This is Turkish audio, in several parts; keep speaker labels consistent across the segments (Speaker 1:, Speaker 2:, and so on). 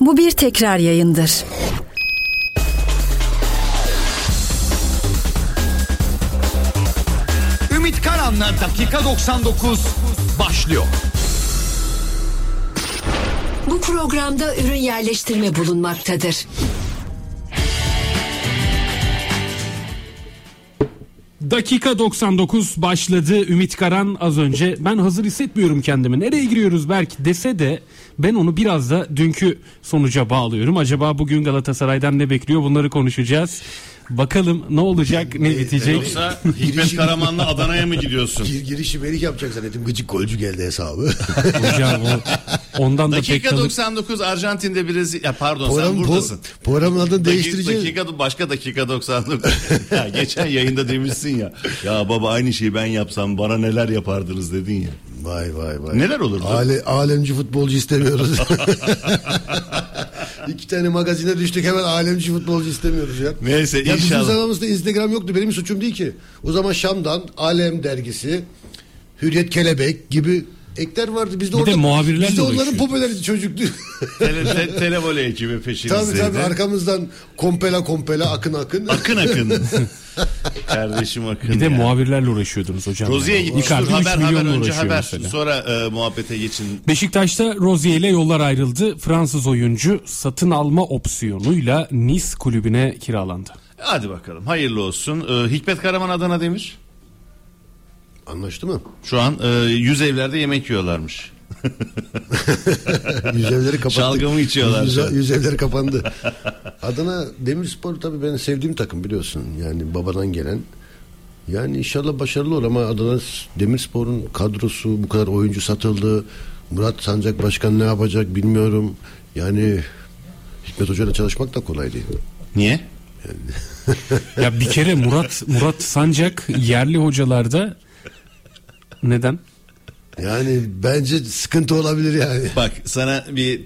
Speaker 1: Bu bir tekrar yayındır.
Speaker 2: Ümit Karan'la dakika 99 başlıyor.
Speaker 3: Bu programda ürün yerleştirme bulunmaktadır.
Speaker 4: Dakika 99 başladı Ümit Karan az önce ben hazır hissetmiyorum kendimi nereye giriyoruz belki dese de ben onu biraz da dünkü sonuca bağlıyorum. Acaba bugün Galatasaray'dan ne bekliyor bunları konuşacağız. Bakalım ne olacak ne bitecek.
Speaker 5: Ee, Yoksa Hikmet Karaman'la Adana'ya mı gidiyorsun?
Speaker 6: Gir, girişi beni yapacak zannettim. Gıcık golcü geldi hesabı.
Speaker 4: Hocam o- ondan da pek
Speaker 5: Dakika
Speaker 4: tadı-
Speaker 5: 99 Arjantin'de Brezilya pardon
Speaker 6: Programın-
Speaker 5: sen buradasın.
Speaker 6: po- programın adını
Speaker 5: Daki-
Speaker 6: değiştireceğiz.
Speaker 5: Dakika, başka dakika 99. ya, geçen yayında demişsin ya. Ya baba aynı şeyi ben yapsam bana neler yapardınız dedin ya.
Speaker 6: Vay vay vay.
Speaker 5: Neler olurdu?
Speaker 6: Ale, alemci futbolcu istemiyoruz. İki tane magazine düştük hemen alemci futbolcu istemiyoruz ya.
Speaker 5: Neyse,
Speaker 6: ya
Speaker 5: inşallah.
Speaker 6: Bizim zamanımızda Instagram yoktu benim suçum değil ki. O zaman Şam'dan Alem dergisi, Hürriyet Kelebek gibi ekler vardı. Biz de,
Speaker 4: Bir
Speaker 6: orada,
Speaker 4: de muhabirlerle
Speaker 6: biz de onların
Speaker 4: uğraşıyor.
Speaker 6: popülerdi çocuktu.
Speaker 5: Tele, te, televole ekibi
Speaker 6: tabii
Speaker 5: peşinizdeydi.
Speaker 6: tabii arkamızdan kompela kompela akın akın.
Speaker 5: Akın akın. Kardeşim akın.
Speaker 4: Bir de
Speaker 5: ya.
Speaker 4: muhabirlerle uğraşıyordunuz hocam.
Speaker 5: Rozi'ye
Speaker 4: Yani.
Speaker 5: gitmiştir.
Speaker 4: Icardi üç
Speaker 5: Haber haber
Speaker 4: milyonla
Speaker 5: önce
Speaker 4: uğraşıyor
Speaker 5: haber.
Speaker 4: mesela.
Speaker 5: Sonra e, muhabbete geçin.
Speaker 4: Beşiktaş'ta Rozier ile yollar ayrıldı. Fransız oyuncu satın alma opsiyonuyla Nice kulübüne kiralandı.
Speaker 5: Hadi bakalım hayırlı olsun. E, Hikmet Karaman Adana demiş.
Speaker 6: Anlaştı mı?
Speaker 5: Şu an e, yüz evlerde yemek yiyorlarmış.
Speaker 6: Yüzevleri kapandı.
Speaker 5: Şalgamı içiyorlar
Speaker 6: Yüz-
Speaker 5: şu an.
Speaker 6: yüzevleri kapandı. Adana Demirspor tabii ben sevdiğim takım biliyorsun. Yani babadan gelen. Yani inşallah başarılı olur ama Adana Demirspor'un kadrosu bu kadar oyuncu satıldı. Murat Sancak Başkan ne yapacak bilmiyorum. Yani Hikmet Hoca'yla çalışmak da kolay değil.
Speaker 5: Niye?
Speaker 4: Ya bir kere Murat Murat Sancak yerli hocalarda neden?
Speaker 6: Yani bence sıkıntı olabilir yani.
Speaker 5: Bak sana bir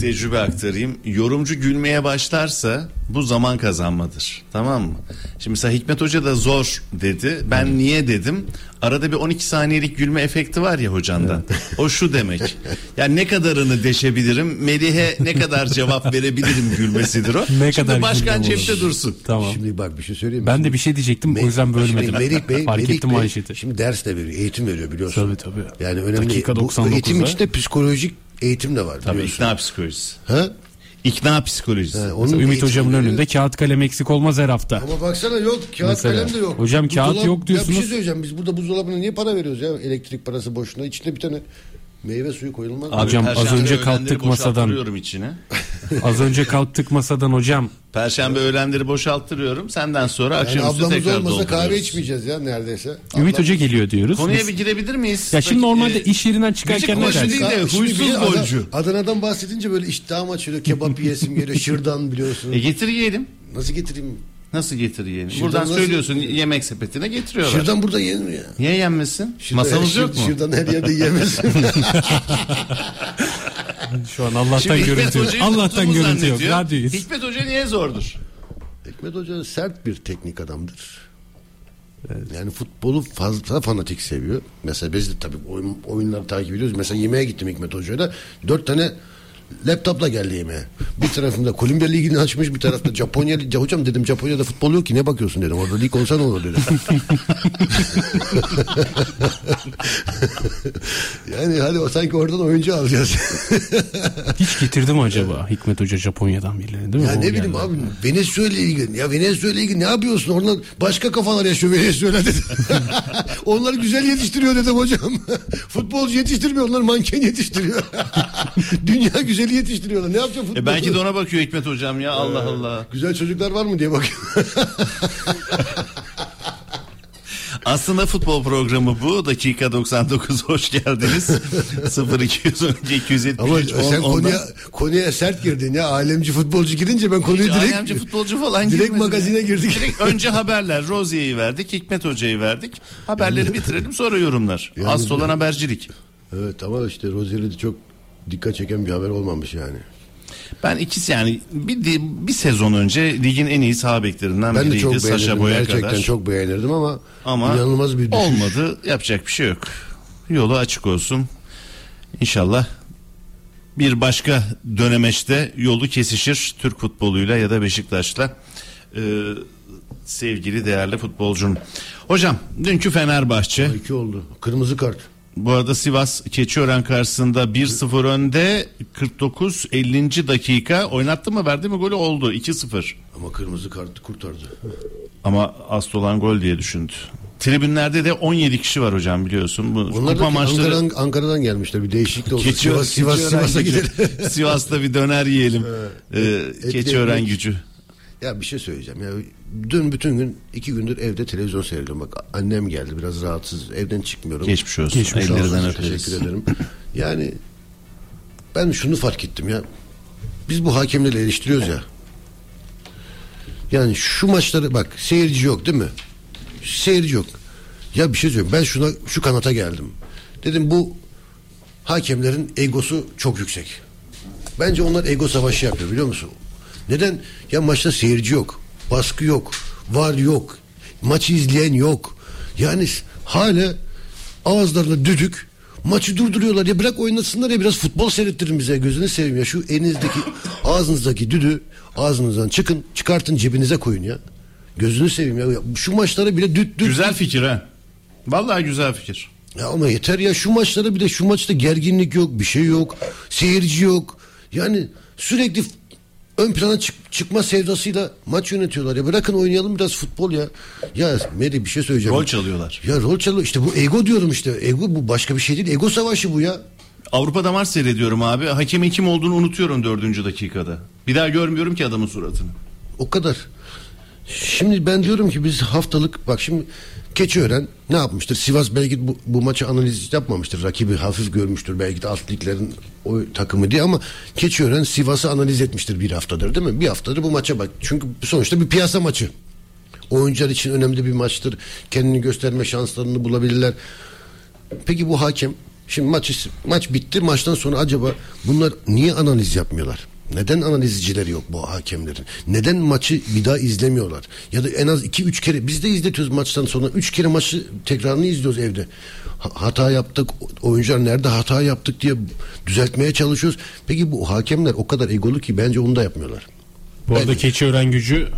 Speaker 5: tecrübe aktarayım. Yorumcu gülmeye başlarsa bu zaman kazanmadır. Tamam mı? Şimdi mesela Hikmet Hoca da zor dedi. Ben niye dedim? Arada bir 12 saniyelik gülme efekti var ya hocandan. O şu demek. Yani ne kadarını deşebilirim? Melih'e ne kadar cevap verebilirim gülmesidir o.
Speaker 4: Ne
Speaker 5: Şimdi
Speaker 4: kadar
Speaker 5: başkan
Speaker 4: gülmem olur.
Speaker 5: cepte dursun.
Speaker 4: Tamam.
Speaker 6: Şimdi bak bir şey söyleyeyim mi?
Speaker 4: ben de bir şey diyecektim o yüzden bölmedim.
Speaker 6: Şimdi Melih Bey,
Speaker 4: Fark
Speaker 6: Melih
Speaker 4: ettim
Speaker 6: Bey
Speaker 4: manşeti.
Speaker 6: Şimdi ders de veriyor, eğitim veriyor biliyorsun.
Speaker 4: Tabii, tabii.
Speaker 6: Yani önemli.
Speaker 4: Dakika
Speaker 6: Bu
Speaker 4: 99'da.
Speaker 6: eğitim içinde psikolojik eğitim de var
Speaker 5: Tabii
Speaker 6: biliyorsun.
Speaker 5: ikna psikolojisi.
Speaker 6: Ha?
Speaker 5: İkna psikolojisi.
Speaker 6: Ha, onun
Speaker 4: Ümit
Speaker 6: eğitimi
Speaker 4: hocamın
Speaker 6: veriyor.
Speaker 4: önünde kağıt kalem eksik olmaz her hafta.
Speaker 6: Ama baksana yok kağıt
Speaker 4: Mesela.
Speaker 6: kalem de yok.
Speaker 4: Hocam kağıt yok
Speaker 6: Ya bir
Speaker 4: diyorsunuz.
Speaker 6: şey söyleyeceğim biz burada buzdolabına niye para veriyoruz ya elektrik parası boşuna içine bir tane meyve suyu koyulmaz. mı?
Speaker 4: Abi- Hocam,
Speaker 5: Perşembe
Speaker 4: az önce
Speaker 5: öğlenleri
Speaker 4: kalktık masadan.
Speaker 5: boşalttırıyorum içine.
Speaker 4: Az önce kalktık masadan hocam.
Speaker 5: Perşembe öğlenleri boşalttırıyorum. Senden sonra
Speaker 6: yani
Speaker 5: akşamüstü
Speaker 6: ablamız
Speaker 5: tekrar
Speaker 6: olmasa kahve
Speaker 5: dolduruyoruz.
Speaker 6: içmeyeceğiz ya neredeyse.
Speaker 4: Ümit Hoca geliyor diyoruz.
Speaker 5: Konuya bir girebilir miyiz?
Speaker 4: Ya şimdi
Speaker 5: Bak,
Speaker 4: normalde
Speaker 5: e,
Speaker 4: iş yerinden çıkarken
Speaker 5: müzik
Speaker 4: ne
Speaker 5: hoş
Speaker 4: dersin?
Speaker 5: değil de
Speaker 6: Şimdi
Speaker 5: huysuz
Speaker 6: bir Adana-
Speaker 5: golcü.
Speaker 6: Adana'dan bahsedince böyle iştahım açılıyor. Kebap yiyesim geliyor. Şırdan biliyorsun.
Speaker 5: E getir yiyelim.
Speaker 6: Nasıl getireyim?
Speaker 5: Nasıl getir yiyelim?
Speaker 6: Şırdan
Speaker 5: Buradan
Speaker 6: nasıl-
Speaker 5: söylüyorsun yemek sepetine getiriyorlar.
Speaker 6: Şırdan burada yenir mi ya?
Speaker 5: Niye yenmesin? Masamız
Speaker 6: Şır-
Speaker 5: yok mu?
Speaker 6: Şırdan her yerde yemezsin.
Speaker 4: Şu an Allah'tan
Speaker 5: Şimdi Hikmet
Speaker 4: görüntü yok.
Speaker 5: Hoca'yı
Speaker 4: Allah'tan
Speaker 5: tuttuğumuz
Speaker 4: görüntü yok.
Speaker 5: zannediyor.
Speaker 4: Radyoyuz.
Speaker 5: Hikmet Hoca niye zordur?
Speaker 6: Hikmet Hoca sert bir teknik adamdır. Yani futbolu fazla fanatik seviyor. Mesela biz de tabii oyun, oyunları takip ediyoruz. Mesela yemeğe gittim Hikmet Hoca'yla. Dört tane laptopla geldi yemeğe. Bir tarafında Kolombiya Ligi'ni açmış bir tarafta Japonya Ligi. Hocam dedim Japonya'da futbol yok ki ne bakıyorsun dedim. Orada lig olsa ne olur dedim. yani hani o sanki oradan oyuncu alacağız.
Speaker 4: Hiç getirdi mi acaba Hikmet Hoca Japonya'dan birilerini değil mi?
Speaker 6: Ya
Speaker 4: O
Speaker 6: ne bileyim
Speaker 4: geldi.
Speaker 6: abi Venezuela'ya ilgili. Ya Venezuela'ya ilgili ne yapıyorsun? Oradan başka kafalar yaşıyor Venezuela dedi. onlar güzel yetiştiriyor dedim hocam. Futbolcu yetiştirmiyor onlar manken yetiştiriyor. Dünya güzeli yetiştiriyorlar. Ne yapacak futbolcu?
Speaker 5: E belki de ona bakıyor Hikmet Hocam ya Allah Allah.
Speaker 6: Güzel çocuklar var mı diye bakıyor.
Speaker 5: Aslında futbol programı bu. Dakika 99 hoş geldiniz. 0212 273
Speaker 6: Ama
Speaker 5: 10
Speaker 6: sen
Speaker 5: 10'dan.
Speaker 6: konuya, konuya sert girdin ya. Alemci futbolcu girince ben konuyu direkt...
Speaker 5: Alemci futbolcu falan
Speaker 6: Direkt
Speaker 5: girmedim
Speaker 6: magazine
Speaker 5: ya.
Speaker 6: girdik.
Speaker 5: Direkt önce haberler. Rozi'yi verdik. Hikmet Hoca'yı verdik. Haberleri bitirelim sonra yorumlar.
Speaker 6: Yani-
Speaker 5: Asıl olan habercilik.
Speaker 6: Evet ama işte Rozi'yle çok dikkat çeken bir haber olmamış yani.
Speaker 5: Ben ikisi yani bir, bir sezon önce ligin en iyi sağ beklerinden
Speaker 6: Ben de
Speaker 5: biriydi.
Speaker 6: çok
Speaker 5: Saşa
Speaker 6: beğenirdim.
Speaker 5: Boya
Speaker 6: Gerçekten
Speaker 5: kadar.
Speaker 6: çok beğenirdim ama,
Speaker 5: Ama
Speaker 6: inanılmaz bir düşüş.
Speaker 5: olmadı. Yapacak bir şey yok. Yolu açık olsun. İnşallah bir başka dönemeçte yolu kesişir Türk futboluyla ya da Beşiktaş'la. Ee, sevgili değerli futbolcum. Hocam dünkü Fenerbahçe
Speaker 6: İki oldu. Kırmızı kart.
Speaker 5: bu arada Sivas Keçiören karşısında 1-0 önde 49 50. dakika oynattı mı verdi mi golü oldu 2-0.
Speaker 6: Ama kırmızı kartı kurtardı.
Speaker 5: Ama asıl olan gol diye düşündü. Tribünlerde de 17 kişi var hocam biliyorsun. Bu
Speaker 6: Onlar da
Speaker 5: kupa maçları
Speaker 6: Ankara'dan, Ankara'dan gelmişler. Bir değişiklik oldu.
Speaker 5: Keçiören-
Speaker 6: Sivas, Sivas,
Speaker 5: Keçiören
Speaker 6: Sivas'a
Speaker 5: gücü.
Speaker 6: gidelim. E,
Speaker 5: Sivas'ta bir döner yiyelim. Ee,
Speaker 6: et-
Speaker 5: Keçiören
Speaker 6: ekmek.
Speaker 5: gücü.
Speaker 6: Ya bir şey söyleyeceğim. Ya dün bütün gün iki gündür evde televizyon seyrediyorum. Bak annem geldi biraz rahatsız. Evden çıkmıyorum.
Speaker 5: Geçmiş olsun.
Speaker 6: Sağ olsun,
Speaker 5: Ellerinden
Speaker 6: Teşekkür
Speaker 5: öperiz.
Speaker 6: ederim. Yani ben şunu fark ettim ya. Biz bu hakemleri eleştiriyoruz ya. Yani şu maçları bak seyirci yok değil mi? Seyirci yok. Ya bir şey söyleyeyim. Ben şuna şu kanata geldim. Dedim bu hakemlerin egosu çok yüksek. Bence onlar ego savaşı yapıyor biliyor musun? Neden? Ya maçta seyirci yok. Baskı yok. Var yok. Maçı izleyen yok. Yani s- hala ağızlarına düdük maçı durduruyorlar ya bırak oynasınlar ya biraz futbol seyrettirin bize gözünü seveyim ya şu elinizdeki ağzınızdaki düdü ağzınızdan çıkın çıkartın cebinize koyun ya gözünü seveyim ya Ya şu maçlara bile düt düt
Speaker 5: Güzel fikir ha. Vallahi güzel fikir.
Speaker 6: ya ama yeter ya şu maçlara bir de şu maçta gerginlik yok, bir şey yok, seyirci yok. Yani sürekli f- ön plana çık- çıkma sevdasıyla maç yönetiyorlar ya. Bırakın oynayalım biraz futbol ya. Ya Meri bir şey söyleyeceğim.
Speaker 5: Rol çalıyorlar.
Speaker 6: Ya rol çalıyor. İşte bu ego diyorum işte. Ego bu başka bir şey değil. Ego savaşı bu ya.
Speaker 5: Avrupa'da maç seyrediyorum abi. Hakemin kim olduğunu unutuyorum dördüncü dakikada. Bir daha görmüyorum ki adamın suratını.
Speaker 6: O kadar. Şimdi ben diyorum ki biz haftalık bak şimdi Keçiören ne yapmıştır? Sivas belki bu, bu maçı analiz yapmamıştır. Rakibi hafif görmüştür belki de alt liglerin o takımı diye ama Keçiören Sivas'ı analiz etmiştir bir haftadır değil mi? Bir haftadır bu maça bak. Çünkü sonuçta bir piyasa maçı. Oyuncular için önemli bir maçtır. Kendini gösterme şanslarını bulabilirler. Peki bu hakem şimdi maç maç bitti maçtan sonra acaba bunlar niye analiz yapmıyorlar? Neden analizcileri yok bu hakemlerin? Neden maçı bir daha izlemiyorlar? Ya da en az 2-3 kere biz de izletiyoruz maçtan sonra 3 kere maçı tekrarını izliyoruz evde. Ha- Hata yaptık, oyuncular nerede hata yaptık diye düzeltmeye çalışıyoruz. Peki bu hakemler o kadar egolu ki bence onu da yapmıyorlar.
Speaker 4: Bu arada
Speaker 6: Bence.
Speaker 4: Keçiören gücü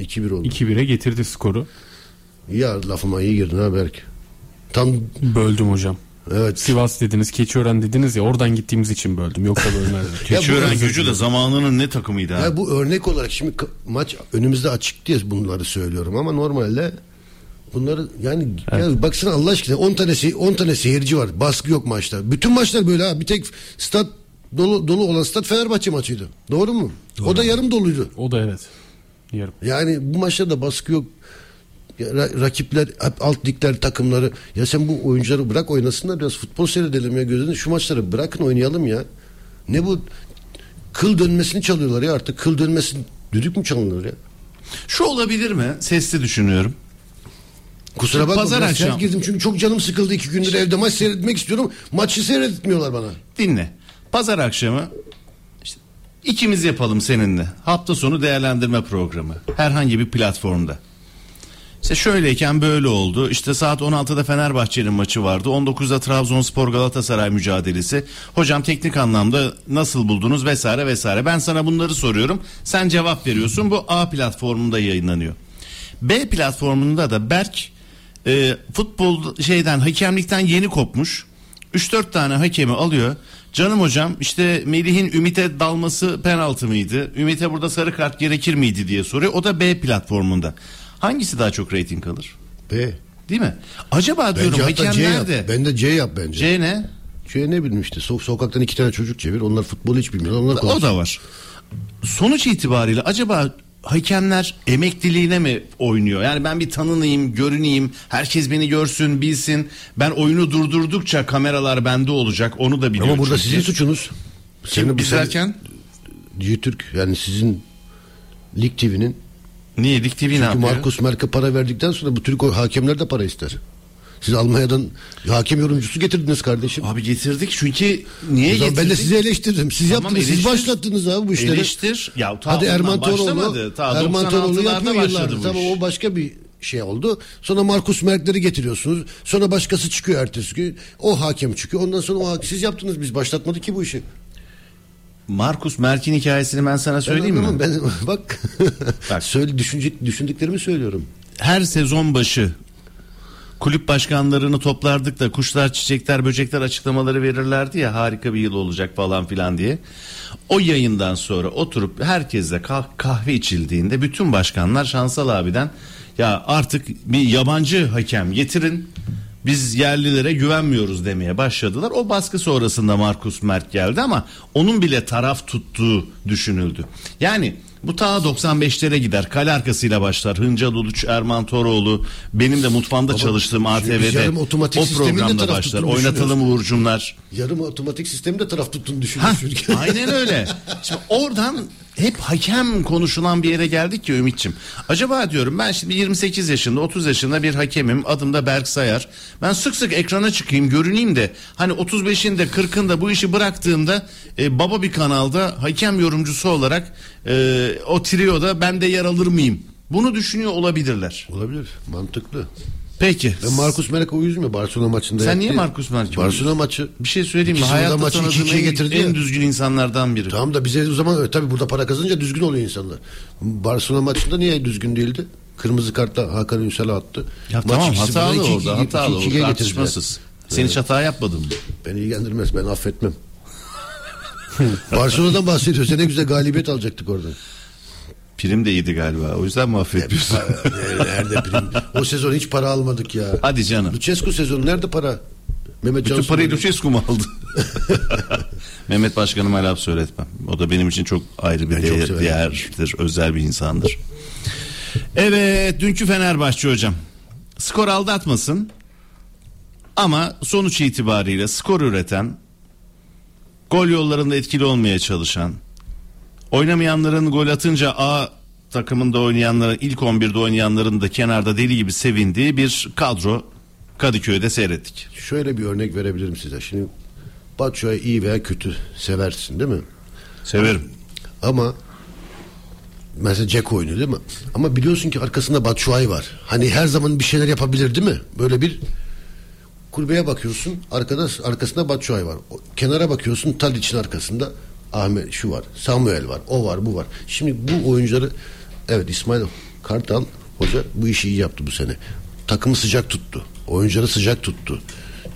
Speaker 6: 2-1 oldu.
Speaker 4: 2-1'e getirdi skoru.
Speaker 6: Ya lafıma iyi girdin ha Berk. Tam
Speaker 4: Böldüm hocam.
Speaker 6: evet
Speaker 4: Sivas dediniz, Keçiören dediniz ya oradan gittiğimiz için böldüm. Yoksa bölmezdim.
Speaker 5: Keçiören gücü de zamanının ne takımıydı ha.
Speaker 6: Ya bu örnek olarak şimdi k- maç önümüzde açık diye bunları söylüyorum ama normalde bunları yani ya baksana Allah aşkına 10 tane se- 10 tane seyirci var. Baskı yok maçta. Bütün maçlar böyle ha. Bir tek stat dolu dolu olan stat Fenerbahçe maçıydı. Doğru mu? O da yarım doluydu.
Speaker 4: O da evet. Yarım.
Speaker 6: Yani bu maçta da baskı yok. Ya ra- rakipler hep alt ligler takımları ya sen bu oyuncuları bırak oynasınlar biraz futbol seyredelim ya gözünü şu maçları bırakın oynayalım ya. Ne bu kıl dönmesini çalıyorlar ya artık kıl dönmesini düdük mü çalınır ya?
Speaker 5: Şu olabilir mi? Sesli düşünüyorum.
Speaker 6: Kusura bakma
Speaker 5: Pazar
Speaker 6: biraz
Speaker 5: akşam.
Speaker 6: sert girdim çünkü çok canım sıkıldı iki gündür evde maç seyretmek istiyorum. Maçı seyretmiyorlar bana.
Speaker 5: Dinle. Pazar akşamı işte ikimiz yapalım seninle. Hafta sonu değerlendirme programı. Herhangi bir platformda. İşte şöyleyken böyle oldu. İşte saat 16'da Fenerbahçe'nin maçı vardı. 19'da Trabzonspor Galatasaray mücadelesi. Hocam teknik anlamda nasıl buldunuz vesaire vesaire. Ben sana bunları soruyorum. Sen cevap veriyorsun. Bu A platformunda yayınlanıyor. B platformunda da Berk e, futbol şeyden hakemlikten yeni kopmuş. 3-4 tane hakemi alıyor. Canım hocam işte Melih'in Ümit'e dalması penaltı mıydı? Ümit'e burada sarı kart gerekir miydi diye soruyor. O da B platformunda. Hangisi daha çok reyting alır?
Speaker 6: B.
Speaker 5: Değil mi? Acaba diyorum
Speaker 6: Bence hatta C
Speaker 5: hakemler
Speaker 6: yap.
Speaker 5: de
Speaker 6: Ben de C yap bence. C,
Speaker 5: C ne?
Speaker 6: ne bileyim işte so- sokaktan iki tane çocuk çevir onlar futbolu hiç bilmiyorlar onlar
Speaker 5: O
Speaker 6: konuşuyor.
Speaker 5: da var. Sonuç itibariyle acaba hakemler emekliliğine mi oynuyor? Yani ben bir tanınayım, görüneyim, herkes beni görsün, bilsin. Ben oyunu durdurdukça kameralar bende olacak. Onu da biliyorum.
Speaker 6: Ama burada
Speaker 5: çünkü.
Speaker 6: sizin suçunuz. Senin bu-
Speaker 5: biz
Speaker 6: sen-
Speaker 5: derken
Speaker 6: Türk yani sizin Lig TV'nin
Speaker 5: niye Lig TV ne
Speaker 6: çünkü
Speaker 5: yapıyor?
Speaker 6: Markus Merk'e para verdikten sonra bu Türk hakemler de para ister. Siz Almanya'dan hakem yorumcusu getirdiniz kardeşim.
Speaker 5: Abi getirdik çünkü niye
Speaker 6: O zaman
Speaker 5: getirdik?
Speaker 6: ben de sizi eleştirdim. Siz
Speaker 5: Tamam,
Speaker 6: yaptınız. Siz
Speaker 5: eleştir.
Speaker 6: başlattınız abi bu işleri.
Speaker 5: Eleştir. Ya ta
Speaker 6: Hadi
Speaker 5: ondan
Speaker 6: Erman Toroğlu.
Speaker 5: başlamadı. Ta
Speaker 6: Erman Toroğlu
Speaker 5: 96'larda
Speaker 6: yapıyor
Speaker 5: başladı
Speaker 6: yıllardır.
Speaker 5: bu
Speaker 6: Tamam
Speaker 5: iş.
Speaker 6: o başka bir şey oldu. Sonra Markus Merk'leri getiriyorsunuz. Sonra başkası çıkıyor ertesi gün. O hakem çıkıyor. Ondan sonra o hakem. Siz yaptınız. Biz başlatmadık ki bu işi.
Speaker 5: Markus Merkin hikayesini ben sana söyleyeyim mi?
Speaker 6: Ben, adamım, ben- bak.
Speaker 5: Bak.
Speaker 6: Söyle, düşünce, düşündüklerimi söylüyorum.
Speaker 5: her sezon başı kulüp başkanlarını toplardık da kuşlar, çiçekler, böcekler açıklamaları verirlerdi ya harika bir yıl olacak falan filan diye. O yayından sonra oturup herkesle kah- kahve içildiğinde bütün başkanlar Şansal abiden ya artık bir yabancı hakem getirin biz yerlilere güvenmiyoruz demeye başladılar. O baskı sonrasında Markus Merk geldi ama onun bile taraf tuttuğu düşünüldü. Yani bu ta 95'lere gider. Kale arkasıyla başlar. Hıncal Uluç, Erman Toroğlu. Benim de mutfağımda çalıştığım
Speaker 6: biz
Speaker 5: ATV'de
Speaker 6: yarım şey otomatik
Speaker 5: o
Speaker 6: sistemin de
Speaker 5: programda
Speaker 6: taraf
Speaker 5: başlar.
Speaker 6: tuttuğunu
Speaker 5: Oynatalım Uğurcumlar.
Speaker 6: Yarım otomatik sistemi de taraf tuttuğunu
Speaker 5: Hah,
Speaker 6: düşünüyorsun.
Speaker 5: aynen öyle. Şimdi oradan hep hakem konuşulan bir yere geldik ya Ümitçim. Acaba diyorum ben şimdi 28 yaşında 30 yaşında bir hakemim. Adım da Berk Sayar. Ben sık sık ekrana çıkayım görüneyim de hani 35'inde 40'ında bu işi bıraktığımda e, baba bir kanalda hakem yorumcusu olarak e, o trioda ben de yer alır mıyım? Bunu düşünüyor olabilirler.
Speaker 6: Olabilir. Mantıklı.
Speaker 5: Peki.
Speaker 6: Ben Markus Melek o yüzmüyor Barcelona maçında.
Speaker 5: Sen
Speaker 6: yaptı.
Speaker 5: niye Markus Merk'i
Speaker 6: Barcelona maçı.
Speaker 5: bir şey söyleyeyim mi?
Speaker 6: İkisini de
Speaker 5: Hayatta
Speaker 6: maçı iki
Speaker 5: tanıdığım
Speaker 6: ikiye
Speaker 5: en,
Speaker 6: getirdi ya.
Speaker 5: en düzgün insanlardan biri.
Speaker 6: Tamam da bize o zaman e, tabii burada para kazanınca düzgün oluyor insanlar. Barcelona maçında niye düzgün değildi? Kırmızı kartla Hakan Ünsal'a attı.
Speaker 5: Ya
Speaker 6: Maç
Speaker 5: tamam
Speaker 6: ikisi
Speaker 5: hatalı
Speaker 6: buna iki-
Speaker 5: orada
Speaker 6: iki-
Speaker 5: hatalı
Speaker 6: iki- ikiye
Speaker 5: orada
Speaker 6: getirdiler.
Speaker 5: tartışmasız. Sen hiç hata yapmadın mı?
Speaker 6: Beni ilgilendirmez ben affetmem. Barcelona'dan bahsediyorsa ne güzel galibiyet alacaktık oradan.
Speaker 5: Prim de iyiydi galiba o yüzden mi affetmiyorsun?
Speaker 6: Nerede prim? O sezon hiç para almadık ya.
Speaker 5: Hadi canım.
Speaker 6: Lucescu sezonu nerede para? Mehmet
Speaker 5: Bütün
Speaker 6: Cansu
Speaker 5: parayı
Speaker 6: böyle-
Speaker 5: Lucescu mu aldı? Mehmet Başkanıma laf söyletmem. O da benim için çok ayrı bir
Speaker 6: Ben çok
Speaker 5: değer-
Speaker 6: severim.
Speaker 5: değerdir, özel bir insandır. Evet, dünkü Fenerbahçe hocam. Skor aldatmasın. Ama sonuç itibariyle skor üreten, gol yollarında etkili olmaya çalışan, oynamayanların gol atınca A takımında oynayanların ilk 11'de oynayanların da kenarda deli gibi sevindiği bir kadro Kadıköy'de seyrettik.
Speaker 6: Şöyle bir örnek verebilirim size. Şimdi Batshuayi iyi veya kötü seversin değil mi?
Speaker 5: Severim.
Speaker 6: Ama mesela Jack oynuyor değil mi? Ama biliyorsun ki arkasında Batshuayi var. Hani her zaman bir şeyler yapabilir değil mi? Böyle bir kulübeye bakıyorsun. Arkada arkasında Batshuayi var. O- kenara bakıyorsun Tadic'in arkasında Ahmet şu var. Samuel var. O var, bu var. Şimdi bu oyuncuları evet İsmail Kartal hoca bu işi iyi yaptı bu sene. Takımı sıcak tuttu. Oyuncuları sıcak tuttu.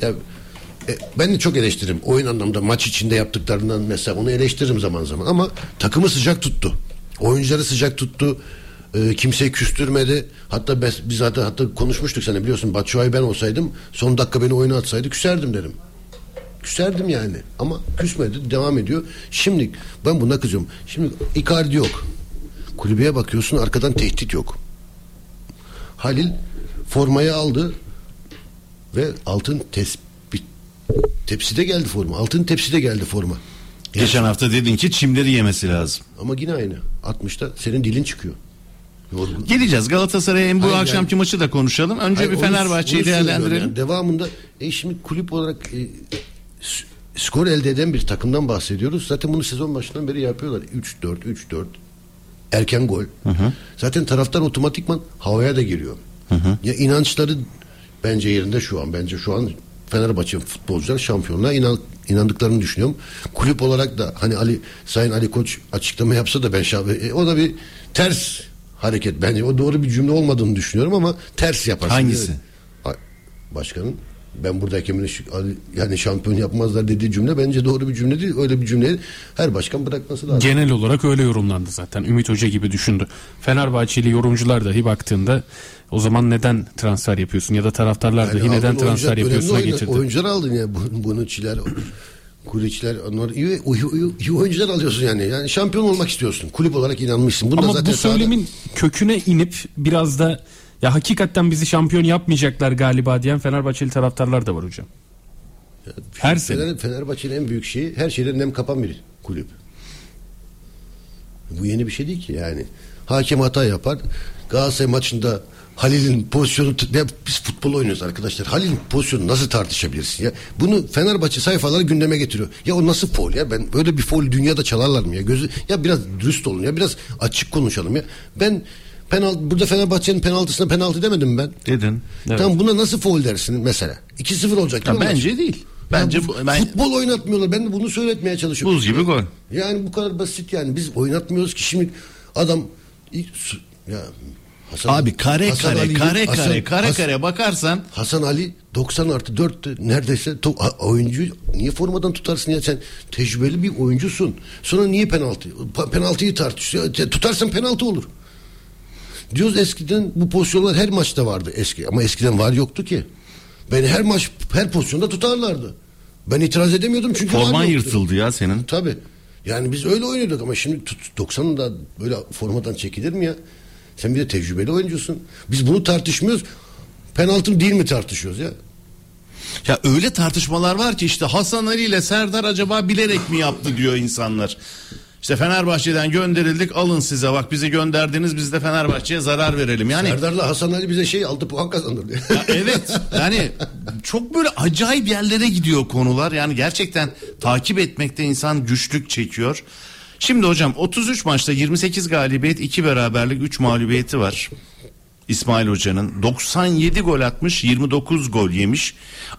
Speaker 6: Ya e, ben de çok eleştiririm. Oyun anlamda maç içinde yaptıklarından mesela onu eleştiririm zaman zaman ama takımı sıcak tuttu. Oyuncuları sıcak tuttu. E, kimseyi küstürmedi. Hatta biz, biz zaten hatta konuşmuştuk sana biliyorsun Batshuayi ben olsaydım son dakika beni oyuna atsaydı küserdim dedim. Küserdim yani ama küsmedi devam ediyor. Şimdi ben buna kızıyorum. Şimdi Icardi yok. Kulübeye bakıyorsun arkadan tehdit yok. Halil formayı aldı ve altın tespit tepside geldi forma. Altın tepside geldi forma.
Speaker 5: Geçen hafta dedin ki çimleri yemesi lazım.
Speaker 6: Ama yine aynı. 60'ta senin dilin çıkıyor. Yorgun.
Speaker 5: Geleceğiz Galatasaray'a hem bu
Speaker 6: Hayır,
Speaker 5: akşamki maçı da konuşalım. Önce
Speaker 6: Hayır,
Speaker 5: bir
Speaker 6: onu-
Speaker 5: Fenerbahçe'yi
Speaker 6: onu söylüyorum
Speaker 5: değerlendirelim.
Speaker 6: yani. Devamında e şimdi kulüp olarak e, s- skor elde eden bir takımdan bahsediyoruz. Zaten bunu sezon başından beri yapıyorlar. 3-4 3-4 erken gol. Zaten taraftar otomatikman havaya da giriyor. Ya inançları bence yerinde şu an. Bence şu an Fenerbahçe futbolcular şampiyonluğa inan, inandıklarını düşünüyorum. Kulüp olarak da hani Ali Sayın Ali Koç açıklama yapsa da ben şah- e, o da bir ters hareket bence. O doğru bir cümle olmadığını düşünüyorum ama ters yapar.
Speaker 5: Hangisi?
Speaker 6: A- Başkanın ben burada hakemini şu- Ali- yani şampiyon yapmazlar dediği cümle bence doğru bir cümle değil. Öyle bir cümleyi her başkan bırakması lazım.
Speaker 4: Genel olarak öyle yorumlandı zaten. Ümit Hoca gibi düşündü. Fenerbahçeli yorumcular dahi baktığında o zaman neden transfer yapıyorsun ya da taraftarlar
Speaker 6: Yani
Speaker 4: dahi neden
Speaker 6: aldın
Speaker 4: transfer
Speaker 6: oyuncu-
Speaker 4: yapıyorsun'a
Speaker 6: önemli oyun-
Speaker 4: getirdi.
Speaker 6: Oyuncular aldın ya bu- bunu çiler Kuliçler onlar iyi, iyi, iyi, iyi oyuncular alıyorsun yani. Yani şampiyon olmak istiyorsun. Kulüp olarak inanmışsın. Bunu da
Speaker 4: Ama
Speaker 6: zaten
Speaker 4: bu söylemin köküne inip biraz da ya hakikaten bizi şampiyon yapmayacaklar galiba diyen Fenerbahçeli taraftarlar da var hocam. Her
Speaker 6: sahada-
Speaker 4: sene.
Speaker 6: Fener- Fenerbahçe'nin en büyük şeyi her şeyden nem kapan bir kulüp. Bu yeni bir şey değil ki yani. Hakem hata yapar. Galatasaray maçında Halil'in pozisyonu ne, biz futbol oynuyoruz arkadaşlar. Halil'in pozisyonu nasıl tartışabilirsin ya? Bunu Fenerbahçe sayfaları gündeme getiriyor. Ya o nasıl foul ya? Ben böyle bir foul dünyada çalarlar mı ya? Gözü ya biraz dürüst olun ya. Biraz açık konuşalım ya. Ben penaltı burada Fenerbahçe'nin penaltısına penaltı demedim ben.
Speaker 5: Dedin.
Speaker 6: Tam buna nasıl foul dersin mesela? 2-0 olacak.
Speaker 5: Ya
Speaker 6: değil mi maç?
Speaker 5: bence değil. Bence bu, ben,
Speaker 6: Futbol oynatmıyorlar. Ben de bunu söyletmeye çalışıyorum.
Speaker 5: buz gibi gol.
Speaker 6: Yani bu kadar basit yani. Biz oynatmıyoruz ki şimdi adam ilk su- ya Hasan,
Speaker 5: Abi kare
Speaker 6: Hasan
Speaker 5: kare
Speaker 6: Ali'nin-
Speaker 5: kare
Speaker 6: Hasan-
Speaker 5: kare kare
Speaker 6: Hasan-
Speaker 5: kare bakarsan
Speaker 6: Hasan Ali 90 artı 4 neredeyse to- a- oyuncu niye formadan tutarsın ya sen tecrübeli bir oyuncusun. Sonra niye penaltı? Pa- Penaltıyı tartışıyor. Ya te- Tutarsan penaltı olur. Diyoruz eskiden bu pozisyonlar her maçta vardı eski ama eskiden var yoktu ki. Ben her maç her pozisyonda tutarlardı. Ben itiraz edemiyordum çünkü var
Speaker 5: forman
Speaker 6: yoktu.
Speaker 5: yırtıldı ya senin.
Speaker 6: Tabii. Yani biz öyle oynuyorduk ama şimdi tut- 90'da böyle formadan çekilir mi ya? Sen bir de tecrübeli oyuncusun. Biz bunu tartışmıyoruz. Penaltı mı değil mi tartışıyoruz ya?
Speaker 5: Ya öyle tartışmalar var ki işte Hasan Ali ile Serdar acaba bilerek mi yaptı diyor insanlar. İşte Fenerbahçe'den gönderildik alın size bak bizi gönderdiniz biz de Fenerbahçe'ye zarar verelim. Yani
Speaker 6: Serdar'la Hasan Ali bize şey 6 puan kazandırdı.
Speaker 5: Ya evet yani çok böyle acayip yerlere gidiyor konular. Yani gerçekten takip etmekte insan güçlük çekiyor. Şimdi hocam 33 maçta 28 galibiyet, 2 beraberlik, 3 mağlubiyeti var. İsmail Hoca'nın 97 gol atmış, 29 gol yemiş.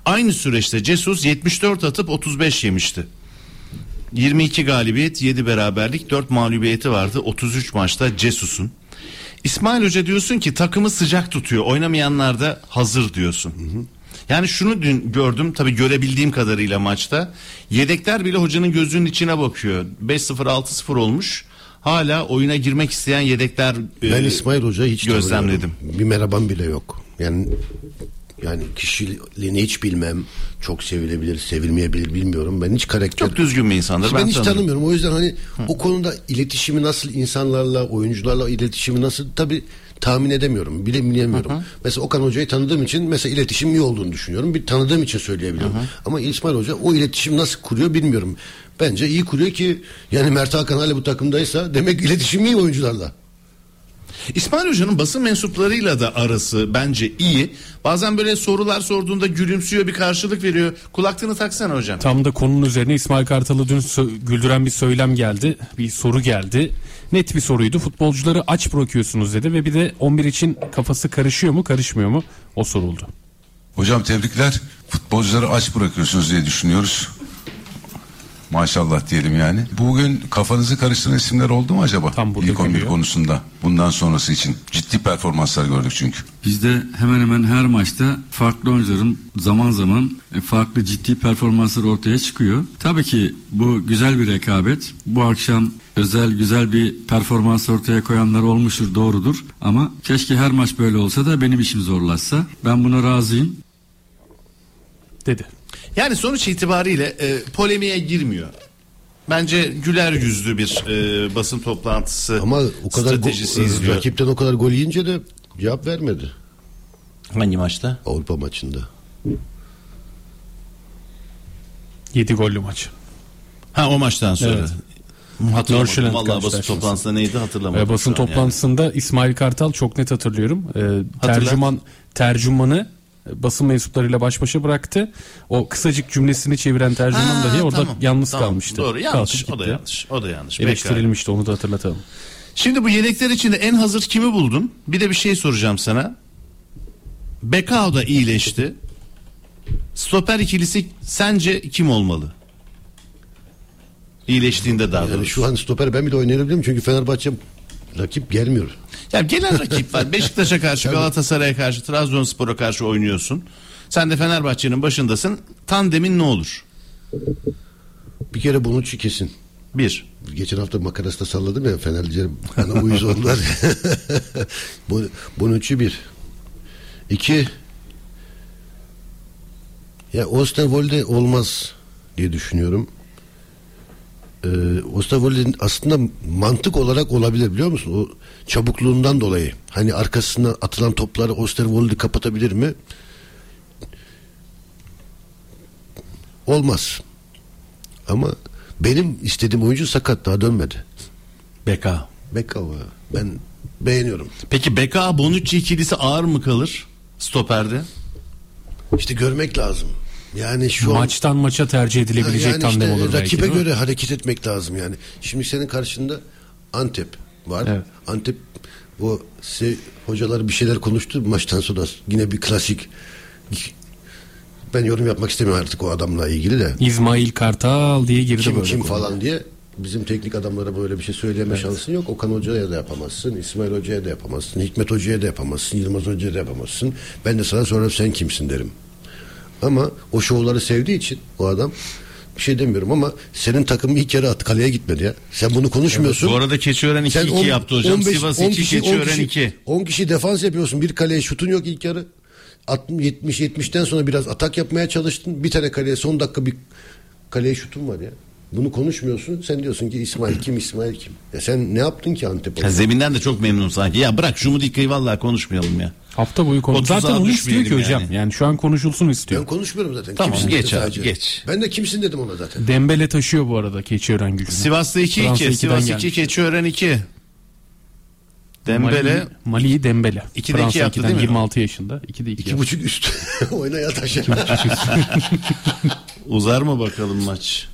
Speaker 5: Aynı süreçte Cesus 74 atıp 35 yemişti. 22 galibiyet, 7 beraberlik, 4 mağlubiyeti vardı 33 maçta Cesus'un. İsmail Hoca diyorsun ki takımı sıcak tutuyor. Oynamayanlar da hazır diyorsun. Yani şunu dün gördüm tabii görebildiğim kadarıyla maçta. Yedekler bile hocanın gözünün içine bakıyor. 5-0 6-0 olmuş. Hala oyuna girmek isteyen yedekler e,
Speaker 6: ben İsmail Hoca'yı hiç
Speaker 5: gözlemledim.
Speaker 6: tanımıyorum. Bir merhabam bile yok. Yani yani kişiliğini hiç bilmem. Çok sevilebilir, sevilmeyebilir bilmiyorum. Ben hiç karakter
Speaker 5: Çok düzgün bir insandır.
Speaker 6: ben,
Speaker 5: ben
Speaker 6: hiç
Speaker 5: tanırım.
Speaker 6: tanımıyorum. O yüzden hani o konuda iletişimi nasıl insanlarla, oyuncularla iletişimi nasıl tabi tahmin edemiyorum. Bile bilemiyorum. Mesela Okan Hoca'yı tanıdığım için mesela iletişim iyi olduğunu düşünüyorum. Bir tanıdığım için söyleyebiliyorum. Ama İsmail Hoca o iletişim nasıl kuruyor bilmiyorum. Bence iyi kuruyor ki yani Mert Hakan hala bu takımdaysa demek iletişim iyi oyuncularla.
Speaker 5: İsmail Hoca'nın basın mensuplarıyla da arası bence iyi. Bazen böyle sorular sorduğunda gülümsüyor bir karşılık veriyor. Kulaklığını taksana hocam.
Speaker 4: Tam da konunun üzerine İsmail Kartal'ı dün sö- güldüren bir söylem geldi. Bir soru geldi. Net bir soruydu. Futbolcuları aç bırakıyorsunuz dedi ve bir de 11 için kafası karışıyor mu karışmıyor mu o soruldu.
Speaker 1: Hocam tebrikler. Futbolcuları aç bırakıyorsunuz diye düşünüyoruz. Maşallah diyelim yani. Bugün kafanızı karıştıran isimler oldu mu acaba?
Speaker 4: Tam burada
Speaker 1: İlk 11
Speaker 4: geliyor.
Speaker 1: konusunda. Bundan sonrası için. Ciddi performanslar gördük çünkü.
Speaker 7: Bizde hemen hemen her maçta farklı oyuncuların zaman zaman e, farklı ciddi performanslar ortaya çıkıyor. Tabii ki bu güzel bir rekabet. Bu akşam özel güzel bir performans ortaya koyanlar olmuştur doğrudur. Ama keşke her maç böyle olsa da benim işim zorlaşsa. Ben buna razıyım.
Speaker 4: Dedi.
Speaker 5: Yani sonuç itibariyle e, polemiğe girmiyor. Bence güler yüzlü bir e, basın toplantısı
Speaker 6: Ama o kadar
Speaker 5: stratejisi
Speaker 4: e,
Speaker 6: go-
Speaker 5: izliyor.
Speaker 6: rakipten o kadar gol yiyince de cevap vermedi
Speaker 5: Hangi maçta?
Speaker 6: Avrupa maçında.
Speaker 4: 7 gollü maç.
Speaker 5: Ha o maçtan sonra.
Speaker 4: Evet.
Speaker 5: Hatırlamadım.
Speaker 4: Norşland
Speaker 5: Vallahi basın
Speaker 4: karşılaşması.
Speaker 5: toplantısında neydi hatırlamadım.
Speaker 4: Ee, basın
Speaker 5: şu an yani.
Speaker 4: toplantısında İsmail Kartal çok net hatırlıyorum. Ee, tercüman tercümanı e, basın mensuplarıyla baş başa bıraktı. O kısacık cümlesini çeviren tercüman
Speaker 5: Ha,
Speaker 4: dahi orada
Speaker 5: tamam,
Speaker 4: yalnız
Speaker 5: tamam.
Speaker 4: kalmıştı.
Speaker 5: Doğru yanlış.
Speaker 4: Kalkıp
Speaker 5: O da
Speaker 4: gitti.
Speaker 5: yanlış. O da yanlış. Pekala.
Speaker 4: Eleştirilmişti onu da hatırlatalım.
Speaker 5: Şimdi bu yedekler içinde en hazır kimi buldun? Bir de bir şey soracağım sana. Bekao da iyileşti. Stoper ikilisi sence kim olmalı? İyileştiğinde daha
Speaker 6: Yani
Speaker 5: doğrusu.
Speaker 6: şu an stoper ben bile oynayabilirim çünkü Fenerbahçe rakip gelmiyor.
Speaker 5: Ya gelen rakip var. Beşiktaş'a karşı, Galatasaray'a karşı, Trabzonspor'a karşı oynuyorsun. Sen de Fenerbahçe'nin başındasın. Tandemin ne olur?
Speaker 6: Bir kere bunu kesin.
Speaker 5: Bir.
Speaker 6: Geçen hafta makarasında salladım ya Fenerlilerim. Bana uyuz oldular. Bu, bunun üçü bir. İki. Ya Osterwolde olmaz diye düşünüyorum. Ee, Osterwolde'nin aslında mantık olarak olabilir biliyor musun? O çabukluğundan dolayı. Hani arkasına atılan topları Osterwolde kapatabilir mi? Olmaz. Ama benim istediğim oyuncu sakat daha dönmedi.
Speaker 5: Beka.
Speaker 6: Bekava ben beğeniyorum.
Speaker 5: Peki Beka Bonucci ikilisi ağır mı kalır? Stoper'de.
Speaker 6: İşte görmek lazım. Yani şu an
Speaker 4: Maçtan maça tercih edilebilecek
Speaker 6: yani
Speaker 4: tandem
Speaker 6: işte
Speaker 4: olur belki.
Speaker 6: rakibe
Speaker 4: değil mi?
Speaker 6: göre hareket etmek lazım yani. Şimdi senin karşında Antep var.
Speaker 4: Evet.
Speaker 6: Antep bu se- hocalar bir şeyler konuştu maçtan sonra yine bir klasik Ben yorum yapmak istemiyorum artık o adamla ilgili de.
Speaker 4: İsmail Kartal diye girdi
Speaker 6: Kim
Speaker 4: böyle.
Speaker 6: kim
Speaker 4: konu.
Speaker 6: falan diye bizim teknik adamlara böyle bir şey söyleme şansın yok. Okan Hoca'ya da yapamazsın, İsmail Hoca'ya da yapamazsın, Hikmet Hoca'ya da yapamazsın, Yılmaz Hoca'ya da yapamazsın. Ben de sana sonra sen kimsin derim. Ama o şovları sevdiği için o adam bir şey demiyorum ama senin takım ilk yarı at kaleye gitmedi ya. Sen bunu konuşmuyorsun.
Speaker 5: Bu arada Keçiören 2-2 yaptı hocam. Sivas 2, Keçiören 2.
Speaker 6: 10 kişi defans yapıyorsun. Bir kaleye şutun yok ilk yarı. 70-70'ten sonra biraz atak yapmaya çalıştın. Bir tane kaleye son dakika bir kaleye şutun var ya. Bunu konuşmuyorsun. Sen diyorsun ki İsmail kim İsmail kim? Ya sen ne yaptın ki Antep
Speaker 5: Ya
Speaker 6: oyunu?
Speaker 5: zeminden de çok memnun sanki. Ya bırak şu mudikayı vallahi konuşmayalım ya.
Speaker 4: Hafta boyu konu.
Speaker 5: Otuza
Speaker 4: Zaten onu istiyor ki
Speaker 5: düşmeyelim
Speaker 4: hocam. Yani.
Speaker 5: yani.
Speaker 4: şu an konuşulsun istiyor.
Speaker 6: Ben konuşmuyorum zaten.
Speaker 5: Tamam,
Speaker 6: dedi
Speaker 5: geç abi, geç.
Speaker 6: Ben de kimsin dedim ona zaten.
Speaker 4: Dembele taşıyor bu arada Keçiören gücünü.
Speaker 5: Sivas'ta 2-2.
Speaker 4: Fransa
Speaker 5: Sivas
Speaker 4: 2'den
Speaker 5: 2, Keçiören 2. Dembele
Speaker 4: Mali, Mali'yi Dembele.
Speaker 5: İki de iki
Speaker 4: Fransa
Speaker 5: yaptı
Speaker 4: 2'den
Speaker 5: değil mi?
Speaker 4: 26 yaşında. 2'de 2.
Speaker 6: İki buçuk üstü. Oynaya taş.
Speaker 5: uzar mı bakalım maç?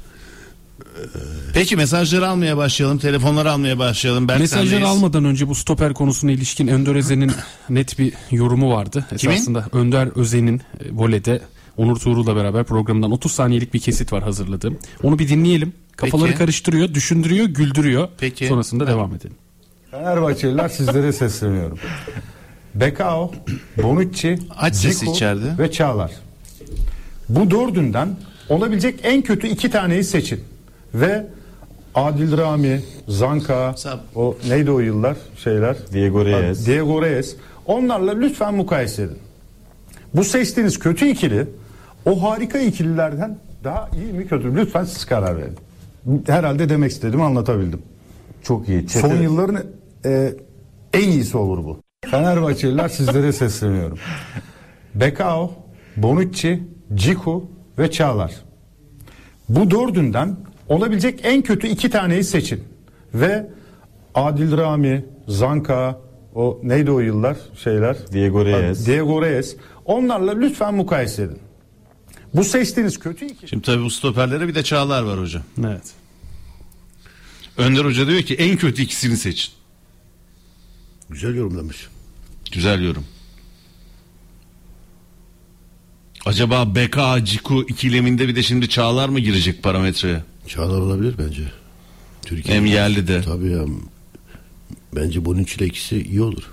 Speaker 5: Ee, Peki mesajları almaya başlayalım. Telefonları almaya başlayalım. Berk
Speaker 4: Mesajları
Speaker 5: sendeyiz.
Speaker 4: almadan önce bu stoper konusuna ilişkin Önder Özen'in net bir yorumu vardı.
Speaker 5: Kimin?
Speaker 4: Esasında Önder Özen'in e, volede Onur Tuğrul'la beraber programdan 30 saniyelik bir kesit var hazırladığım. Onu bir dinleyelim. Kafaları
Speaker 5: Peki.
Speaker 4: karıştırıyor, düşündürüyor, güldürüyor.
Speaker 5: Peki.
Speaker 4: Sonrasında devam edelim.
Speaker 8: Fenerbahçeliler sizlere sesleniyorum. Bekao, Bonucci,
Speaker 5: Aç sesi
Speaker 8: Dzeko
Speaker 5: içeride.
Speaker 8: ve Çağlar. Bu dördünden olabilecek en kötü iki taneyi seçin. Ve Adil Rami, Zanka,
Speaker 5: Sab-
Speaker 8: o neydi o yıllar şeyler? Diego Reyes. Diego Reyes. Onlarla lütfen mukayese edin. Bu seçtiğiniz kötü ikili o harika ikililerden daha iyi mi kötü mü? Lütfen siz karar verin. Herhalde demek istediğimi anlatabildim.
Speaker 9: Çok iyi. Çete-
Speaker 8: Son yılların e, en iyisi olur bu. Fenerbahçeliler sizlere sesleniyorum. Bekao, Bonucci, Ciku ve Çağlar. Bu dördünden olabilecek en kötü iki taneyi seçin. Ve Adil Rami, Zanka, o neydi o yıllar şeyler?
Speaker 9: Diego Reyes.
Speaker 8: Diego Reyes. Onlarla lütfen mukayese edin. Bu seçtiğiniz kötü iki
Speaker 5: Şimdi tabii bu stoperlere bir de Çağlar var hocam.
Speaker 4: Evet.
Speaker 5: Önder Hoca diyor ki en kötü ikisini seçin.
Speaker 6: Güzel yorumlamış.
Speaker 5: Güzel yorum. Acaba BK Ciku ikileminde bir de şimdi Çağlar mı girecek parametreye?
Speaker 6: Çağlar olabilir bence. Türkiye.
Speaker 5: Hem yerli de.
Speaker 6: Tabii ya. Bence bunun için ikisi iyi olur.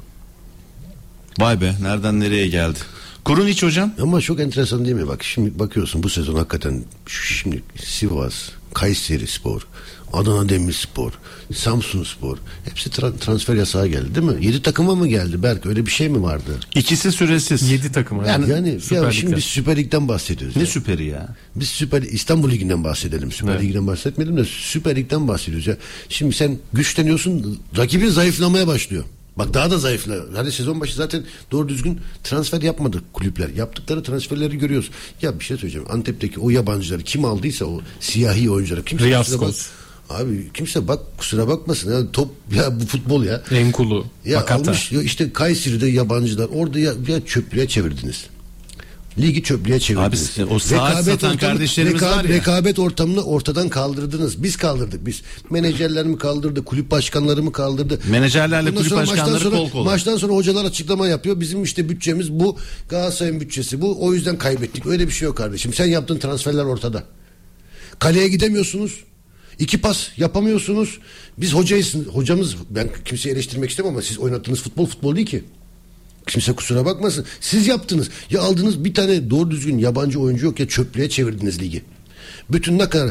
Speaker 5: Vay be nereden nereye geldi? Kurun iç hocam.
Speaker 6: Ama çok enteresan değil mi? Bak şimdi bakıyorsun bu sezon hakikaten şu- şimdi Sivas, Kayseri Spor, Adana Demirspor, Samsun Spor hepsi tra- transfer yasağı geldi değil mi? 7 takıma mı geldi Berk? Öyle bir şey mi vardı?
Speaker 5: İkisi süresiz.
Speaker 4: 7 takım. evet.
Speaker 6: Yani, yani
Speaker 4: Süper
Speaker 6: ya şimdi
Speaker 4: Lig'de.
Speaker 6: biz Süper Lig'den bahsediyoruz.
Speaker 5: Ne
Speaker 6: ya.
Speaker 5: süperi ya?
Speaker 6: Biz Süper İstanbul Ligi'nden bahsedelim. Süper
Speaker 5: Evet.
Speaker 6: Ligi'nden bahsetmedim de Süper Lig'den bahsediyoruz ya. Şimdi sen güçleniyorsun, rakibin zayıflamaya başlıyor. Bak daha da zayıflıyor. Hani sezon başı zaten doğru düzgün transfer yapmadı kulüpler. Yaptıkları transferleri görüyoruz. Ya bir şey söyleyeceğim. Antep'teki o yabancıları kim aldıysa o siyahi oyuncuları kimse
Speaker 4: Riyaz
Speaker 6: kusura bak-
Speaker 4: Koz.
Speaker 6: Abi kimse bak kusura bakmasın. ya top ya bu futbol ya.
Speaker 4: Enkulu,
Speaker 6: Ya
Speaker 4: Bakata.
Speaker 6: almış ya işte Kayseri'de yabancılar orada ya, ya çöplüğe çevirdiniz. Ligi çöplüğe çevirdiniz.
Speaker 5: Abi, o saat satan kardeşlerimiz
Speaker 6: rekabet,
Speaker 5: var ya.
Speaker 6: rekabet ortamını ortadan kaldırdınız. Biz kaldırdık biz. Menajerler mi kaldırdı, kulüp başkanları mı kaldırdı?
Speaker 5: Menajerlerle
Speaker 6: Bundan
Speaker 5: kulüp
Speaker 6: sonra maçtan
Speaker 5: başkanları
Speaker 6: sonra-
Speaker 5: kol kola.
Speaker 6: Maçtan sonra hocalar açıklama yapıyor. Bizim işte bütçemiz bu. Galatasaray'ın bütçesi bu. O yüzden kaybettik. Öyle bir şey yok kardeşim. Sen yaptığın transferler ortada. Kaleye gidemiyorsunuz. İki pas yapamıyorsunuz. Biz hocayız. Hocamız ben kimseyi eleştirmek istemem ama siz oynattığınız futbol futbol değil ki. Kimse kusura bakmasın. Siz yaptınız. Ya aldınız bir tane doğru düzgün yabancı oyuncu yok ya çöplüğe çevirdiniz ligi. Bütün ne kadar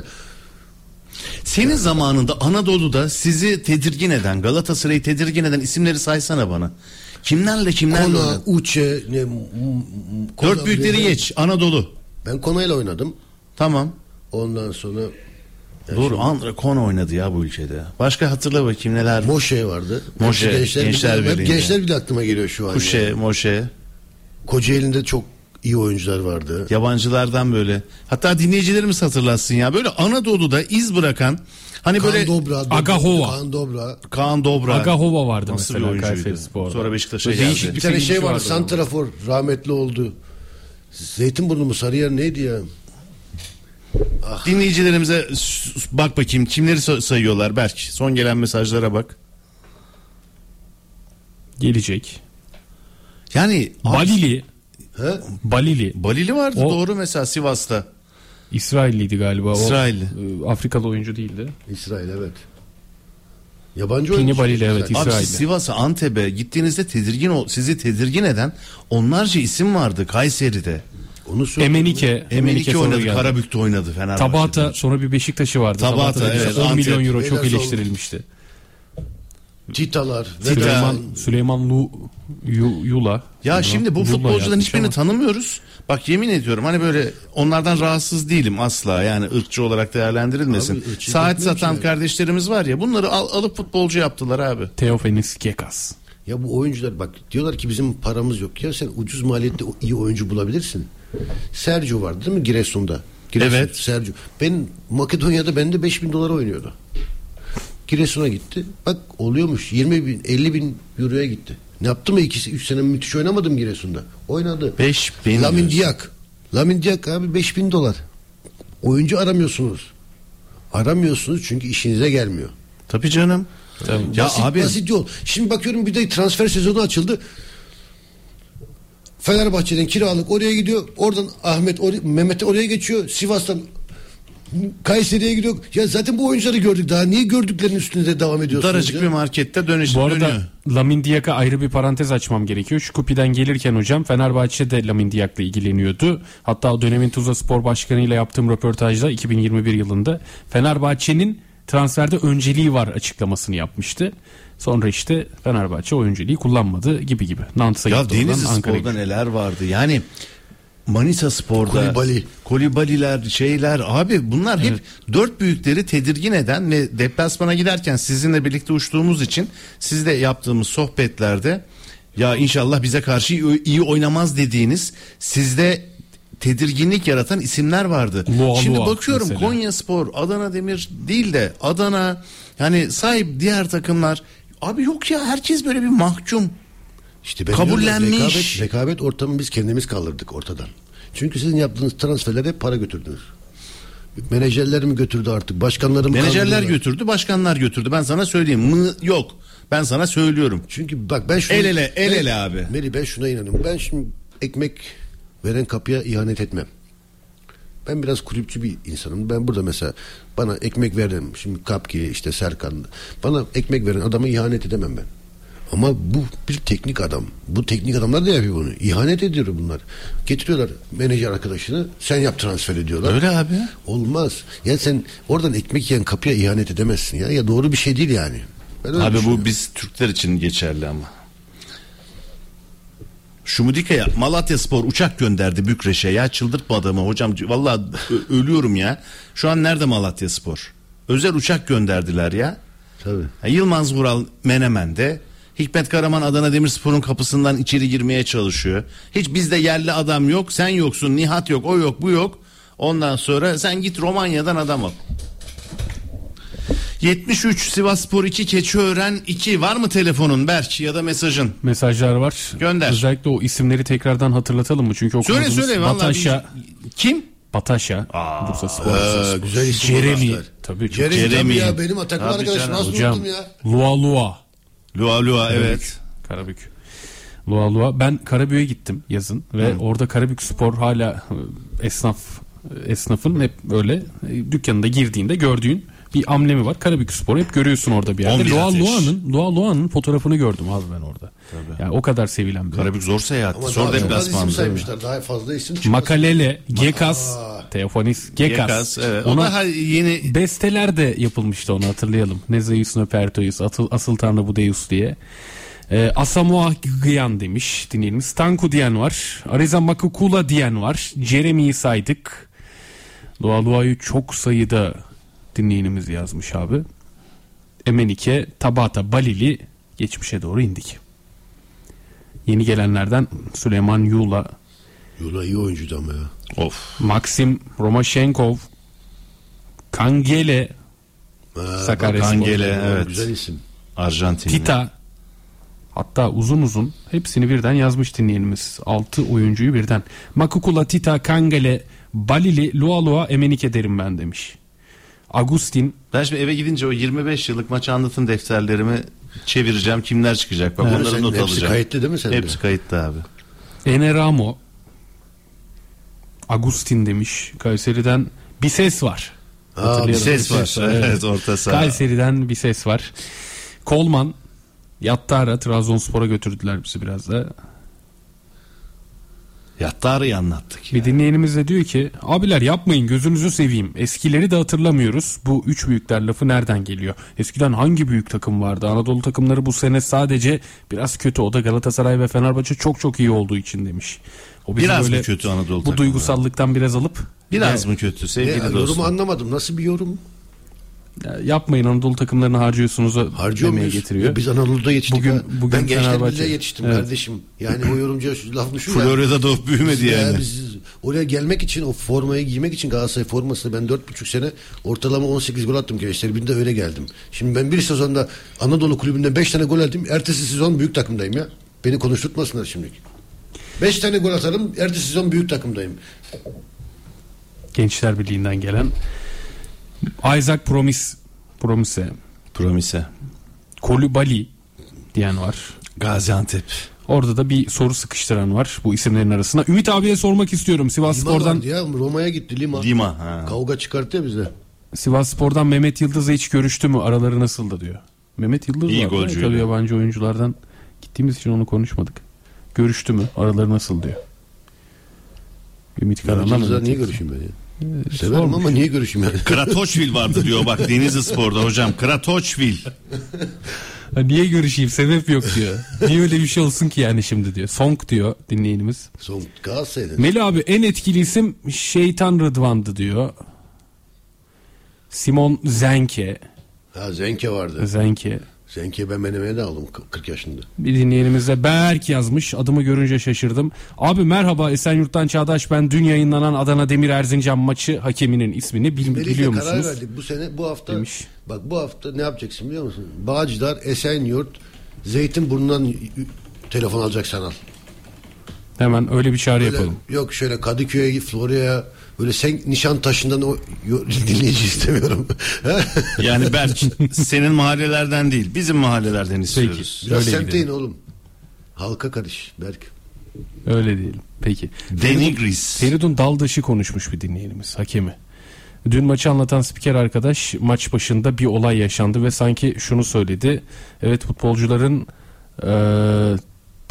Speaker 5: Senin zamanında Anadolu'da sizi tedirgin eden, Galatasaray'ı tedirgin eden isimleri saysana bana. Kimlerle kimlerle
Speaker 6: Kona,
Speaker 5: oynadın?
Speaker 6: Uçe, ne, m- m- Kona-
Speaker 5: Dört büyükleri geç. Anadolu.
Speaker 6: Ben Kona'yla oynadım.
Speaker 5: Tamam.
Speaker 6: Ondan sonra
Speaker 5: Doğru. Andre Kona oynadı ya bu ülkede. Başka hatırla bakayım neler.
Speaker 6: Moşe vardı.
Speaker 5: Moşe,
Speaker 6: Hepsi
Speaker 5: Gençler
Speaker 6: bile, hep
Speaker 5: Birliği'nde.
Speaker 6: gençler bile aklıma geliyor şu an.
Speaker 5: Kuşe, Moşe.
Speaker 6: Kocaeli'nde çok iyi oyuncular vardı.
Speaker 5: Yabancılardan böyle. Hatta dinleyicilerimiz hatırlatsın ya. Böyle Anadolu'da iz bırakan hani böyle
Speaker 6: Kaan Dobra, Dobra,
Speaker 4: Agahova.
Speaker 6: Kaan Dobra.
Speaker 5: Kaan Dobra.
Speaker 4: Agahova vardı
Speaker 5: Nasıl bir
Speaker 4: mesela
Speaker 5: oyuncuydu?
Speaker 4: Kayserispor'da.
Speaker 5: Sonra Beşiktaş'a
Speaker 4: Böyle
Speaker 5: geldi.
Speaker 4: değişik
Speaker 6: Bir tane
Speaker 4: sevinci
Speaker 6: şey vardı.
Speaker 4: vardı adamın.
Speaker 6: Santrafor rahmetli oldu. Zeytinburnu mu Sarıyer neydi ya? Ah.
Speaker 5: Dinleyicilerimize s- s- bak bakayım kimleri sa- sayıyorlar Berk. Son gelen mesajlara bak.
Speaker 4: Gelecek.
Speaker 5: Yani
Speaker 4: Balili,
Speaker 6: He?
Speaker 4: Balili.
Speaker 5: Balili vardı
Speaker 4: O-
Speaker 5: doğru mesela Sivas'ta.
Speaker 4: İsrailliydi galiba. O,
Speaker 5: İsrailli.
Speaker 4: e, Afrikalı oyuncu değildi.
Speaker 6: İsrail evet. Yabancı
Speaker 4: Pini
Speaker 6: oyuncu.
Speaker 4: Balili, evet,
Speaker 6: İsrail.
Speaker 5: Abi
Speaker 4: İsrail'de.
Speaker 5: siz Sivas'a, Antep'e gittiğinizde tedirgin ol, sizi tedirgin eden onlarca isim vardı Kayseri'de.
Speaker 6: Onu söylüyorum.
Speaker 4: Emenike.
Speaker 5: Emenike
Speaker 4: sonra
Speaker 5: oynadı,
Speaker 4: geldi.
Speaker 5: Karabük'te oynadı Fenerbahçe'de.
Speaker 4: Tabata sonra bir Beşiktaş'ı vardı.
Speaker 5: Tabata,
Speaker 4: Tabata'da
Speaker 5: evet,
Speaker 4: mesela 10
Speaker 5: Antep.
Speaker 4: milyon euro çok
Speaker 6: Beyler sol-
Speaker 4: eleştirilmişti.
Speaker 6: Titalar.
Speaker 4: Süleyman, Süleyman Lu Yu- Yula.
Speaker 5: Ya şimdi bu
Speaker 4: Yula
Speaker 5: futbolcuların
Speaker 4: yazmış
Speaker 5: hiçbirini
Speaker 4: ama
Speaker 5: tanımıyoruz. Bak yemin ediyorum hani böyle onlardan rahatsız değilim asla. Yani ırkçı olarak değerlendirilmesin.
Speaker 6: Abi, ırkçı
Speaker 5: Saat
Speaker 6: değil mi
Speaker 5: satan
Speaker 6: şey?
Speaker 5: kardeşlerimiz var ya bunları al- alıp futbolcu yaptılar abi.
Speaker 4: Teofenis Gekas.
Speaker 6: Ya bu oyuncular bak diyorlar ki bizim paramız yok ya sen ucuz maliyette o- iyi oyuncu bulabilirsin. Sergio vardı değil mi Giresun'da? Giresun,
Speaker 5: Evet.
Speaker 6: Sergio. Ben Makedonya'da bende 5000 dolara oynuyordu. Giresun'a gitti. Bak oluyormuş 20 bin 50 bin euroya gitti. Ne yaptı mı ikisi 3 sene müthiş oynamadım Giresun'da. Oynadı.
Speaker 5: 5000
Speaker 6: Lamin
Speaker 5: diyorsun.
Speaker 6: Diak. Lamin Diak abi 5000 dolar. Oyuncu aramıyorsunuz. Aramıyorsunuz çünkü işinize gelmiyor.
Speaker 5: Tabii canım. Ya
Speaker 6: basit,
Speaker 5: abi
Speaker 6: basit yol. Şimdi bakıyorum bir de transfer sezonu açıldı. Fenerbahçe'den kiralık oraya gidiyor. Oradan Ahmet or- Mehmet oraya geçiyor. Sivas'tan Kayseri'ye gidiyor. Ya zaten bu oyuncuları gördük. Daha niye gördüklerinin üstünde de devam ediyorsunuz?
Speaker 5: daracık
Speaker 6: ya?
Speaker 5: bir markette dönüş
Speaker 4: Bu arada
Speaker 5: dönüyor.
Speaker 4: Lamin Diak'a ayrı bir parantez açmam gerekiyor. Şu kupiden gelirken hocam Fenerbahçe'de Lamin Diak'la ilgileniyordu. Hatta o dönemin Tuzla Spor Başkanı ile yaptığım röportajda 2021 yılında Fenerbahçe'nin transferde önceliği var açıklamasını yapmıştı. Sonra işte Fenerbahçe o önceliği kullanmadı gibi gibi. Nantes'a
Speaker 5: Ya
Speaker 4: gitti oradan
Speaker 5: Denizli
Speaker 4: Ankara'ya
Speaker 5: Spor'da
Speaker 4: gitti.
Speaker 5: neler vardı yani Manisa Spor'da
Speaker 6: Kulibali.
Speaker 5: Kolibaliler şeyler abi bunlar hep dört büyükleri tedirgin eden ve deplasmana giderken sizinle birlikte uçtuğumuz için sizle yaptığımız sohbetlerde ya inşallah bize karşı iyi, iyi oynamaz dediğiniz sizde tedirginlik yaratan isimler vardı.
Speaker 4: Lua
Speaker 5: Şimdi
Speaker 4: Lua
Speaker 5: bakıyorum
Speaker 4: mesela.
Speaker 5: Konya Spor, Adana Demir değil de Adana yani sahip diğer takımlar abi yok ya herkes böyle bir mahkum.
Speaker 6: İşte ben
Speaker 5: Kabullenmiş.
Speaker 6: diyorum, Rekabet, rekabet ortamı biz kendimiz kaldırdık ortadan. Çünkü sizin yaptığınız transferlere hep para götürdünüz. Menajerler mi götürdü artık? Başkanlarım
Speaker 5: Menajerler götürdü, başkanlar götürdü. Ben sana söyleyeyim. Mı yok. Ben sana söylüyorum.
Speaker 6: Çünkü bak ben şuna,
Speaker 5: El ele, el
Speaker 6: Ben-
Speaker 5: ele abi.
Speaker 6: Meri ben şuna inanıyorum. Ben şimdi ekmek veren kapıya ihanet etmem. Ben biraz kulüpçü bir insanım. Ben burada mesela bana ekmek veren şimdi Kapki işte Serkan bana ekmek veren adama ihanet edemem ben. Ama bu bir teknik adam. Bu teknik adamlar da yapıyor bunu. İhanet ediyor bunlar. Getiriyorlar menajer arkadaşını. Sen yap transfer ediyorlar.
Speaker 5: Öyle abi.
Speaker 6: Olmaz. Ya sen oradan ekmek yiyen kapıya ihanet edemezsin ya. Ya doğru bir şey değil yani. Ben öyle
Speaker 5: Abi
Speaker 6: düşünüyorum.
Speaker 5: bu biz Türkler için geçerli ama. Şumudika'ya Malatya Spor uçak gönderdi Bükreş'e ya çıldırtma adamı hocam vallahi ö- ölüyorum ya. Şu an nerede Malatya Spor? Özel uçak gönderdiler ya.
Speaker 6: Tabii.
Speaker 5: Ya Yılmaz Vural Menemen'de. Hikmet Karaman Adana Demirspor'un kapısından içeri girmeye çalışıyor. Hiç bizde yerli adam yok. Sen yoksun. Nihat yok. O yok. Bu yok. Ondan sonra sen git Romanya'dan adam al. 73 Sivasspor 2 Keçiören 2 var mı telefonun Berk ya da mesajın?
Speaker 4: Mesajlar var.
Speaker 5: Gönder.
Speaker 4: Özellikle o isimleri tekrardan hatırlatalım mı? Çünkü
Speaker 5: Söyle
Speaker 4: okuduğumuz
Speaker 5: söyle vallahi
Speaker 4: Bataşa,
Speaker 5: bir- kim?
Speaker 4: Bataşa, Bursa Spor.
Speaker 6: Ee, güzel isim
Speaker 4: Jeremy.
Speaker 6: bulmuşlar.
Speaker 4: Tabii çok
Speaker 6: Jeremy,
Speaker 5: Jeremy.
Speaker 6: tabii ya benim ataklı
Speaker 5: Tabii
Speaker 6: arkadaşım
Speaker 5: canım,
Speaker 6: az
Speaker 4: Hocam
Speaker 6: unuttum ya.
Speaker 4: Lua Lua.
Speaker 5: Lua Lua evet.
Speaker 4: Karabük. Lua Lua. Ben Karabük'e gittim yazın ve orada Karabük Spor hala e, esnaf e, esnafın hep böyle e, dükkanında girdiğinde gördüğün bir amblemi var. Karabük Spor hep görüyorsun orada bir
Speaker 5: 11
Speaker 4: yerde. Lua
Speaker 5: ateş.
Speaker 4: Lua'nın Lua Lua'nın fotoğrafını gördüm abi ben orada. Yani o kadar sevilen bir.
Speaker 5: Karabük zor seyahat.
Speaker 6: Ama
Speaker 5: Zor
Speaker 6: daha çok az isim
Speaker 5: deplasmanda.
Speaker 6: saymışlar. Daha fazla isim çıkmasın.
Speaker 4: Makalele, Gekas, Teofanis, Gekas.
Speaker 5: Gekas, evet. O
Speaker 4: Ona
Speaker 5: daha yeni
Speaker 4: besteler de yapılmıştı onu hatırlayalım. Ne Zeus ne Perteus, atıl- asıl tanrı bu Deus diye. Ee, Asamoah Gyan demiş dinleyenimiz. Stanku diyen var. Ariza Makukula diyen var. Jeremy'yi saydık. Doğa Lua'yı çok sayıda dinleyenimiz yazmış abi. Emenike, Tabata, Balili geçmişe doğru indik. Yeni gelenlerden Süleyman Yula,
Speaker 6: Yola iyi oyuncuydu ama ya.
Speaker 5: Of.
Speaker 4: Maxim Romashenkov, Kangele,
Speaker 6: Ha,
Speaker 4: Sakarya
Speaker 6: bak,
Speaker 4: Spor.
Speaker 5: Angele evet.
Speaker 6: Güzel isim.
Speaker 5: Arjantin.
Speaker 4: Tita hatta uzun uzun hepsini birden yazmış dinleyenimiz. 6 oyuncuyu birden. Makukula, Tita, Kangele, Balili, Lualua, Emenike derim ben demiş. Agustin
Speaker 5: Ben şimdi eve gidince o 25 yıllık maçı anlatım defterlerimi çevireceğim. Kimler çıkacak? Bak
Speaker 6: Evet.
Speaker 5: bunları
Speaker 6: Senin
Speaker 5: not
Speaker 6: hepsi
Speaker 5: alacağım.
Speaker 6: kayıtlı değil mi sende?
Speaker 5: Hepsi kayıtlı abi.
Speaker 4: Eneramo Agustin demiş. Kayseri'den bir ses var.
Speaker 5: Bir
Speaker 4: Hatırlayalım.
Speaker 5: ses var. Evet orta saha.
Speaker 4: Kayseri'den bir ses var. Kolman Yattara Trabzonspor'a götürdüler bizi biraz da.
Speaker 5: Yattarı'yı anlattık.
Speaker 4: Bir dinleyenimiz de diyor ki abiler yapmayın gözünüzü seveyim eskileri de hatırlamıyoruz. Bu üç büyükler lafı nereden geliyor? Eskiden hangi büyük takım vardı? Anadolu takımları bu sene sadece biraz kötü. O da Galatasaray ve Fenerbahçe çok çok iyi olduğu için demiş. O bizim
Speaker 5: Biraz mı
Speaker 4: böyle
Speaker 5: kötü Anadolu
Speaker 4: Bu
Speaker 5: takımları?
Speaker 4: duygusallıktan biraz alıp
Speaker 5: Biraz mı kötü sevgili
Speaker 6: Ne,
Speaker 5: dostum?
Speaker 6: yorumu anlamadım. Nasıl bir yorum?
Speaker 4: "Ya yapmayın Anadolu takımlarını harcıyorsunuz
Speaker 6: Harcıyor
Speaker 4: demeye
Speaker 6: muyuz?
Speaker 4: getiriyor.
Speaker 6: Ya Biz Anadolu'da yetiştik.
Speaker 4: Bugün-
Speaker 6: ha.
Speaker 4: bugün
Speaker 6: ben gençlerimizle
Speaker 4: Fenerbahçe.
Speaker 6: yetiştim
Speaker 4: Evet.
Speaker 6: kardeşim. Yani o yorumcuya şu laf mı şu ya?
Speaker 5: Florya'da doğup büyümedi
Speaker 6: Ya
Speaker 5: yani.
Speaker 6: biz oraya gelmek için o formayı giymek için Galatasaray formasını ben dört buçuk sene ortalama 18 gol attım gençler. Bir de öyle geldim. Şimdi ben bir sezonda Anadolu kulübünde 5 tane gol attım. Ertesi sezon büyük takımdayım ya. Beni konuşturtmasınlar şimdi. 5 tane gol atarım. Ertesi sezon büyük takımdayım.
Speaker 4: Gençler Birliği'nden gelen Isaac Promis Promise
Speaker 5: Promise.
Speaker 4: Kolubali diyen var.
Speaker 5: Gaziantep.
Speaker 4: Orada da bir soru sıkıştıran var bu isimlerin arasına. Ümit abiye sormak istiyorum. Sivas
Speaker 6: Lima
Speaker 4: Spor'dan
Speaker 6: vardı ya Roma'ya gitti Lima.
Speaker 5: Lima. Ha.
Speaker 6: Kavga çıkarttı ya bize.
Speaker 4: Sivas Spor'dan Mehmet Yıldız'la hiç görüştü mü? Araları nasıldı diyor. Mehmet Yıldız
Speaker 5: İyi
Speaker 4: var.
Speaker 5: golcüydü.
Speaker 4: Tabii yabancı oyunculardan gittiğimiz için onu konuşmadık. Görüştü mü? Araları nasıl diyor. Ümit Karan'la
Speaker 6: Yıldız'la
Speaker 4: Mehmet
Speaker 6: niye
Speaker 4: Yıldız.
Speaker 6: görüşeyim ben ya?
Speaker 5: Ee,
Speaker 6: Severim ama niye görüşeyim yani?
Speaker 5: Kratoçvil vardı diyor bak Denizli Spor'da hocam. Kratoçvil.
Speaker 4: Ha, niye görüşeyim? Sebep yok diyor. niye öyle bir şey olsun ki yani şimdi diyor. Song diyor dinleyenimiz.
Speaker 6: Son Galatasaray'da.
Speaker 4: Meli abi en etkili isim Şeytan Rıdvan'dı diyor. Simon Zenke.
Speaker 6: Ha Zenke vardı.
Speaker 4: Zenke.
Speaker 6: Zenke ben menemeye de aldım 40 yaşında.
Speaker 4: Bir dinleyenimize Berk yazmış. Adımı görünce şaşırdım. Abi merhaba Esenyurt'tan Çağdaş. Ben dün yayınlanan Adana Demir Erzincan maçı hakeminin ismini bil-
Speaker 6: Melih'le
Speaker 4: biliyor
Speaker 6: karar
Speaker 4: musunuz?
Speaker 6: verdik bu sene bu hafta
Speaker 4: Demiş.
Speaker 6: bak bu hafta ne yapacaksın biliyor musun? Bağcılar, Esenyurt, Zeytinburnu'ndan y- y- telefon alacaksan al.
Speaker 4: Hemen öyle bir çağrı
Speaker 6: Böyle,
Speaker 4: yapalım.
Speaker 6: yok şöyle Kadıköy'e, Florya'ya böyle sen Nişantaşı'ndan o yo- dinleyici istemiyorum.
Speaker 5: Yani Berk senin mahallelerden değil bizim mahallelerden istiyoruz.
Speaker 6: Biraz
Speaker 4: Öyle
Speaker 6: sert
Speaker 4: gidelim.
Speaker 6: değil oğlum. Halka karış Berk.
Speaker 4: Öyle diyelim. Peki.
Speaker 5: Denigris.
Speaker 4: Feridun Daldaş'ı konuşmuş bir dinleyenimiz hakemi. Dün maçı anlatan spiker arkadaş maç başında bir olay yaşandı ve sanki şunu söyledi. Evet futbolcuların eee,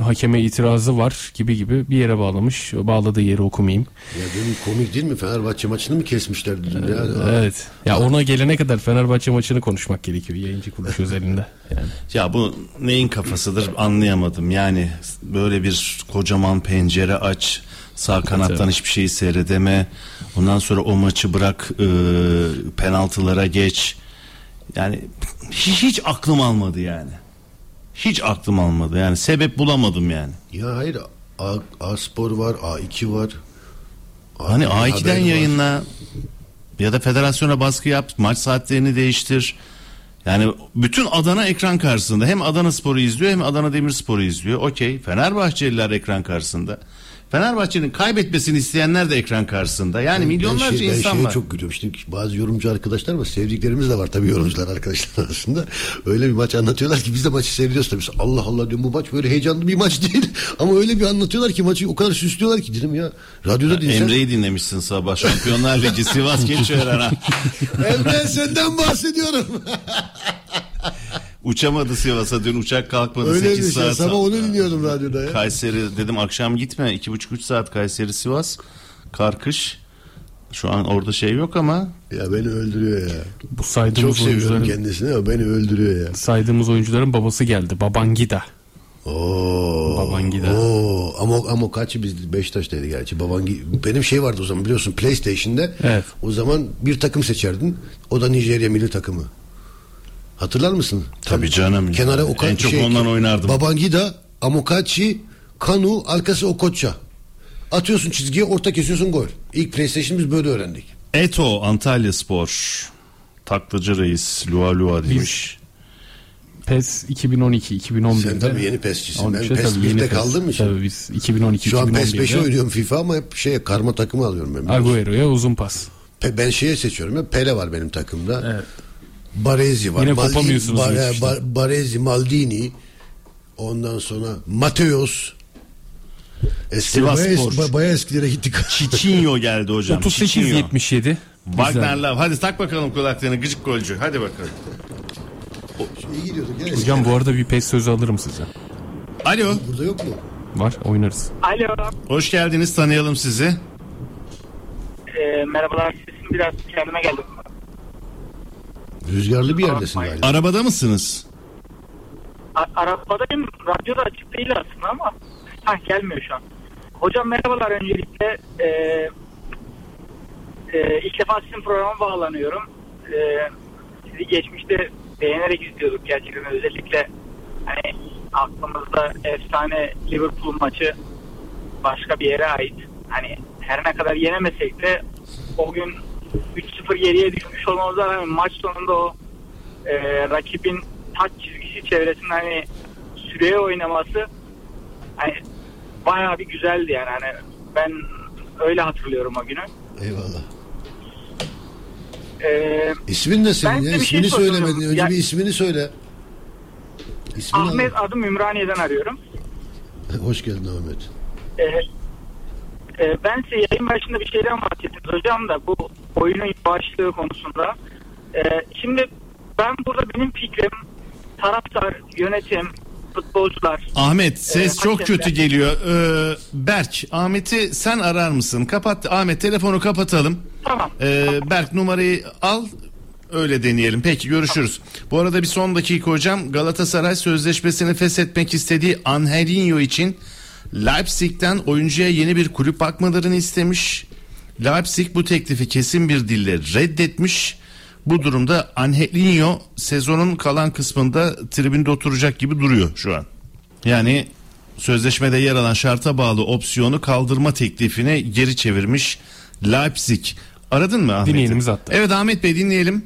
Speaker 4: hakeme itirazı var gibi gibi bir yere bağlamış. Bağladığı yeri okumayayım.
Speaker 6: Ya dün komik değil mi? Fenerbahçe maçını mı kesmişlerdi dün ya?
Speaker 4: Ee, Evet. Ya ona gelene kadar Fenerbahçe maçını konuşmak gerekiyor yayıncı kuruluş özelinde. Yani.
Speaker 5: Ya bu neyin kafasıdır anlayamadım. Yani böyle bir kocaman pencere aç. Sağ kanattan hiçbir şeyi seyredeme. Ondan sonra o maçı bırak e, penaltılara geç. Yani hiç, hiç aklım almadı yani. Hiç aklım almadı yani sebep bulamadım yani.
Speaker 6: Ya hayır A, A Spor var, A2 var.
Speaker 5: Hani
Speaker 6: Haber
Speaker 5: A2'den
Speaker 6: var.
Speaker 5: yayınla ya da federasyona baskı yap, maç saatlerini değiştir. Yani bütün Adana ekran karşısında. Hem Adana Spor'u izliyor hem Adana Demirspor'u izliyor. Okey. Fenerbahçeliler ekran karşısında. Fenerbahçe'nin kaybetmesini isteyenler de ekran karşısında. Yani milyonlarca
Speaker 6: ben şey- ben
Speaker 5: insan
Speaker 6: şeye
Speaker 5: var.
Speaker 6: çok gülüyorum. Şimdi bazı yorumcu arkadaşlar var. Sevdiklerimiz de var tabii yorumcular arkadaşlar arasında. Öyle bir maç anlatıyorlar ki biz de maçı seyrediyoruz tabii. Allah Allah diyorum bu maç böyle heyecanlı bir maç değil. Ama öyle bir anlatıyorlar ki maçı o kadar süslüyorlar ki dedim ya. Radyoda dinsen. Emre...
Speaker 5: Emre'yi dinlemişsin sabah. Şampiyonlar Ligi Sivas Keçiören ha.
Speaker 6: senden bahsediyorum.
Speaker 5: Uçamadı Sivas'a dün uçak kalkmadı.
Speaker 6: öyle bir
Speaker 5: 8
Speaker 6: şey.
Speaker 5: saat.
Speaker 6: Sabah onu dinliyordum radyoda ya.
Speaker 5: Kayseri dedim akşam gitme. 2,5-3 saat Kayseri Sivas. Karkış. Şu an orada şey yok ama
Speaker 6: Ya beni öldürüyor ya.
Speaker 4: Bu
Speaker 6: Çok
Speaker 4: saydığımız
Speaker 6: seviyorum
Speaker 4: oyuncuların
Speaker 6: kendisini ama beni öldürüyor ya.
Speaker 4: saydığımız oyuncuların babası geldi. Babangida.
Speaker 6: Oo.
Speaker 4: Babangida.
Speaker 6: Oo. Ama, ama kaçı biz Beşiktaş'taydı gerçi. Babangi benim şey vardı o zaman biliyorsun PlayStation'da.
Speaker 4: Evet.
Speaker 6: O zaman bir takım seçerdin. O da Nijerya milli takımı. Hatırlar mısın?
Speaker 5: Tabii canım.
Speaker 6: Kenara
Speaker 5: Yani
Speaker 6: Oka-
Speaker 5: en çok ondan oynardım.
Speaker 6: Babangida, Amokachi, Kanu, arkası Okocha. Atıyorsun çizgiye, orta kesiyorsun gol. İlk PlayStation'ımız böyle öğrendik.
Speaker 5: Eto Antalya Spor. Taklacı reis Lua Lua demiş.
Speaker 4: PES 2012 2011'de.
Speaker 6: Sen tabii yeni PES'çisin. Ben
Speaker 4: 13'te
Speaker 6: PES
Speaker 4: şey tabii yeni
Speaker 6: 1'de
Speaker 4: PES.
Speaker 6: kaldığım için.
Speaker 4: Tabii biz 2012
Speaker 6: Şu an E PES 5'e
Speaker 4: 2011'de.
Speaker 6: oynuyorum FIFA ama hep şey karma takımı alıyorum ben.
Speaker 4: Agüero'ya uzun pas.
Speaker 6: Pe- ben şeye seçiyorum ya Pele var benim takımda. Baresi var.
Speaker 4: Yine
Speaker 6: Maldini- e,
Speaker 4: kopamıyorsunuz
Speaker 6: Bar-
Speaker 4: bu işte.
Speaker 6: Bar- Baresi, Maldini. Ondan E, sonra Mateos. Eski,
Speaker 5: Sivas
Speaker 6: bayağı,
Speaker 5: Spor.
Speaker 6: es- bayağı eskilere gittik.
Speaker 5: Çiçinho geldi hocam.
Speaker 4: 38
Speaker 5: Çiçinho.
Speaker 4: 77.
Speaker 5: Wagner Love. Hadi tak bakalım kulaklarını gıcık golcü. Hadi bakalım.
Speaker 6: İyi gidiyorduk. ya,
Speaker 4: Hocam bu arada bir pes sözü alırım size.
Speaker 5: Alo.
Speaker 6: eskiden. Burada yok mu?
Speaker 4: Var oynarız.
Speaker 10: Alo.
Speaker 5: Hoş geldiniz. Tanıyalım sizi.
Speaker 10: Ee, merhabalar. Sesim biraz kendime geldi.
Speaker 6: Rüzgarlı bir yerdesin galiba.
Speaker 5: Arabada mısınız?
Speaker 10: A- Arabadayım. Radyo da açık değil aslında ama ha, gelmiyor şu an. Hocam merhabalar öncelikle. Ee, e, ilk defa sizin programa bağlanıyorum. Ee, sizi geçmişte beğenerek izliyorduk gerçekten. Özellikle hani aklımızda efsane Liverpool maçı başka bir yere ait. Hani her ne kadar yenemesek de o gün 3-0 geriye düşmüş olmamıza rağmen maç sonunda o e, rakibin taç çizgisi çevresinde hani süreye oynaması hani bayağı bir güzeldi yani. Hani ben öyle hatırlıyorum o günü.
Speaker 6: Eyvallah.
Speaker 10: Ee,
Speaker 6: İsmin ne senin
Speaker 10: Ben
Speaker 6: ya?
Speaker 10: size bir şey
Speaker 6: İsmini
Speaker 10: soracağım.
Speaker 6: söylemedin. Önce
Speaker 10: Ya-
Speaker 6: bir ismini söyle. İsmini
Speaker 10: Ahmet
Speaker 6: al.
Speaker 10: adım Ümraniye'den arıyorum.
Speaker 6: Hoş geldin Ahmet.
Speaker 10: Ee, e, ben size yayın başında bir şeyden bahsettiniz hocam da bu oyunun yavaşlığı konusunda. Ee, şimdi ben burada benim fikrim taraftar, yönetim, futbolcular,
Speaker 5: Ahmet ses
Speaker 10: Ee,
Speaker 5: çok
Speaker 10: hakikaten.
Speaker 5: kötü geliyor. Ee, Berk Ahmet'i sen arar mısın? Kapat Ahmet telefonu kapatalım.
Speaker 10: Tamam.
Speaker 5: Ee, Berk numarayı al öyle deneyelim. Peki görüşürüz. Bu arada bir son dakika hocam Galatasaray sözleşmesini feshetmek istediği Angelinho için Leipzig'ten oyuncuya yeni bir kulüp bakmalarını istemiş. Leipzig bu teklifi kesin bir dille reddetmiş. Bu durumda Angelinho sezonun kalan kısmında tribünde oturacak gibi duruyor şu an. Yani sözleşmede yer alan şarta bağlı opsiyonu kaldırma teklifini geri çevirmiş Leipzig. Aradın mı Ahmet?
Speaker 4: Dinleyenimiz attı.
Speaker 5: Evet Ahmet Bey dinleyelim.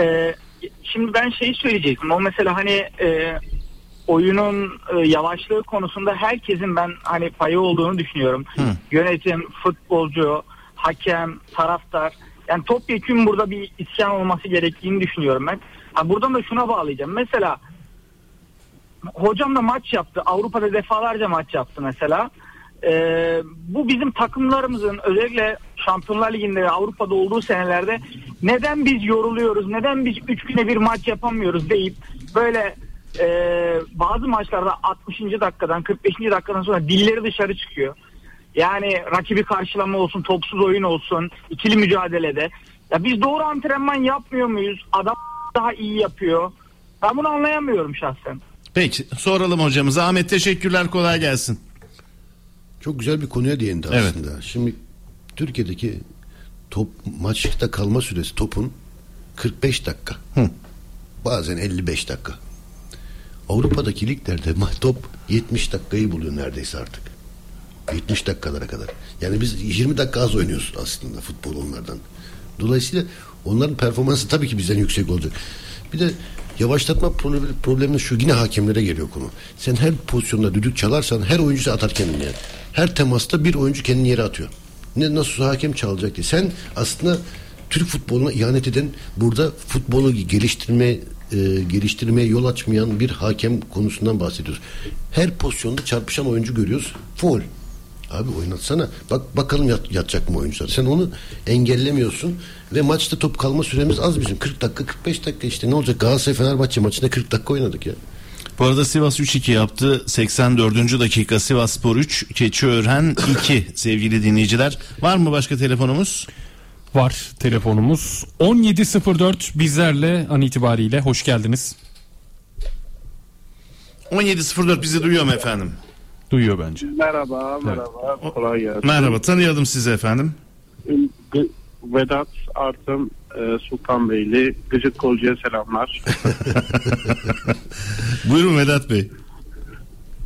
Speaker 10: Ee, şimdi ben şeyi söyleyecektim. O mesela hani e, oyunun e, yavaşlığı konusunda herkesin ben hani payı olduğunu düşünüyorum. Yönetim, futbolcu, hakem, taraftar. Yani topyekun burada bir isyan olması gerektiğini düşünüyorum ben. Ha, buradan da şuna bağlayacağım. Mesela hocam da maç yaptı. Avrupa'da defalarca maç yaptı mesela. Ee, bu bizim takımlarımızın özellikle Şampiyonlar Ligi'nde ve Avrupa'da olduğu senelerde neden biz yoruluyoruz, neden biz 3 güne bir maç yapamıyoruz deyip böyle e, bazı maçlarda 60. dakikadan 45. dakikadan sonra dilleri dışarı çıkıyor. Yani rakibi karşılama olsun, topsuz oyun olsun, ikili mücadelede. Ya biz doğru antrenman yapmıyor muyuz? Adam daha iyi yapıyor. Ben bunu anlayamıyorum şahsen.
Speaker 5: Peki soralım hocamıza. Ahmet teşekkürler kolay gelsin.
Speaker 6: Çok güzel bir konuya değindi
Speaker 5: Evet.
Speaker 6: aslında. Şimdi Türkiye'deki top maçta kalma süresi topun 45 dakika. Bazen 55 dakika. Avrupa'daki liglerde ma- top 70 dakikayı buluyor neredeyse artık. 70 dakikalara kadar. Yani biz 20 dakika az oynuyoruz aslında futbol onlardan. Dolayısıyla onların performansı tabii ki bizden yüksek olacak. Bir de yavaşlatma problemi, problemi şu yine hakemlere geliyor konu. Sen her pozisyonda düdük çalarsan her oyuncu atar kendini yere. Her temasta bir oyuncu kendini yere atıyor. Ne nasıl hakem çalacak diye. Sen aslında Türk futboluna ihanet eden burada futbolu geliştirme e, geliştirmeye yol açmayan bir hakem konusundan bahsediyoruz. Her pozisyonda çarpışan oyuncu görüyoruz. Foul. Abi oynatsana. Bak bakalım yat- yatacak mı oyuncular. Sen onu engellemiyorsun ve maçta top kalma süremiz az bizim. 40 dakika 45 dakika işte ne olacak? Galatasaray Fenerbahçe maçında 40 dakika oynadık ya.
Speaker 5: Bu arada Sivas 3-2 yaptı. 84. dakika Sivas Spor 3, Keçiören 2 sevgili dinleyiciler. Var mı başka telefonumuz?
Speaker 4: Var telefonumuz 1704 bizlerle an itibariyle hoş geldiniz.
Speaker 5: 17.04 bizi duyuyor mu efendim?
Speaker 4: Duyuyor bence.
Speaker 11: Merhaba, merhaba. Kolay gelsin.
Speaker 5: Merhaba tanıyalım sizi efendim.
Speaker 11: Gı- Vedat Artım e, Sultanbeyli. Gıcık Kolcu'ya selamlar.
Speaker 5: Buyurun Vedat Bey.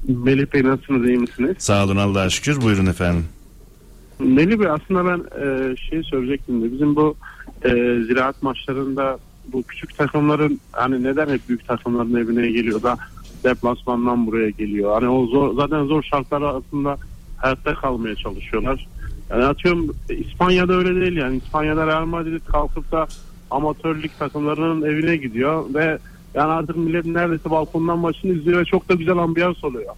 Speaker 11: Melih Bey nasılsınız, iyi misiniz?
Speaker 5: Sağ olun Allah'a şükür. Buyurun efendim.
Speaker 11: Melih Bey aslında ben e, şey söyleyecektim de bizim bu e, ziraat maçlarında bu küçük takımların hani neden hep büyük takımların evine geliyor da deplasmandan buraya geliyor. Hani o zor, zaten zor şartlar altında hayatta kalmaya çalışıyorlar. Yani atıyorum İspanya'da öyle değil yani. İspanya'da Real Madrid kalkıp da amatörlük takımlarının evine gidiyor ve yani artık millet neredeyse balkondan maçını izliyor ve çok da güzel ambiyans oluyor.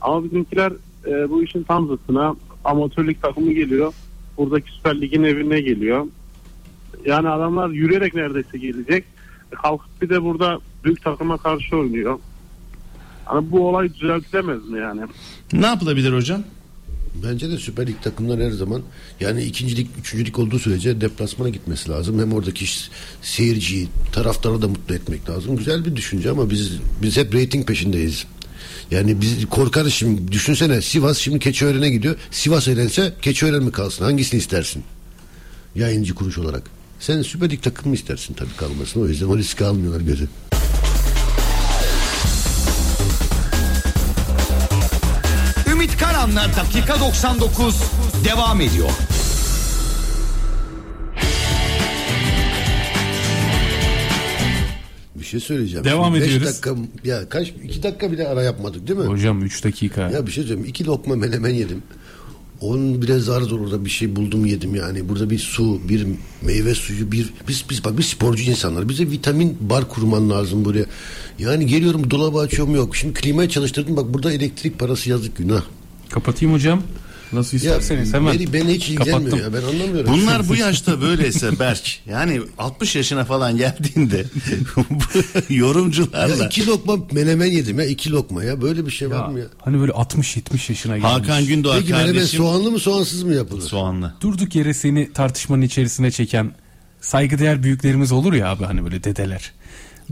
Speaker 11: Ama bizimkiler e, bu işin tam zıttına amatörlük takımı geliyor. Buradaki Süper Lig'in evine geliyor. Yani adamlar yürüyerek neredeyse gelecek. E, Kalkıp bir de burada büyük takıma karşı oynuyor. Hani bu olay düzeltilemez mi yani?
Speaker 5: Ne yapılabilir hocam?
Speaker 6: Bence de Süper Lig takımları her zaman yani ikincilik, üçüncülük olduğu sürece deplasmana gitmesi lazım. Hem oradaki ş- seyirciyi, taraftarı da mutlu etmek lazım. Güzel bir düşünce ama biz biz hep reyting peşindeyiz. Yani biz korkarız şimdi. Düşünsene Sivas şimdi Keçiören'e gidiyor. Sivas elense Keçiören mi kalsın? Hangisini istersin? Yayıncı kuruluş olarak. Sen Süper Lig takımı istersin tabii kalmasını. O yüzden o riski almıyorlar gözü.
Speaker 2: Ümit Karan'la dakika 99 devam ediyor.
Speaker 6: Bir şey söyleyeceğim.
Speaker 4: Devam
Speaker 6: Şimdi beş
Speaker 4: ediyoruz.
Speaker 6: dakika, ya kaç, iki dakika bile ara yapmadık değil mi?
Speaker 4: Hocam 3 dakika.
Speaker 6: Ya bir şey söyleyeyim. İki lokma menemen yedim. Onun bile zar zor orada bir şey buldum yedim yani. Burada bir su, bir meyve suyu, bir biz biz bak biz sporcu insanlar. Bize vitamin bar kurman lazım buraya. Yani geliyorum dolabı açıyorum yok. Şimdi klimayı çalıştırdım bak burada elektrik parası yazık günah.
Speaker 4: Kapatayım hocam. Nasıl isterseniz hemen.
Speaker 6: beni, beni hiç ilgilenmiyor ya ben anlamıyorum.
Speaker 5: Bunlar bu yaşta böyleyse Berk yani 60 yaşına falan geldiğinde bu
Speaker 6: ya
Speaker 5: yorumcularla
Speaker 6: iki lokma menemen yedim ya iki lokma ya böyle bir şey var mı ya?
Speaker 4: Hani böyle 60-70 yaşına gelmiş.
Speaker 5: Hakan Gündoğar
Speaker 6: Peki menemen
Speaker 5: kardeşim
Speaker 6: soğanlı mı soğansız mı yapılır?
Speaker 5: soğanlı.
Speaker 4: Durduk yere seni tartışmanın içerisine çeken saygıdeğer büyüklerimiz olur ya abi hani böyle dedeler.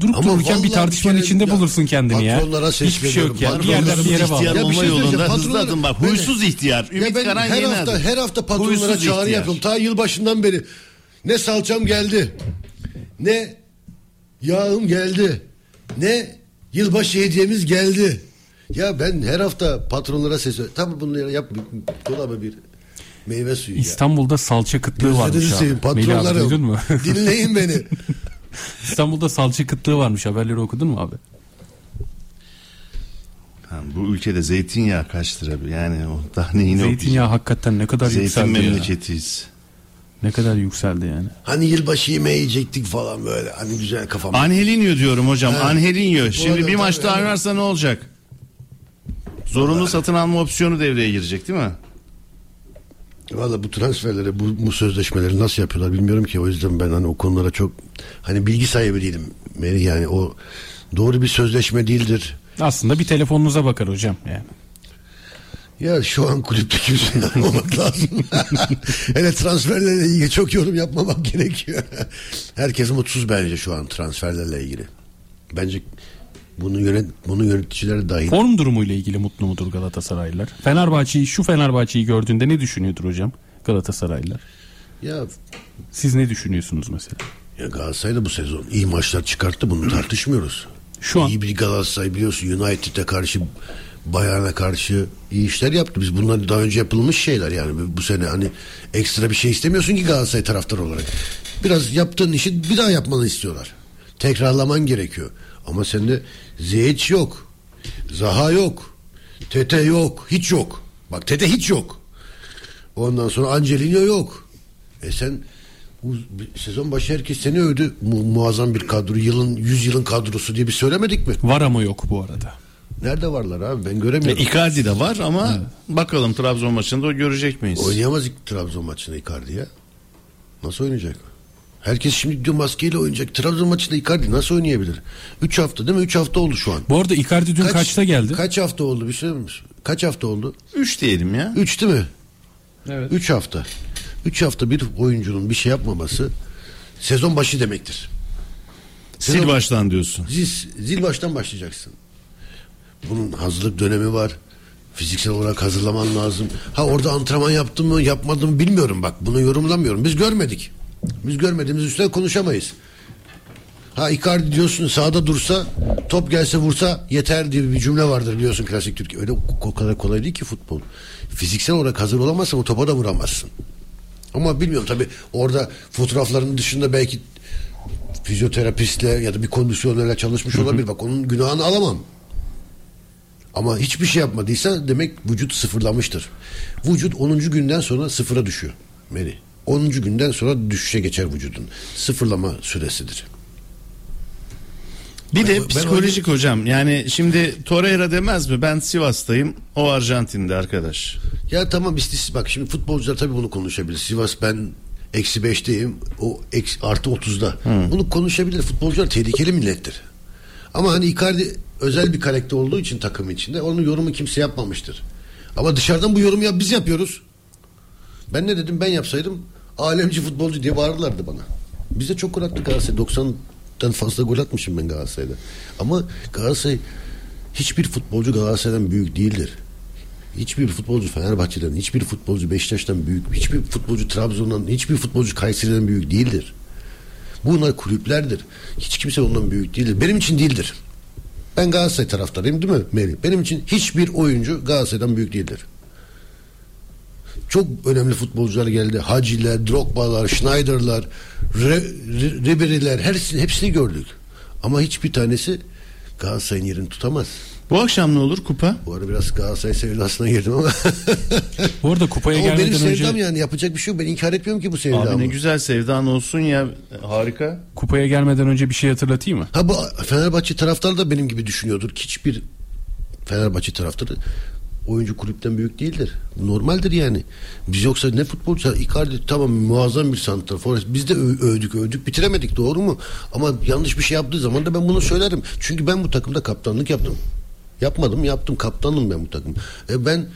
Speaker 4: Durup
Speaker 6: Ama
Speaker 4: dururken bir
Speaker 6: vallahi
Speaker 4: tartışmanın
Speaker 6: bir kere
Speaker 4: içinde
Speaker 6: ya,
Speaker 4: bulursun kendini ya.
Speaker 6: patronlara
Speaker 4: Hiçbir şey yok ya. Bir
Speaker 6: sesleniyorum.
Speaker 4: yerden bir yere
Speaker 5: Patronlara ihtiyar-
Speaker 4: bağlı.
Speaker 6: Ya bir şey
Speaker 5: olma yolunda
Speaker 6: söyleyeceğim,
Speaker 5: hızlı
Speaker 6: patronlara-
Speaker 5: adım bak.
Speaker 6: Ben-
Speaker 5: Huysuz ihtiyar. Ümit
Speaker 6: ben
Speaker 5: Karan
Speaker 6: her
Speaker 5: yeni
Speaker 6: hafta,
Speaker 5: adı.
Speaker 6: Her hafta patronlara
Speaker 5: Huysuz
Speaker 6: çağrı
Speaker 5: ihtiyar.
Speaker 6: yapıyorum. Ta yılbaşından beri. Ne salçam geldi. Ne yağım geldi. Ne yılbaşı hediyemiz geldi. Ya ben her hafta patronlara sesleniyorum. Tabii bunları yap. bir- Dolaba bir meyve suyu. ya.
Speaker 4: İstanbul'da salça kıtlığı varmış
Speaker 6: Gözlerinizi
Speaker 4: abi.
Speaker 6: seveyim
Speaker 4: Melih abi duydun mu?
Speaker 6: patronlarım. Dinleyin beni.
Speaker 4: İstanbul'da salça kıtlığı varmış haberleri okudun mu abi?
Speaker 5: Ha, bu ülkede zeytinyağı kaç lira? bir? Yani o daha neyini
Speaker 4: Zeytinyağı hakikaten ne kadar
Speaker 5: okuyacak? Zeytin
Speaker 4: yükseldi ya.
Speaker 5: memleketiyiz.
Speaker 4: Ne kadar yükseldi yani.
Speaker 6: Hani yılbaşı yemeği yiyecektik falan böyle. Hani güzel kafam.
Speaker 5: Angelinho diyorum hocam. Angelinho. Şimdi
Speaker 6: arada
Speaker 5: bir
Speaker 6: tabii,
Speaker 5: maçta
Speaker 6: evet.
Speaker 5: oynarsa ne olacak? Zorunlu satın alma opsiyonu devreye girecek değil mi?
Speaker 6: Valla bu transferleri bu, bu sözleşmeleri nasıl yapıyorlar bilmiyorum ki o yüzden ben hani o konulara çok hani bilgi sahibi değilim Meri yani o doğru bir sözleşme değildir.
Speaker 4: Aslında bir telefonunuza bakar hocam yani.
Speaker 6: Ya şu an kulüpte kimseyi anlamak lazım. Hele transferlerle ilgili çok yorum yapmamak gerekiyor. Herkes mutsuz bence şu an transferlerle ilgili. Bence bunu yönet bunu yöneticiler dahil.
Speaker 4: Form durumuyla ilgili mutlu mudur Galatasaraylılar? Fenerbahçe'yi şu Fenerbahçe'yi gördüğünde ne düşünüyordur hocam Galatasaraylılar?
Speaker 6: Ya,
Speaker 4: Siz ne düşünüyorsunuz mesela?
Speaker 6: ya Galatasaray da bu sezon iyi maçlar çıkarttı bunu tartışmıyoruz.
Speaker 4: Şu an
Speaker 6: İyi bir Galatasaray biliyorsun United'e karşı Bayern'e karşı iyi işler yaptı. Biz bunlar daha önce yapılmış şeyler yani bu, bu sene hani ekstra bir şey istemiyorsun ki Galatasaray taraftarı olarak. Biraz yaptığın işi bir daha yapmanı istiyorlar. Tekrarlaman gerekiyor. Ama sende Ziyech yok. Zaha yok. Tete yok. Hiç yok. Bak Tete hiç yok. Ondan sonra Angelino yok. E sen bu sezon başı herkes seni övdü. Mu- muazzam bir kadro. Yılın 100 yılın kadrosu diye bir söylemedik mi?
Speaker 4: var ama yok bu arada. E,
Speaker 6: Nerede varlar abi? Ben
Speaker 5: Ve
Speaker 6: göremiyorum.
Speaker 5: Icardi de var ama bakalım Trabzon maçında o görecek miyiz?
Speaker 6: Oynayamaz ilk Trabzon maçında Icardi ya. Nasıl oynayacak? Herkes şimdi diyor maskeyle oynayacak. Trabzon maçında Icardi nasıl oynayabilir? 3 hafta değil mi? 3 hafta oldu şu an.
Speaker 4: Bu arada Icardi dün kaçta geldi?
Speaker 6: Kaç hafta oldu bir şey mi? Kaç hafta oldu?
Speaker 5: 3 diyelim ya.
Speaker 6: 3 değil mi?
Speaker 4: Evet.
Speaker 6: 3 hafta. 3 hafta bir oyuncunun bir şey yapmaması sezon başı demektir.
Speaker 5: Sil baştan diyorsun.
Speaker 6: Zil, zil baştan başlayacaksın. Bunun hazırlık dönemi var. Fiziksel olarak hazırlaman lazım. Ha orada antrenman yaptın mı yapmadın mı bilmiyorum bak. Bunu yorumlamıyorum. Biz görmedik. Biz görmediğimiz üstüne konuşamayız. Ha Icardi diyorsun sağda dursa top gelse vursa yeter diye bir cümle vardır biliyorsun klasik Türkiye. Öyle o kadar kolay değil ki futbol. Fiziksel olarak hazır olamazsan o topa da vuramazsın. Ama bilmiyorum tabi orada fotoğrafların dışında belki fizyoterapistle ya da bir kondisyonerle çalışmış olabilir. Bak onun günahını alamam. Ama hiçbir şey yapmadıysa demek vücut sıfırlamıştır. Vücut 10. günden sonra sıfıra düşüyor. Meri. 10. günden sonra düşüşe geçer vücudun. Sıfırlama süresidir.
Speaker 5: Bir
Speaker 6: Ben-
Speaker 5: de
Speaker 6: ben
Speaker 5: psikolojik hocam yani şimdi Torreira demez mi ben Sivas'tayım o Arjantin'de arkadaş.
Speaker 6: Ya tamam istis bak şimdi futbolcular tabii bunu konuşabilir. Sivas ben eksi beşteyim o eksi, artı otuzda. Bunu konuşabilir. Futbolcular tehlikeli millettir. Ama hani Icardi özel bir karakter olduğu için takım içinde onun yorumu kimse yapmamıştır. Ama dışarıdan bu yorumu ya biz yapıyoruz. Ben ne dedim ben yapsaydım alemci futbolcu diye bağırırlardı bana. Biz de çok gol attık Galatasaray. 90'dan fazla gol atmışım ben Galatasaray'da. Ama Galatasaray hiçbir futbolcu Galatasaray'dan büyük değildir. Hiçbir futbolcu Fenerbahçe'den, hiçbir futbolcu Beşiktaş'tan büyük, hiçbir futbolcu Trabzon'dan, hiçbir futbolcu Kayseri'den büyük değildir. Bunlar kulüplerdir. Hiç kimse ondan büyük değildir. Benim için değildir. Ben Galatasaray taraftarıyım değil mi Melih? Benim için hiçbir oyuncu Galatasaray'dan büyük değildir. Çok önemli futbolcular geldi. Haciler, Drogba'lar, Schneider'lar, Re, Re- Ribery'ler hepsini, hepsini gördük. Ama hiçbir tanesi Galatasaray'ın yerini tutamaz.
Speaker 5: Bu akşam ne olur kupa?
Speaker 6: Bu ara biraz Galatasaray sevdasına girdim ama
Speaker 4: Bu arada kupaya
Speaker 6: Ama benim
Speaker 4: gelmeden önce
Speaker 6: sevdam yani yapacak bir şey yok. Ben inkar etmiyorum ki bu sevdamı.
Speaker 5: Abi ne güzel sevdan olsun ya harika.
Speaker 4: kupaya gelmeden önce bir şey hatırlatayım mı?
Speaker 6: Ha bu Fenerbahçe taraftarı da benim gibi düşünüyordur. Hiçbir Fenerbahçe taraftarı oyuncu kulüpten büyük değildir. Bu normaldir yani. Biz yoksa ne futbolcu Icardi tamam muazzam bir santrafor. Biz de ö- övdük övdük bitiremedik doğru mu? Ama yanlış bir şey yaptığı zaman da ben bunu söylerim. Çünkü ben bu takımda kaptanlık yaptım. Yapmadım yaptım kaptanım ben bu takım. E ben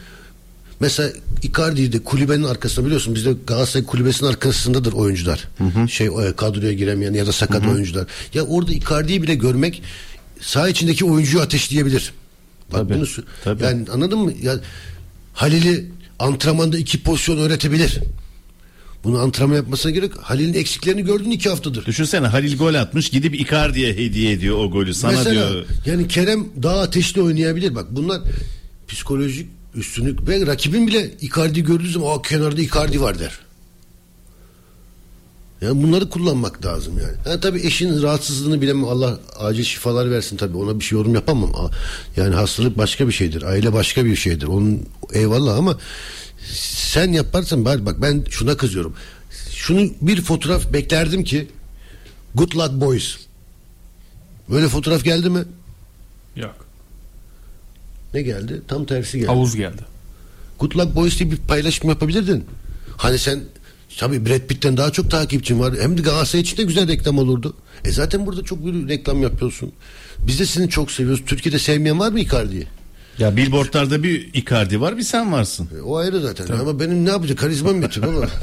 Speaker 6: Mesela Icardi'yi de kulübenin arkasında biliyorsun bizde Galatasaray kulübesinin arkasındadır oyuncular. Şey e, kadroya giremeyen ya da sakat oyuncular. Ya orada Icardi'yi bile görmek saha içindeki oyuncuyu ateşleyebilir. Bak bunu sö- yani anladın mı? Ya Halil'i antrenmanda iki pozisyon öğretebilir. Bunu antrenman yapmasına gerek. Halil'in eksiklerini gördün iki haftadır.
Speaker 5: Düşünsene Halil gol atmış gidip Icardi'ye hediye ediyor o golü sana
Speaker 6: Mesela
Speaker 5: diyor.
Speaker 6: yani Kerem daha ateşli oynayabilir. Bak bunlar psikolojik üstünlük ve rakibin bile Icardi gördüğü zaman o kenarda Icardi var der. Yani bunları kullanmak lazım yani. Ha tabii eşin rahatsızlığını bilemem. Allah acil şifalar versin tabii. Ona bir şey yorum yapamam. A- Yani hastalık başka bir şeydir. Aile başka bir şeydir. Onun eyvallah ama sen yaparsan bari bak ben şuna kızıyorum. Şunu bir fotoğraf beklerdim ki Good Luck Boys. Böyle fotoğraf geldi mi?
Speaker 4: Yok.
Speaker 6: Ne geldi? Tam tersi geldi.
Speaker 4: Havuz geldi.
Speaker 6: Good Luck Boys diye bir paylaşım yapabilirdin. Hani sen tabii Brad Pitt'ten daha çok takipçin var. Hem de Galatasaray için de güzel reklam olurdu. E zaten burada çok bir reklam yapıyorsun. Biz de seni çok seviyoruz. Türkiye'de sevmeyen var mı Icardi'yi?
Speaker 5: Ya billboardlarda bir Icardi var bir sen varsın.
Speaker 6: E, O ayrı zaten. Ama benim ne yapacak? Karizmam yetiyor ama.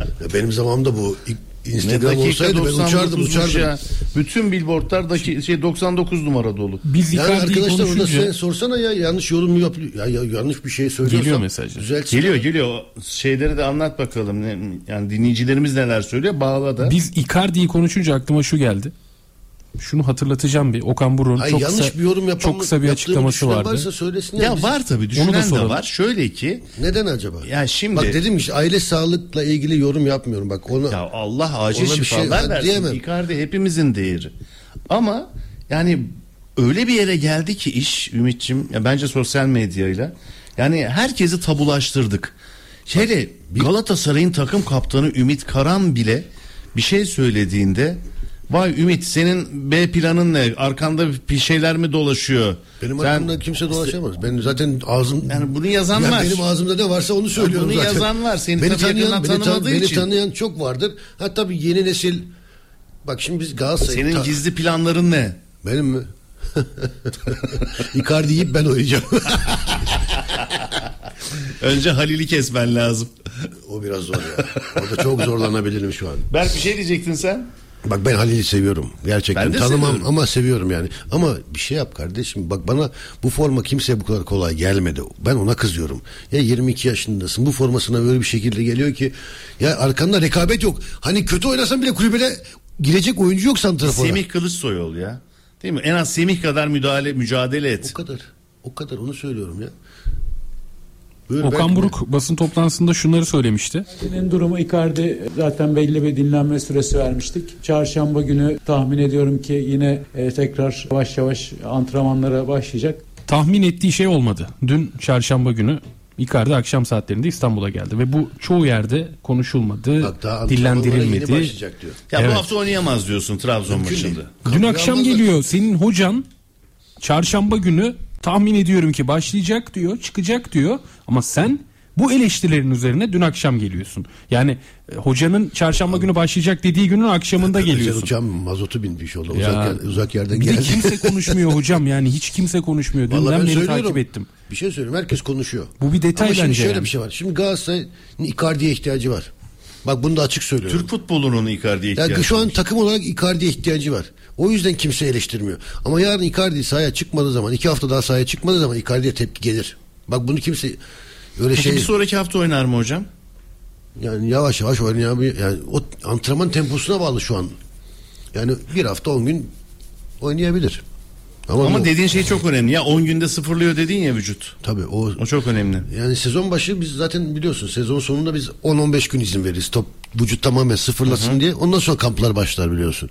Speaker 6: Ya benim zamanımda bu İ- Instagram
Speaker 5: Ne dakika
Speaker 6: olsaydı ben
Speaker 5: 99'muş
Speaker 6: uçardım uçardım.
Speaker 5: ya. Bütün billboardlardaki şey 99 numara dolu.
Speaker 4: Biz
Speaker 6: Yani
Speaker 4: Icardi'yi
Speaker 6: arkadaşlar orada
Speaker 4: konuşunca-
Speaker 6: sen sorsana ya yanlış yorum mu yapıyor? Ya, ya yanlış bir şey söylüyorsam
Speaker 4: Geliyor mesajlar.
Speaker 6: Düzeltsin.
Speaker 5: Geliyor geliyor O şeyleri de anlat bakalım. Ne- Yani dinleyicilerimiz neler söylüyor bağla da.
Speaker 4: Biz Icardi'yi konuşunca aklıma şu geldi. Şunu hatırlatacağım bir. Okan Buruk'un
Speaker 6: Ay,
Speaker 4: çok,
Speaker 6: yanlış
Speaker 4: kısa,
Speaker 6: bir yorum yapan
Speaker 4: çok kısa bir
Speaker 6: yaptığımı
Speaker 4: açıklaması
Speaker 6: düşünen
Speaker 4: vardı.
Speaker 6: Varsa söylesin ya.
Speaker 5: ya
Speaker 6: Biz-
Speaker 5: var tabii
Speaker 4: Onu da
Speaker 5: düşünen de
Speaker 4: soralım.
Speaker 5: var. Şöyle ki
Speaker 6: Neden acaba?
Speaker 5: ya şimdi
Speaker 6: Bak dedim işte aile sağlıkla ilgili yorum yapmıyorum. Bak ona
Speaker 5: Ya Allah acil
Speaker 6: Ona bir şey
Speaker 5: şifalar
Speaker 6: ben
Speaker 5: versin.
Speaker 6: diyemem.
Speaker 5: Icardi hepimizin değeri. Ama yani öyle bir yere geldi ki iş Ümitçim ya bence sosyal medyayla. Yani herkesi tabulaştırdık. Hele Galatasaray'ın takım kaptanı Ümit Karan bile bir şey söylediğinde Vay Ümit senin B planın ne? Arkanda bir şeyler mi dolaşıyor?
Speaker 6: benim
Speaker 5: Sen-
Speaker 6: aklımda kimse dolaşamaz. Ben zaten ağzım
Speaker 5: Yani bunu yazan
Speaker 6: Ya
Speaker 5: var.
Speaker 6: benim ağzımda ne varsa onu söylüyorum
Speaker 5: bunu
Speaker 6: zaten.
Speaker 5: yazan var. Seni
Speaker 6: beni
Speaker 5: tabii
Speaker 6: tanıyan,
Speaker 5: yakından
Speaker 6: beni, tan-
Speaker 5: tanımadığı
Speaker 6: beni
Speaker 5: için.
Speaker 6: tanıyan çok vardır. Ha tabii yeni nesil Bak şimdi biz Galatasaray
Speaker 5: Senin
Speaker 6: ta-
Speaker 5: gizli planların ne?
Speaker 6: benim mi? Icardi yiyip ben oynayacağım.
Speaker 5: Önce Halil'i kesmen lazım.
Speaker 6: o biraz zor ya. Orada çok zorlanabilirim şu an.
Speaker 5: Berk bir şey diyecektin sen.
Speaker 6: Bak ben Halil'i seviyorum. Gerçekten
Speaker 5: Ben de
Speaker 6: tanımam
Speaker 5: seviyorum.
Speaker 6: ama seviyorum yani. Ama bir şey yap kardeşim. Bak bana bu forma kimseye bu kadar kolay gelmedi. Ben ona kızıyorum. Ya 22 yaşındasın. Bu formasına böyle bir şekilde geliyor ki ya arkanda rekabet yok. Hani kötü oynasan bile kulübede girecek oyuncu yok santrafora.
Speaker 5: Semih Kılıçsoyol ya. Değil mi? En az Semih kadar müdahale mücadele et.
Speaker 6: O kadar. O kadar onu söylüyorum ya. Böyle
Speaker 4: Okan
Speaker 6: belki-
Speaker 4: Buruk basın toplantısında şunları söylemişti.
Speaker 12: Icardi'nin durumu Icardi zaten belli bir dinlenme süresi vermiştik. Çarşamba günü tahmin ediyorum ki yine e, tekrar yavaş yavaş antrenmanlara başlayacak.
Speaker 4: Tahmin ettiği şey olmadı. Dün çarşamba günü Icardi akşam saatlerinde İstanbul'a geldi ve bu çoğu yerde konuşulmadı, dillendirilmedi.
Speaker 5: Ya
Speaker 4: Evet.
Speaker 5: bu hafta oynayamaz diyorsun Trabzon maçında.
Speaker 4: Dün akşam geliyor senin hocan çarşamba günü tahmin ediyorum ki başlayacak diyor, çıkacak diyor ama sen bu eleştirilerin üzerine dün akşam geliyorsun. Yani e, hocanın çarşamba günü başlayacak dediği günün akşamında
Speaker 6: Geliyorsun.
Speaker 4: geliyorsun.
Speaker 6: Uçağın mazotu binmiş ola.
Speaker 4: Ya.
Speaker 6: Uzak, yer- uzak yerden
Speaker 4: Bir de
Speaker 6: geldi.
Speaker 4: kimse konuşmuyor hocam yani hiç kimse konuşmuyor.
Speaker 6: Vallahi ben
Speaker 4: Dünden beri
Speaker 6: söylüyorum.
Speaker 4: takip ettim.
Speaker 6: Bir şey söyleyeyim herkes konuşuyor.
Speaker 4: Bu bir detay
Speaker 6: Ama şimdi
Speaker 4: bence
Speaker 6: şöyle
Speaker 4: yani.
Speaker 6: bir şey var. Şimdi Galatasaray'ın Icardi'ye ihtiyacı var. Bak bunu da açık söylüyorum.
Speaker 5: Türk futbolunun Icardi'ye
Speaker 6: Ya
Speaker 5: ihtiyacı
Speaker 6: şu an takım olarak Icardi'ye ihtiyacı var. O yüzden kimse eleştirmiyor. Ama yarın Icardi sahaya çıkmadığı zaman, iki hafta daha sahaya çıkmadığı zaman Icardi'ye tepki gelir. Bak bunu kimse öyle
Speaker 5: Peki
Speaker 6: şey...
Speaker 5: bir sonraki hafta oynar mı hocam?
Speaker 6: Yani yavaş yavaş oynayabilir. Yani o antrenman temposuna bağlı şu an. Yani bir hafta on gün oynayabilir.
Speaker 5: Ama,
Speaker 6: bu-
Speaker 5: dediğin şey çok önemli. Ya 10 günde sıfırlıyor dedin ya vücut.
Speaker 6: Tabii o...
Speaker 5: O çok önemli.
Speaker 6: Yani sezon başı biz zaten biliyorsun sezon sonunda biz 10-15 gün izin veririz. Top vücut tamamen sıfırlasın
Speaker 5: Hı hı.
Speaker 6: diye. Ondan sonra kamplar başlar biliyorsun.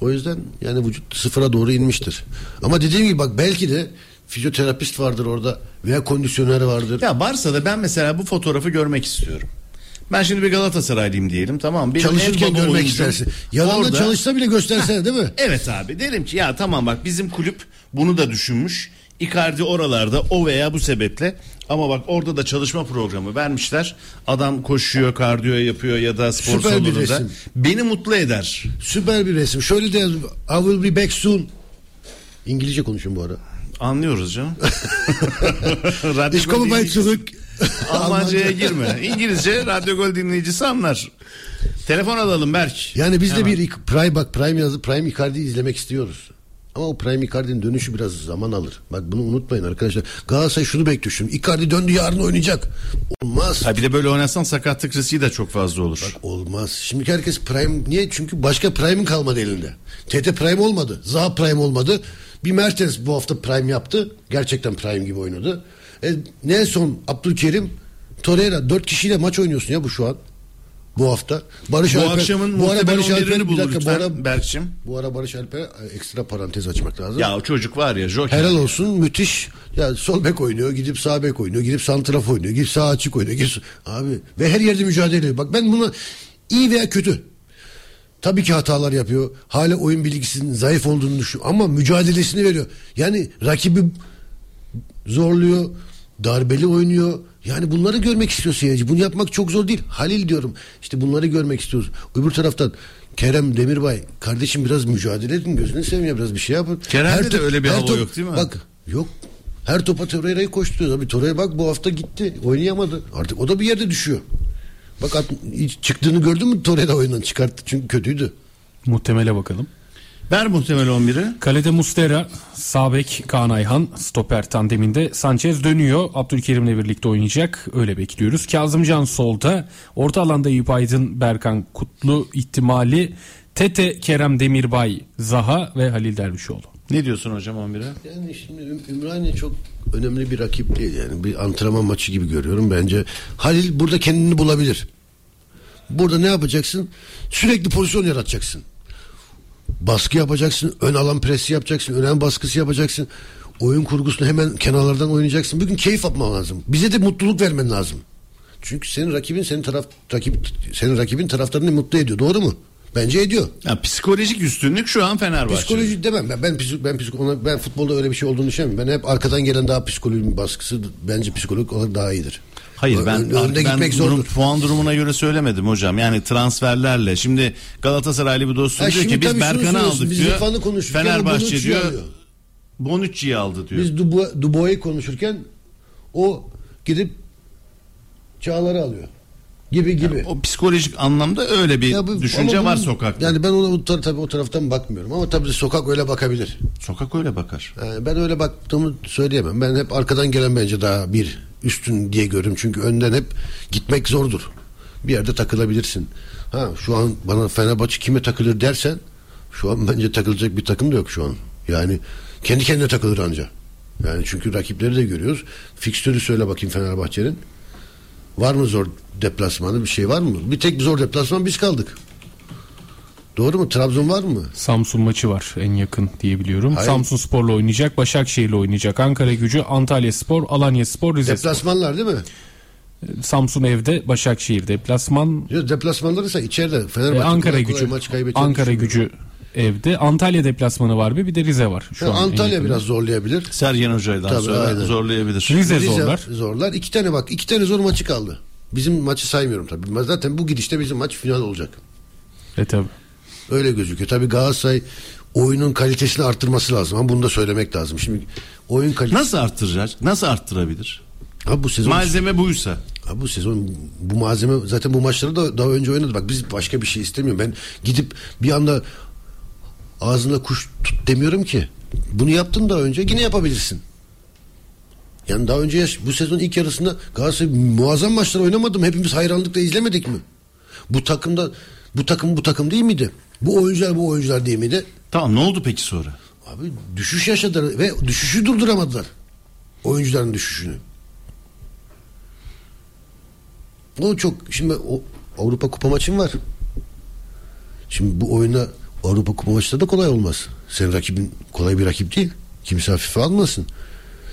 Speaker 6: O yüzden yani vücut sıfıra doğru inmiştir. Ama dediğim gibi bak belki de fizyoterapist vardır orada veya kondisyoner vardır.
Speaker 5: Ya varsa da ben mesela bu fotoğrafı görmek istiyorum. Ben şimdi bir Galatasaraylıyım diyelim tamam. mı? Benim
Speaker 6: Çalışırken
Speaker 5: en baba
Speaker 6: görmek
Speaker 5: oyuncum
Speaker 6: istersin. Yalanla çalışsa bile göstersene değil mi?
Speaker 5: Evet abi derim ki ya tamam bak bizim kulüp bunu da düşünmüş. Icardi oralarda o veya bu sebeple ama bak orada da çalışma programı vermişler. Adam koşuyor, kardiyo yapıyor ya da spor
Speaker 6: Süper bir
Speaker 5: salonunda.
Speaker 6: resim.
Speaker 5: Beni mutlu eder.
Speaker 6: Süper bir resim. Şöyle de yaz- I will be back soon. İngilizce konuşun bu ara.
Speaker 5: Anlıyoruz canım.
Speaker 6: Ich komme bald zurück.
Speaker 5: Almanca'ya girme. İngilizce Radyo Gol dinleyicisi anlar. Telefon alalım Berk.
Speaker 6: Yani biz de
Speaker 5: Hemen.
Speaker 6: bir ik- Prime bak Prime yazı Prime Icardi'yi izlemek istiyoruz. Ama o Prime Icardi'nin dönüşü biraz zaman alır. Bak bunu unutmayın arkadaşlar. Galatasaray şunu bekliyor şimdi. Icardi döndü yarın oynayacak. Olmaz.
Speaker 5: Ha bir de böyle oynarsan sakatlık riski de çok fazla olur.
Speaker 6: Olmaz. Şimdi herkes Prime niye? Çünkü başka Prime'in kalmadı elinde. TT Prime olmadı. Zaha Prime olmadı. Bir Mertens bu hafta Prime yaptı. Gerçekten Prime gibi oynadı. E, ne son Abdülkerim Torreira dört kişiyle maç oynuyorsun ya bu şu an. Bu hafta. Barış
Speaker 5: bu
Speaker 6: Alper,
Speaker 5: akşamın
Speaker 6: bu ara
Speaker 5: muhtemel
Speaker 6: Barış
Speaker 5: 11'ini
Speaker 6: Alper,
Speaker 5: bul
Speaker 6: bir dakika, bu
Speaker 5: lütfen
Speaker 6: ara
Speaker 5: Berk'cim.
Speaker 6: Bu ara Barış Alper'e e, ekstra parantez açmak lazım.
Speaker 5: Ya o çocuk var ya Joker.
Speaker 6: Helal olsun müthiş. Ya sol bek oynuyor, gidip sağ bek oynuyor, gidip santraf oynuyor, gidip sağ açık oynuyor. Gidip... Abi ve her yerde mücadele ediyor. Bak ben bunu iyi veya kötü. Tabii ki hatalar yapıyor. Hala oyun bilgisinin zayıf olduğunu düşünüyor ama mücadelesini veriyor. Yani rakibi zorluyor, darbeli oynuyor. Yani bunları görmek istiyor seyirci. Bunu yapmak çok zor değil. Halil diyorum. İşte bunları görmek istiyoruz. Öbür taraftan Kerem Demirbay kardeşim biraz mücadele edin gözünü seveyim ya biraz bir şey yapın.
Speaker 5: Kerem'de de öyle bir
Speaker 6: her
Speaker 5: hava yok değil mi?
Speaker 6: Bak yok. Her topa Torreira'yı koşturuyor. Abi Torreira bak bu hafta gitti. Oynayamadı. Artık o da bir yerde düşüyor. Bak at- hiç çıktığını gördün mü Torreira oyundan çıkarttı çünkü kötüydü.
Speaker 4: Muhtemele bakalım.
Speaker 5: Ver muhtemel 11'i.
Speaker 4: Kalede Mustera, Sabek, Kaan Ayhan, stoper tandeminde Sanchez dönüyor. Abdülkerim'le birlikte oynayacak. Öyle bekliyoruz. Kazımcan solda. Orta alanda Eyüp Aydın, Berkan Kutlu ihtimali. Tete, Kerem Demirbay, Zaha ve Halil Dervişoğlu.
Speaker 5: Ne diyorsun hocam 11'e?
Speaker 6: Yani şimdi Üm- Ümraniye çok önemli bir rakip değil yani bir antrenman maçı gibi görüyorum bence. Halil burada kendini bulabilir. Burada ne yapacaksın? Sürekli pozisyon yaratacaksın. Baskı yapacaksın, ön alan presi yapacaksın, önem baskısı yapacaksın. Oyun kurgusunu hemen kenarlardan oynayacaksın. Bugün keyif yapman lazım. Bize de mutluluk vermen lazım. Çünkü senin rakibin senin taraf rakip senin rakibin taraftarını mutlu ediyor. Doğru mu? Bence ediyor.
Speaker 5: Ya psikolojik üstünlük şu an Fenerbahçe.
Speaker 6: Psikoloji demem ben ben psik- ben psik- ona- ben futbolda öyle bir şey olduğunu düşünmüyorum. Ben hep arkadan gelen daha psikolojik baskısı bence psikolojik olarak daha iyidir.
Speaker 5: Hayır ben,
Speaker 6: Ö- önde
Speaker 5: ben
Speaker 6: gitmek
Speaker 5: durum-
Speaker 6: zordur.
Speaker 5: puan durumuna göre söylemedim hocam. Yani transferlerle. Şimdi Galatasaraylı bir dostum
Speaker 6: Ha,
Speaker 5: diyor
Speaker 6: şimdi
Speaker 5: ki biz
Speaker 6: tabii şunu
Speaker 5: Berkan'ı
Speaker 6: söylüyorsun,
Speaker 5: aldık
Speaker 6: biz
Speaker 5: diyor.
Speaker 6: İrfan'ı konuştuk, yani
Speaker 5: Fenerbahçe
Speaker 6: Bonucci'yi
Speaker 5: diyor
Speaker 6: alıyor.
Speaker 5: Bonucci'yi aldı diyor.
Speaker 6: Biz Dubo- Dubois'u konuşurken o gidip Çağlar'ı alıyor. Gibi gibi.
Speaker 5: O psikolojik anlamda öyle bir
Speaker 6: Ya bu-
Speaker 5: düşünce
Speaker 6: ama
Speaker 5: var
Speaker 6: bunun-
Speaker 5: sokakta.
Speaker 6: Yani ben ona o tar- tabii o taraftan bakmıyorum ama tabii sokak öyle bakabilir.
Speaker 5: Sokak öyle bakar.
Speaker 6: Yani ben öyle baktığımı söyleyemem. Ben hep arkadan gelen bence daha bir üstün diye görüyorum. Çünkü önden hep gitmek zordur. Bir yerde takılabilirsin. Ha şu an bana Fenerbahçe kime takılır dersen şu an bence takılacak bir takım da yok şu an. Yani kendi kendine takılır anca. Yani çünkü rakipleri de görüyoruz. Fikstürü söyle bakayım Fenerbahçe'nin. Var mı zor deplasmanı bir şey var mı? Bir tek zor deplasman biz kaldık. Doğru mu? Trabzon var mı?
Speaker 4: Samsun maçı var en yakın diyebiliyorum.
Speaker 6: Hayır.
Speaker 4: Samsun Spor'la oynayacak, Başakşehir'le oynayacak, Ankara Gücü, Antalya Spor, Alanya Spor, Rize
Speaker 6: Deplasmanlar değil mi?
Speaker 4: Ee, Samsun evde, Başakşehir deplasman.
Speaker 6: Yok deplasmanları ise içeride Fenerbahçe
Speaker 4: Ee, Ankara
Speaker 6: kolay kolay
Speaker 4: Gücü.
Speaker 6: maç kaybedeceğini
Speaker 4: Ankara Gücü evde. Antalya deplasmanı var bir, bir de Rize var. Şu
Speaker 6: Ha,
Speaker 4: an en
Speaker 6: Antalya
Speaker 4: yakın.
Speaker 6: biraz zorlayabilir.
Speaker 5: Sergen Hoca'dan
Speaker 6: Tabii,
Speaker 5: sonra
Speaker 6: aynen.
Speaker 5: zorlayabilir.
Speaker 6: Zorlar. İki tane bak. iki tane zor maçı kaldı. Bizim maçı saymıyorum tabii. Zaten bu gidişte bizim maç final olacak.
Speaker 4: E tabii.
Speaker 6: Öyle gözüküyor. Tabii Galatasaray oyunun kalitesini arttırması lazım. Ama bunu da söylemek lazım. Şimdi oyun kalitesi...
Speaker 5: Nasıl arttıracak? Nasıl arttırabilir?
Speaker 6: Ha bu sezon...
Speaker 5: Malzeme buysa.
Speaker 6: Ha bu sezon bu malzeme zaten bu maçları da daha önce oynadı. Bak biz başka bir şey istemiyorum. Ben gidip bir anda ağzına kuş tut demiyorum ki. Bunu yaptın daha önce yine yapabilirsin. Yani daha önce yaş- bu sezon ilk yarısında Galatasaray muazzam maçlar oynamadı mı? Hepimiz hayranlıkla izlemedik mi? Bu takımda bu takım bu takım değil miydi? Bu oyuncular bu oyuncular değil miydi?
Speaker 5: Tamam ne oldu peki sonra?
Speaker 6: Abi düşüş yaşadılar ve düşüşü durduramadılar. Oyuncuların düşüşünü. O çok şimdi o Avrupa Kupa maçın var. Şimdi bu oyuna Avrupa Kupa maçları da kolay olmaz. Senin rakibin kolay bir rakip değil. Kimse hafife almasın.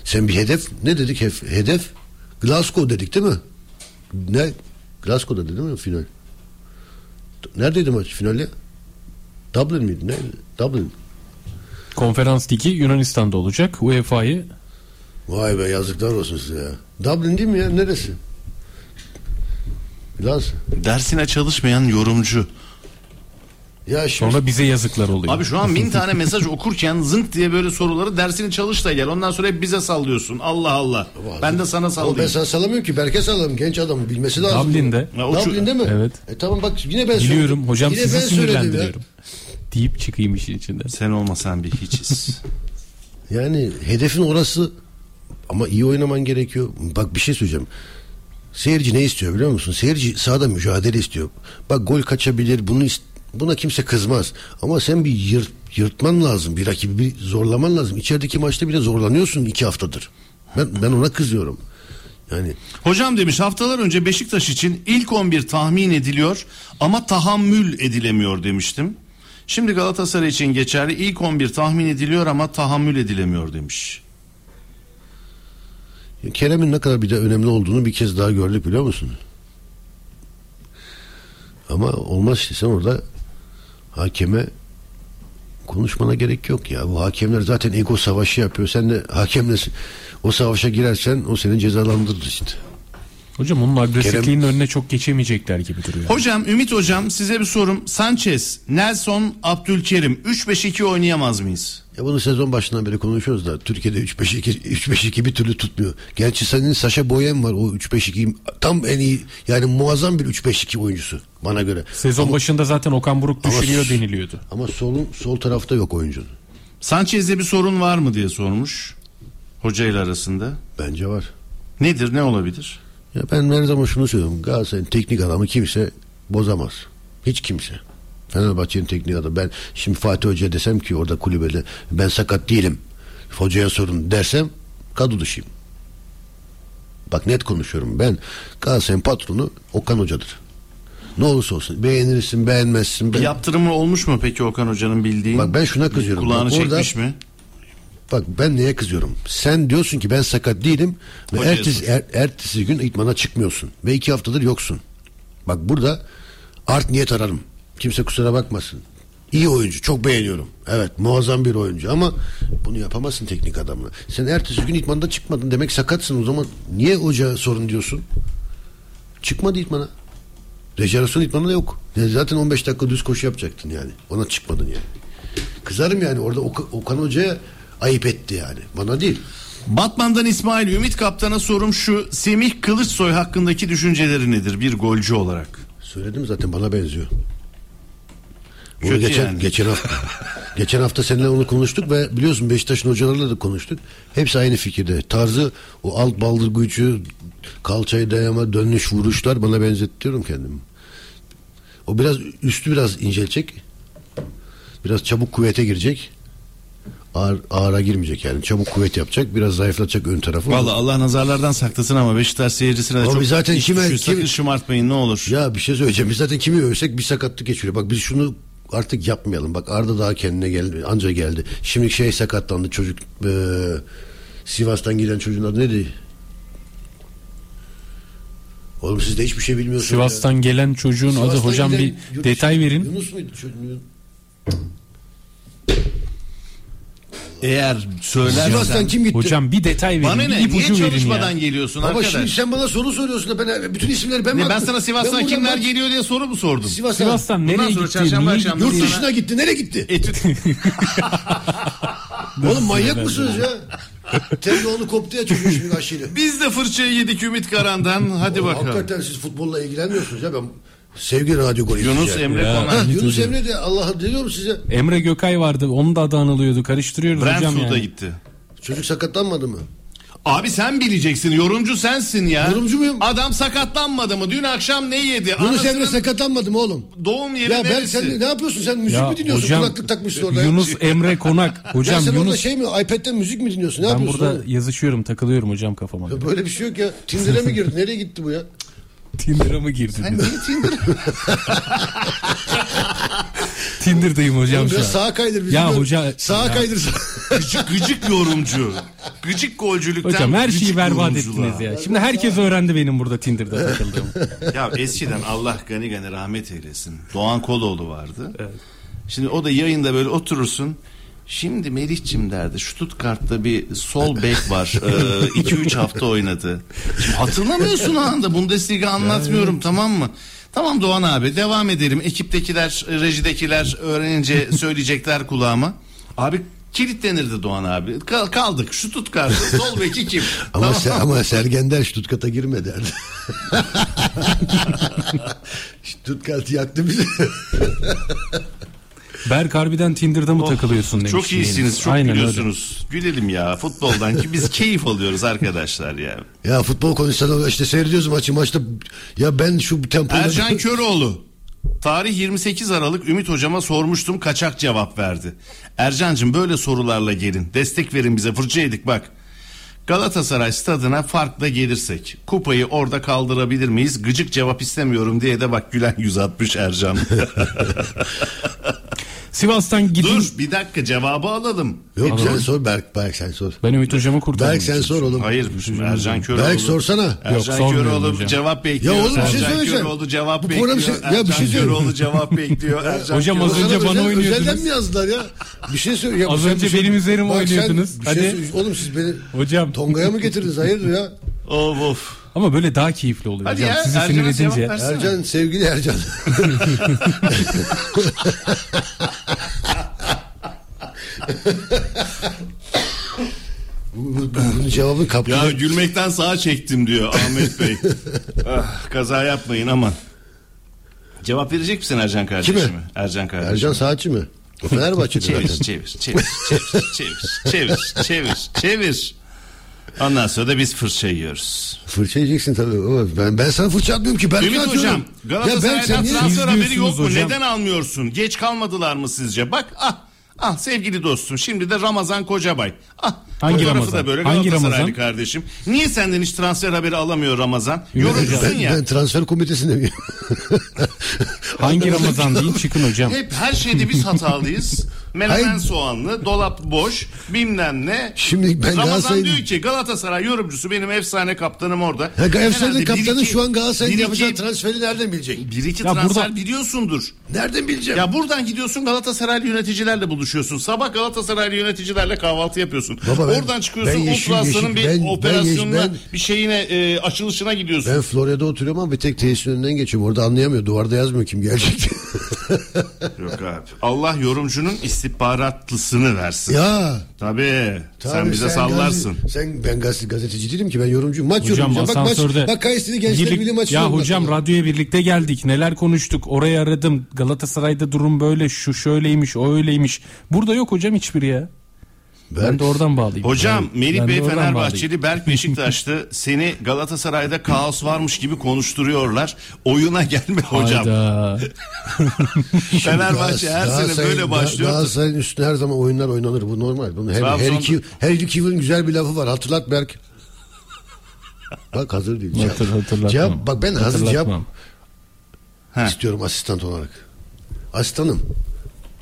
Speaker 6: Sen bir hedef ne dedik hef- hedef? Glasgow dedik değil mi? Ne? Glasgow'da değil mi final? Neredeydi maç finali? Dublin miydi? Ne? Dublin.
Speaker 4: Konferans ligi Yunanistan'da olacak. E UEFA'yı
Speaker 6: Vay be yazıklar olsun size ya. Dublin değil mi ya? Neresi? Biraz.
Speaker 5: Dersine çalışmayan yorumcu.
Speaker 6: Ya
Speaker 4: sonra bize yazıklar oluyor.
Speaker 5: Abi şu an bin tane mesaj okurken zınk diye böyle soruları dersini çalış da gel. Ondan sonra hep bize sallıyorsun. Allah Allah. Ben de sana
Speaker 6: Ama ben
Speaker 5: sallayayım.
Speaker 6: sana salamıyorum ki. Berke salam. Genç adamı bilmesi lazım.
Speaker 4: Dublin'de.
Speaker 5: Ya o ço-
Speaker 6: Dublin'de mi?
Speaker 4: Evet.
Speaker 6: E tamam bak yine ben söyledim.
Speaker 4: Biliyorum hocam
Speaker 6: Yine
Speaker 4: sizi
Speaker 6: ben söyledim ya.
Speaker 4: sinirlendiriyorum. Deyip çıkayım işin içinden.
Speaker 5: Sen olmasan bir hiçiz.
Speaker 6: Yani hedefin orası ama iyi oynaman gerekiyor. Bak bir şey söyleyeceğim. Seyirci ne istiyor biliyor musun? Seyirci sahada mücadele istiyor. Bak gol kaçabilir. Bunu ist- buna kimse kızmaz. Ama sen bir yırt, yırtman lazım. Bir rakibi bir zorlaman lazım. İçerideki maçta bile zorlanıyorsun iki haftadır. Ben ben ona kızıyorum. Yani
Speaker 5: Hocam demiş haftalar önce Beşiktaş için ilk 11 tahmin ediliyor ama tahammül edilemiyor demiştim. Şimdi Galatasaray için geçerli ilk 11 tahmin ediliyor ama tahammül edilemiyor demiş.
Speaker 6: Kerem'in ne kadar bir de önemli olduğunu bir kez daha gördük biliyor musun? Ama olmaz işte sen orada hakeme konuşmana gerek yok ya. Bu hakemler zaten ego savaşı yapıyor. Sen de hakemle s- o savaşa girersen o seni cezalandırır işte.
Speaker 4: Hocam onun agresifliğinin önüne çok geçemeyecekler gibi duruyor.
Speaker 5: Hocam Ümit hocam size bir sorum. Sanchez, Nelson, Abdülkerim 3-5-2 oynayamaz mıyız?
Speaker 6: Ya E bunu sezon başından beri konuşuyoruz da Türkiye'de 3-5-2 3-5-2 bir türlü tutmuyor. Gerçi senin Saşa Boyen var o 3-5-2 tam en iyi yani muazzam bir 3-5-2 oyuncusu bana göre.
Speaker 4: Sezon başında zaten Okan Buruk
Speaker 6: Ama-
Speaker 4: düşünüyor deniliyordu.
Speaker 6: Ama solun sol tarafta yok oyuncunun.
Speaker 5: Sanchez'de bir sorun var mı diye sormuş hocayla arasında.
Speaker 6: Bence var.
Speaker 5: Nedir ne olabilir?
Speaker 6: Ya ben her zaman şunu söylüyorum. Galatasaray'ın teknik adamı kimse bozamaz. Hiç kimse. Fenerbahçe'nin teknik adamı. Ben şimdi Fatih Hoca desem ki orada kulübede ben sakat değilim. Hocaya sorun dersem kadro dışıyım. Bak net konuşuyorum ben. Galatasaray'ın patronu Okan Hoca'dır. Ne olursa olsun beğenirsin beğenmezsin. Ben,
Speaker 5: Yaptırımı olmuş mu peki Okan hocanın bildiğin?
Speaker 6: Bak ben şuna kızıyorum.
Speaker 5: Kulağını
Speaker 6: Bak orada-
Speaker 5: çekmiş mi?
Speaker 6: Bak ben neye kızıyorum? Sen diyorsun ki ben sakat değilim ve
Speaker 5: Hocaya
Speaker 6: ertesi, er- ertesi gün idmana çıkmıyorsun ve iki haftadır yoksun. Bak burada art niyet ararım. Kimse kusura bakmasın. İyi oyuncu çok beğeniyorum. Evet muazzam bir oyuncu ama bunu yapamazsın teknik adamla. Sen ertesi gün idmanda çıkmadın demek sakatsın o zaman niye hoca sorun diyorsun? Çıkmadı idmana. Rejenerasyon idmanı da yok. Yani zaten 15 dakika düz koşu yapacaktın yani. Ona çıkmadın yani. Kızarım yani orada Ok- Okan Hoca'ya ayıp etti yani. Bana değil.
Speaker 5: Batman'dan İsmail Ümit Kaptan'a sorum şu. Semih Kılıçsoy hakkındaki düşünceleri nedir bir golcü olarak?
Speaker 6: Söyledim zaten bana benziyor. Bunu
Speaker 5: Kötü
Speaker 6: geçen,
Speaker 5: yani.
Speaker 6: geçen hafta geçen hafta seninle onu konuştuk ve biliyorsun Beşiktaş'ın hocalarıyla da konuştuk. Hepsi aynı fikirde. Tarzı o alt baldır gücü kalçayı dayama dönüş vuruşlar bana benzetiyorum kendimi. O biraz üstü biraz incelecek. Biraz çabuk kuvvete girecek. Ağır, ağıra girmeyecek yani. Çabuk kuvvet yapacak. Biraz zayıflatacak ön tarafı.
Speaker 5: Vallahi Allah nazarlardan saklasın ama Beşiktaş seyircisine de
Speaker 6: Ama
Speaker 5: çok
Speaker 6: biz zaten
Speaker 5: iş
Speaker 6: kime-
Speaker 5: düşüyor. Sakın
Speaker 6: kim-
Speaker 5: şımartmayın ne olur.
Speaker 6: Ya bir şey söyleyeceğim. Biz zaten kimi övsek bir sakatlık geçiriyor. Bak biz şunu artık yapmayalım. Bak Arda daha kendine geldi. Anca geldi. Şimdi şey sakatlandı çocuk. Ee, Sivas'tan gelen çocuğun adı neydi? Oğlum siz de hiçbir şey bilmiyorsunuz.
Speaker 4: Sivas'tan
Speaker 6: ya.
Speaker 4: gelen çocuğun adı
Speaker 6: Sivas'tan
Speaker 4: hocam
Speaker 6: gelen
Speaker 4: bir
Speaker 6: Yunus-
Speaker 4: detay verin.
Speaker 6: Yunus muydu çocuğun?
Speaker 5: Eğer söylersen.
Speaker 6: Sivas'tan kim gitti?
Speaker 4: Hocam bir detay verin.
Speaker 5: Bana
Speaker 4: bir
Speaker 5: ne? Niye
Speaker 4: ipucu verin
Speaker 5: çalışmadan
Speaker 4: ya.
Speaker 5: geliyorsun
Speaker 6: Baba
Speaker 5: arkadaş?
Speaker 6: şimdi sen bana soru soruyorsun da ben bütün isimleri ben
Speaker 5: Ne,
Speaker 6: mi
Speaker 5: ben
Speaker 6: attım?
Speaker 5: sana Sivas'tan
Speaker 6: Ben buradan
Speaker 5: kimler
Speaker 6: bak-
Speaker 5: geliyor diye sorup mu sordum?
Speaker 6: Sivas'tan.
Speaker 4: Sivas'tan
Speaker 5: Bundan
Speaker 4: nereye
Speaker 5: sonra
Speaker 4: gitti?
Speaker 5: çarşamba
Speaker 4: niye
Speaker 5: akşamı-
Speaker 4: gitti?
Speaker 6: Yurt
Speaker 5: Sana-
Speaker 6: dışına gitti. Nereye gitti?
Speaker 5: Etüt.
Speaker 6: Oğlum manyak mısınız ya? Televizyonu koptu ya çocuğun şimdi aşıyla.
Speaker 5: Biz de fırçayı yedik Ümit Karan'dan. Hadi
Speaker 6: Oğlum,
Speaker 5: bakalım.
Speaker 6: Hakikaten siz futbolla ilgilenmiyorsunuz ya ben sevgi radyo golü
Speaker 5: Yunus
Speaker 6: izleyeceğim.
Speaker 5: Emre
Speaker 6: Ha,
Speaker 5: Konak.
Speaker 6: Yunus Emre de Allah'a diliyorum size.
Speaker 4: Emre Gökay vardı. Onun da adı anılıyordu. Karıştırıyoruz hocam
Speaker 5: Brentford'a
Speaker 4: yani.
Speaker 5: gitti.
Speaker 6: Çocuk sakatlanmadı mı?
Speaker 5: Abi sen bileceksin. Yorumcu sensin ya.
Speaker 6: Yorumcu muyum?
Speaker 5: Adam sakatlanmadı mı? Dün akşam ne yedi?
Speaker 6: Yunus
Speaker 5: Anasının
Speaker 6: Emre sakatlanmadı mı oğlum?
Speaker 5: Doğum yeri
Speaker 6: Ya ben
Speaker 5: neresi? Şey-
Speaker 6: sen ne yapıyorsun sen müzik
Speaker 4: Ya
Speaker 6: mi dinliyorsun?
Speaker 4: hocam,
Speaker 6: Kulaklık takmışsın orada.
Speaker 4: Yunus Emre Konak.
Speaker 6: Hocam,
Speaker 4: Hocam
Speaker 6: sen orada
Speaker 4: Yunus
Speaker 6: şey mi iPad'den müzik mi dinliyorsun? Ne
Speaker 4: ben
Speaker 6: yapıyorsun?
Speaker 4: burada
Speaker 6: oğlum?
Speaker 4: yazışıyorum takılıyorum hocam kafama.
Speaker 6: Ya Böyle bir şey yok ya. Tinder'e mi girdi? Nereye gitti bu ya?
Speaker 4: Tinder'a mı girdin? Sen Tinder'dayım hocam şu an.
Speaker 6: Biraz sağa kaydır bizi.
Speaker 4: Ya
Speaker 6: Böyle
Speaker 4: hoca-
Speaker 6: Sağa
Speaker 4: Ya.
Speaker 6: kaydır.
Speaker 5: Gıcık, gıcık yorumcu. Gıcık golcülükten
Speaker 4: Hocam her şeyi
Speaker 5: gıcık
Speaker 4: berbat
Speaker 5: yorumculuğa.
Speaker 4: ettiniz ya. Şimdi herkes öğrendi benim burada Tinder'da takıldığımı.
Speaker 5: Ya eskiden Allah gani gani rahmet eylesin. Doğan Koloğlu vardı. Şimdi o da yayında böyle oturursun. Şimdi Melih'cim derdi Stuttgart'ta bir sol bek var.
Speaker 6: Ee,
Speaker 5: 2-3 hafta oynadı. Şimdi hatırlamıyorsun o anda. Bundesliga anlatmıyorum tamam mı? Tamam Doğan abi devam edelim. Ekiptekiler, e, rejidekiler öğrenince söyleyecekler kulağıma. Abi kilitlenirdi Doğan abi. Kal- kaldık. Stuttgart'ta sol beki kim?
Speaker 6: Ama,
Speaker 5: Tamam.
Speaker 6: ser, ama Sergen der Stuttgart'a girme derdi. Stuttgart yaktı bizi.
Speaker 4: Berk harbiden Tinder'da mı takılıyorsun demiş.
Speaker 5: Çok iyisiniz,
Speaker 4: Yunus.
Speaker 5: çok
Speaker 4: Aynen
Speaker 5: gülüyorsunuz. Gülelim ya futboldan ki biz keyif alıyoruz arkadaşlar ya.
Speaker 6: ya futbol konuşsana işte seyrediyoruz maçı maçta. Ya ben şu tempoyla...
Speaker 5: Ercan Köroğlu. Tarih 28 Aralık Ümit hocama sormuştum kaçak cevap verdi. Ercancım böyle sorularla gelin. Destek verin bize fırça yedik bak. Galatasaray stadına farkla gelirsek kupayı orada kaldırabilir miyiz? Gıcık cevap istemiyorum diye de bak gülen yüz atmış Ercan.
Speaker 4: öyle. Sivas'tan gidin.
Speaker 5: Dur bir dakika cevabı alalım.
Speaker 6: Yok sen sor Berk, Berk sen sor.
Speaker 4: Ben Ümit hocamı kurtardım.
Speaker 6: Berk sen sor oğlum.
Speaker 5: Hayır Ercan Köroğlu.
Speaker 6: Berk sorsana.
Speaker 5: Ercan
Speaker 4: sormuyorum
Speaker 5: Köroğlu
Speaker 4: hocam.
Speaker 5: cevap bekliyor.
Speaker 6: Ya oğlum bir şey
Speaker 5: Ercan
Speaker 6: söyleyeceğim.
Speaker 5: Köroğlu cevap
Speaker 6: Bu
Speaker 5: bekliyor.
Speaker 6: program şey- ya bir
Speaker 5: Ercan
Speaker 6: şey söyleyeyim.
Speaker 5: Köroğlu cevap bekliyor. Ercan
Speaker 4: Hocam az
Speaker 5: Köroğlu-
Speaker 4: önce
Speaker 6: Sana
Speaker 4: bana
Speaker 6: özel-
Speaker 4: oynuyordunuz.
Speaker 6: Özelden mi yazdılar ya? Bir şey söyle.
Speaker 4: Az önce benim üzerime oynuyordunuz. Hadi.
Speaker 6: şey oğlum siz beni
Speaker 4: Hocam.
Speaker 6: Tonga'ya mı getirdiniz? Hayırdır ya?
Speaker 5: Of of.
Speaker 4: Ama böyle daha keyifli oluyor
Speaker 5: Hadi
Speaker 4: hocam.
Speaker 5: ya,
Speaker 4: Sizi
Speaker 5: Ercan'a
Speaker 4: sinir edince.
Speaker 5: cevap versene.
Speaker 6: Ercan sevgili Ercan. Bu- bu- Bunun cevabı kaptı.
Speaker 5: Ya gülmekten sağa çektim diyor Ahmet Bey. ah, kaza yapmayın aman. Cevap verecek misin Ercan kardeşime?
Speaker 6: Kime?
Speaker 5: Ercan kardeşime.
Speaker 6: Ercan saatçi mi? O Fenerbahçe'de
Speaker 5: Çevir,
Speaker 6: zaten.
Speaker 5: çevir, çevir, çevir, çevir, çevir, çevir, çevir. Ondan sonra da biz fırça yiyoruz.
Speaker 6: Fırça yiyeceksin tabii. Ama Ben, ben sana fırça atmıyorum ki. Ben
Speaker 5: Ümit hocam Galatasaray'dan transfer haberi yok mu?
Speaker 4: hocam?
Speaker 5: Neden almıyorsun? Geç kalmadılar mı sizce? Bak ah ah sevgili dostum şimdi de Ramazan Kocabay. Ah
Speaker 4: Hangi
Speaker 5: fotoğrafı
Speaker 4: Ramazan?
Speaker 5: da böyle
Speaker 4: Hangi
Speaker 5: Galatasaraylı
Speaker 4: Ramazan?
Speaker 5: kardeşim. Niye senden hiç transfer haberi alamıyor Ramazan?
Speaker 6: ben,
Speaker 5: Yorumcusun ya.
Speaker 6: ben transfer komitesinde miyim?
Speaker 4: Hangi Ramazan deyin çıkın hocam.
Speaker 5: Hep her şeyde biz hatalıyız. Menemen
Speaker 6: Hayır.
Speaker 5: soğanlı, dolap boş, bilmem ne.
Speaker 6: Şimdi ben
Speaker 5: Ramazan
Speaker 6: Galatasaray'ın-
Speaker 5: diyor ki Galatasaray yorumcusu benim efsane kaptanım orada.
Speaker 6: Ha, Galatasaray'ın
Speaker 5: Herhalde bir
Speaker 6: kaptanı
Speaker 5: iki-
Speaker 6: şu an Galatasaray'ın
Speaker 5: bir iki-
Speaker 6: yapacağı transferi nereden bilecek?
Speaker 5: Bir iki
Speaker 4: Ya
Speaker 5: transfer
Speaker 4: burada-
Speaker 5: biliyorsundur.
Speaker 6: Nereden bileceğim?
Speaker 5: Ya buradan gidiyorsun Galatasaraylı yöneticilerle buluşuyorsun. Sabah Galatasaraylı yöneticilerle kahvaltı yapıyorsun.
Speaker 6: Baba ben-
Speaker 5: Oradan çıkıyorsun
Speaker 6: ben
Speaker 5: Ultra
Speaker 6: yeşil,
Speaker 5: Aslan'ın
Speaker 6: yeşil-
Speaker 5: bir
Speaker 6: ben- ben
Speaker 5: operasyonuna,
Speaker 6: yeşil- ben-
Speaker 5: bir şeyine, e, açılışına gidiyorsun.
Speaker 6: Ben Florya'da oturuyorum ama bir tek tesisin önünden geçiyorum. Orada anlayamıyor. Duvarda yazmıyor kim gelecek.
Speaker 5: Yok abi. Allah yorumcunun istihbaratlısını versin.
Speaker 6: ya.
Speaker 5: Tabii. sen
Speaker 6: tabii
Speaker 5: bize sallarsın.
Speaker 6: gazete- sen ben gazete, gazeteci değilim ki ben yorumcuyum. Maç
Speaker 4: Hocam
Speaker 6: yorumcuyum. Bak maç.
Speaker 4: asansörde.
Speaker 6: Bak Kayseri Gençler
Speaker 4: Birlik-
Speaker 6: Birliği maçı.
Speaker 4: Ya
Speaker 6: yorumladım.
Speaker 4: hocam radyoya birlikte geldik. Neler konuştuk. Orayı aradım. Galatasaray'da durum böyle. Şu şöyleymiş. O öyleymiş. Burada yok hocam hiçbiri ya. Ben, de oradan bağlayayım.
Speaker 5: Hocam
Speaker 4: Ben-
Speaker 5: Melih
Speaker 4: ben de
Speaker 5: Bey
Speaker 4: oradan bağlayayım.
Speaker 5: Fenerbahçeli, Berk Beşiktaşlı seni Galatasaray'da kaos varmış gibi konuşturuyorlar. Oyuna gelme hocam.
Speaker 4: Hayda.
Speaker 5: Fenerbahçe her sene
Speaker 6: Galatasaray'ın-
Speaker 5: böyle başlıyor.
Speaker 6: Galatasaray'ın üstüne her zaman oyunlar oynanır. Bu normal. Bunu her, her
Speaker 5: Trabzon'da-
Speaker 6: iki her iki yılın güzel bir lafı var. Hatırlat Berk. Bak hazır değil. Cevap,
Speaker 4: Hatır- hatırlatmam.
Speaker 6: cevap- bak ben hazır cevap
Speaker 4: Hatırlatmam.
Speaker 5: Heh.
Speaker 6: istiyorum asistan olarak. Asistanım.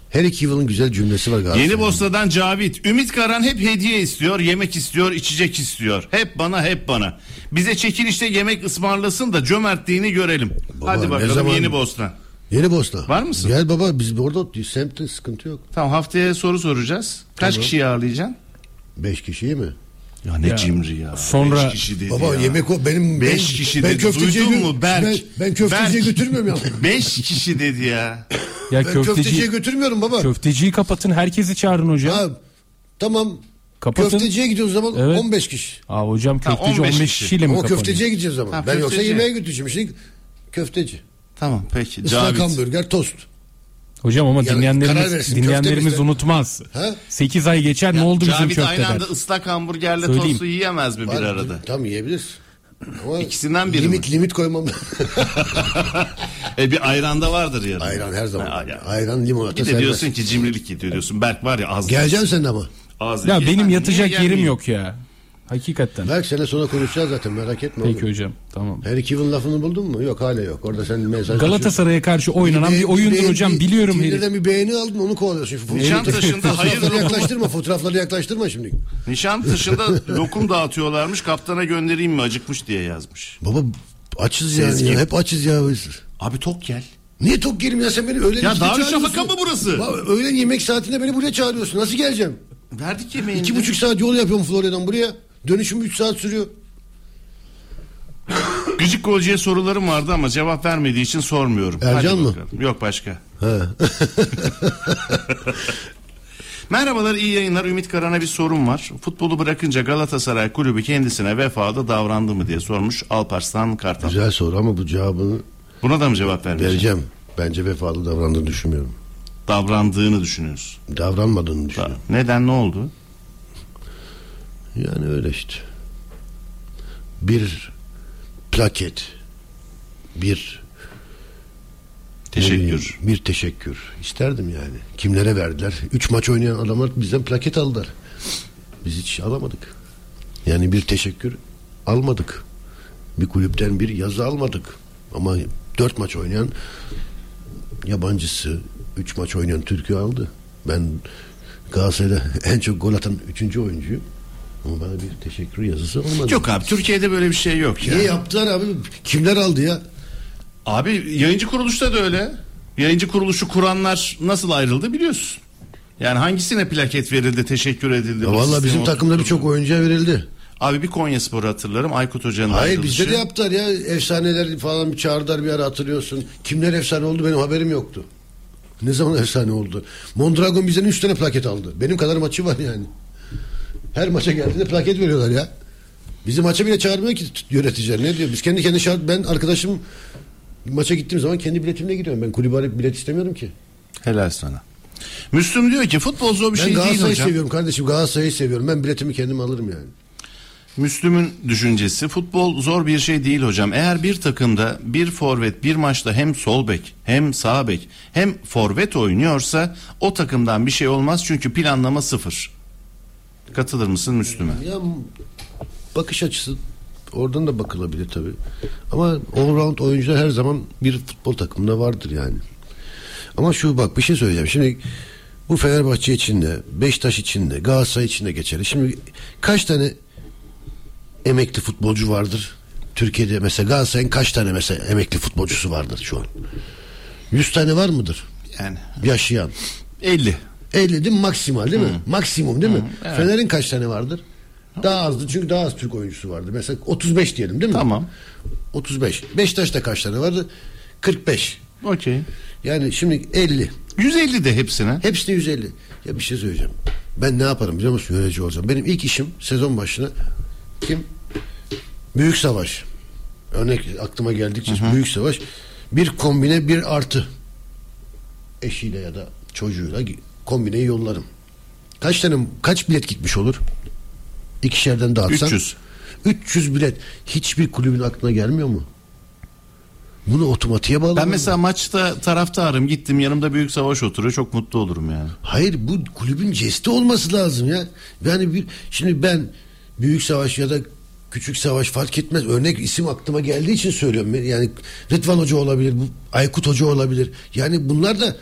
Speaker 6: Her iki yılın güzel cümlesi var galiba.
Speaker 5: Yeni Bosna'dan Cavit. Ümit Karan hep hediye istiyor, yemek istiyor, içecek istiyor. Hep bana, hep bana. Bize çekilişte yemek ısmarlasın da cömertliğini görelim.
Speaker 6: Baba,
Speaker 5: Hadi
Speaker 6: ne
Speaker 5: bakalım
Speaker 6: zaman-
Speaker 5: Yeni Bosna.
Speaker 6: Yeni Bosna.
Speaker 5: Var mısın?
Speaker 6: Gel baba biz orada semtte sıkıntı yok.
Speaker 5: Tamam haftaya soru soracağız. Kaç
Speaker 6: Tamam.
Speaker 5: kişiyi ağırlayacaksın?
Speaker 6: Beş kişiyi mi?
Speaker 5: Ya ne cimri ya. Sonra Beş kişi dedi
Speaker 6: Baba
Speaker 5: ya.
Speaker 6: yemek o benim
Speaker 5: Beş
Speaker 6: ben,
Speaker 5: kişi
Speaker 6: ben
Speaker 5: dedi.
Speaker 6: köfteciye
Speaker 5: Duydun
Speaker 6: gö-
Speaker 5: mu Berk?
Speaker 6: Ben, ben köfteciye
Speaker 5: Berk.
Speaker 6: götürmüyorum ya.
Speaker 5: Beş kişi dedi ya.
Speaker 4: Ya
Speaker 6: ben köfteciye götürmüyorum baba.
Speaker 4: Köfteciyi kapatın herkesi çağırın hocam.
Speaker 6: Ha, tamam.
Speaker 4: Kapatın.
Speaker 6: Köfteciye gidiyoruz o zaman
Speaker 4: Evet.
Speaker 6: 15 kişi.
Speaker 4: Aa, hocam
Speaker 5: Ha,
Speaker 4: köfteci
Speaker 5: 15
Speaker 4: 15,
Speaker 5: kişi.
Speaker 4: kişiyle mi
Speaker 6: Ama
Speaker 4: kapanıyor?
Speaker 6: köfteciye gideceğiz o zaman.
Speaker 5: Ha,
Speaker 6: ben yoksa
Speaker 5: köfteciye.
Speaker 6: yemeğe götüreceğim. Şimdi köfteci.
Speaker 5: Tamam peki.
Speaker 6: Islak
Speaker 5: Cavit.
Speaker 6: hamburger, tost.
Speaker 4: Hocam ama
Speaker 6: Yani karar
Speaker 4: dinleyenlerimiz
Speaker 6: versin,
Speaker 4: dinleyenlerimiz
Speaker 6: köftemizde.
Speaker 4: unutmaz.
Speaker 6: Ha?
Speaker 4: 8 ay geçer ne oldu bizim
Speaker 5: Cavit aynı
Speaker 4: köfteden?
Speaker 5: anda ıslak hamburgerle
Speaker 4: Söyleyeyim.
Speaker 5: tostu yiyemez mi bir
Speaker 6: Var,
Speaker 5: arada?
Speaker 6: Tamam yiyebilir. Ama
Speaker 5: İkisinden biri
Speaker 6: limit limit koymam.
Speaker 5: E bir ayran da vardır yani.
Speaker 6: Ayran her zaman.
Speaker 5: Ha, ya.
Speaker 6: Ayran limonata
Speaker 5: Bir de
Speaker 6: serbest.
Speaker 5: diyorsun ki cimrilik yediyor diyorsun. Berk var ya az.
Speaker 6: Geleceğim sen de ama.
Speaker 5: az
Speaker 4: Ya
Speaker 5: yedi.
Speaker 4: benim
Speaker 5: Niye
Speaker 4: yatacak yerim
Speaker 5: gelmeyeyim?
Speaker 4: yok ya. Hakikaten.
Speaker 6: Belki sene sonra konuşacağız zaten merak etme.
Speaker 4: Peki
Speaker 6: oğlum.
Speaker 4: hocam tamam.
Speaker 6: Her iki yılın lafını buldun mu? Yok hala yok. Orada sen mesaj
Speaker 4: Galatasaray'a karşı oynanan bir
Speaker 6: beğen-
Speaker 4: oyundur
Speaker 6: beğen-
Speaker 4: hocam
Speaker 6: bir-
Speaker 4: biliyorum herif.
Speaker 6: Twitter'dan bir beğeni aldın onu kovalıyorsun. Fotoğrafları-
Speaker 5: Nişantaşı'nda hayır
Speaker 6: Fotoğrafları
Speaker 5: lokum,
Speaker 6: yaklaştırma fotoğrafları yaklaştırma şimdi.
Speaker 5: Nişantaşı'nda lokum dağıtıyorlarmış. Kaptana göndereyim mi acıkmış diye yazmış.
Speaker 6: Baba açız yani
Speaker 5: Sezgin.
Speaker 6: ya. Hep açız ya. biz.
Speaker 5: Abi tok gel.
Speaker 6: Niye tok yerim ya sen beni öğlen
Speaker 5: Ya
Speaker 6: ikide
Speaker 5: Darüşşafaka
Speaker 6: çağırıyorsun.
Speaker 5: mı burası?
Speaker 6: Baba, öğlen yemek saatinde beni buraya çağırıyorsun. Nasıl geleceğim?
Speaker 5: Verdik yemeğini.
Speaker 6: İki buçuk saat yol yapıyorum Florya'dan buraya. Dönüşüm üç saat sürüyor.
Speaker 5: Gıcık golcüye sorularım vardı ama cevap vermediği için sormuyorum.
Speaker 6: Ercan
Speaker 5: Hadi
Speaker 6: mı?
Speaker 5: bakalım. Yok başka. Merhabalar iyi yayınlar Ümit Karan'a bir sorum var. Futbolu bırakınca Galatasaray kulübü kendisine vefalı davrandı mı diye sormuş Alparslan Kartal.
Speaker 6: Güzel soru ama bu cevabını
Speaker 5: Buna da mı cevap vermeyecek?
Speaker 6: vereceğim. Bence vefalı davrandığını düşünmüyorum.
Speaker 5: Davrandığını düşünüyoruz.
Speaker 6: Davranmadığını düşünüyorum.
Speaker 5: Neden ne oldu?
Speaker 6: Yani öyle işte. Bir plaket, bir ne bileyim,
Speaker 5: Teşekkür.
Speaker 6: bir teşekkür. İsterdim yani. Kimlere verdiler? Üç maç oynayan adamlar bizden plaket aldılar. Biz hiç alamadık. Yani bir teşekkür almadık. Bir kulüpten bir yazı almadık. Ama dört maç oynayan yabancısı, üç maç oynayan Türk'ü aldı. Ben Galatasaray'da en çok gol atan üçüncü oyuncuyum. Ama bana bir teşekkür yazısı olmadı.
Speaker 5: Yok abi Türkiye'de böyle bir şey yok ya.
Speaker 6: Niye yaptılar abi? Kimler aldı ya?
Speaker 5: Abi yayıncı kuruluşta da öyle. Yayıncı kuruluşu kuranlar nasıl ayrıldı biliyorsun. Yani hangisine plaket verildi, teşekkür edildi.
Speaker 6: Ya
Speaker 5: bu
Speaker 6: vallahi
Speaker 5: sistem
Speaker 6: bizim
Speaker 5: oturtuldu
Speaker 6: takımda
Speaker 5: mu?
Speaker 6: birçok oyuncuya verildi.
Speaker 5: Abi bir Konya Spor'u hatırlarım. Aykut Hoca'nın
Speaker 6: Hayır
Speaker 5: ayrılışı.
Speaker 6: bizde de yaptılar ya. Efsaneler falan bir çağırdılar bir ara hatırlıyorsun. Kimler efsane oldu benim haberim yoktu. Ne zaman efsane oldu? Mondragon bizden 3 tane plaket aldı. Benim kadar maçı var yani. Her maça geldiğinde plaket veriyorlar ya. Bizi maça bile çağırmıyor ki t- yöneticiler. Ne diyor? Biz kendi kendi şart ben arkadaşım maça gittiğim zaman kendi biletimle gidiyorum. Ben kulübe arayıp bilet istemiyorum ki.
Speaker 5: Helal sana. Müslüm diyor ki futbol zor bir
Speaker 6: Ben
Speaker 5: şey değil
Speaker 6: Galatasaray'ı
Speaker 5: hocam.
Speaker 6: seviyorum kardeşim. Galatasaray'ı seviyorum. Ben biletimi kendim alırım yani.
Speaker 5: Müslüm'ün düşüncesi futbol zor bir şey değil hocam. Eğer bir takımda bir forvet bir maçta hem sol bek hem sağ bek hem forvet oynuyorsa o takımdan bir şey olmaz çünkü planlama sıfır. Katılır mısın Müslüm'e?
Speaker 6: Ya bakış açısı oradan da bakılabilir tabii. Ama all-round oyuncular her zaman bir futbol takımında vardır yani. Ama şu bak bir şey söyleyeceğim. Şimdi bu Fenerbahçe için de, Beşiktaş için de, Galatasaray için de geçerli. Şimdi kaç tane emekli futbolcu vardır? Türkiye'de mesela Galatasaray'ın kaç tane mesela emekli futbolcusu vardır şu an? 100 tane var mıdır
Speaker 5: Yani
Speaker 6: yaşayan?
Speaker 5: 50.
Speaker 6: 50 değil mi? maksimal değil mi? Maksimum değil mi? Fener'in kaç tane vardır? Daha azdı çünkü daha az Türk oyuncusu vardı. Mesela 35 diyelim değil mi?
Speaker 5: Tamam.
Speaker 6: 35. Beşiktaş'ta kaç tane vardı? 45.
Speaker 5: Okey.
Speaker 6: Yani şimdi 50.
Speaker 5: 150 de hepsine.
Speaker 6: Hepsi de 150. Ya bir şey söyleyeceğim. Ben ne yaparım biliyor musun? Yönetici olacağım. Benim ilk işim sezon başına kim? Büyük savaş. Örnek aklıma geldikçe büyük savaş. Bir kombine bir artı. Eşiyle ya da çocuğuyla gi- kombineyi yollarım. Kaç tane kaç bilet gitmiş olur? İkişerden dağıtsan.
Speaker 5: 300.
Speaker 6: 300 bilet. Hiçbir kulübün aklına gelmiyor mu? Bunu otomatiğe bağlı.
Speaker 5: Ben mesela maçta taraftarım gittim yanımda büyük savaş oturuyor çok mutlu olurum yani.
Speaker 6: Hayır bu kulübün cesti olması lazım ya. Yani bir şimdi ben büyük savaş ya da küçük savaş fark etmez. Örnek isim aklıma geldiği için söylüyorum. Yani Rıdvan Hoca olabilir, bu Aykut Hoca olabilir. Yani bunlar da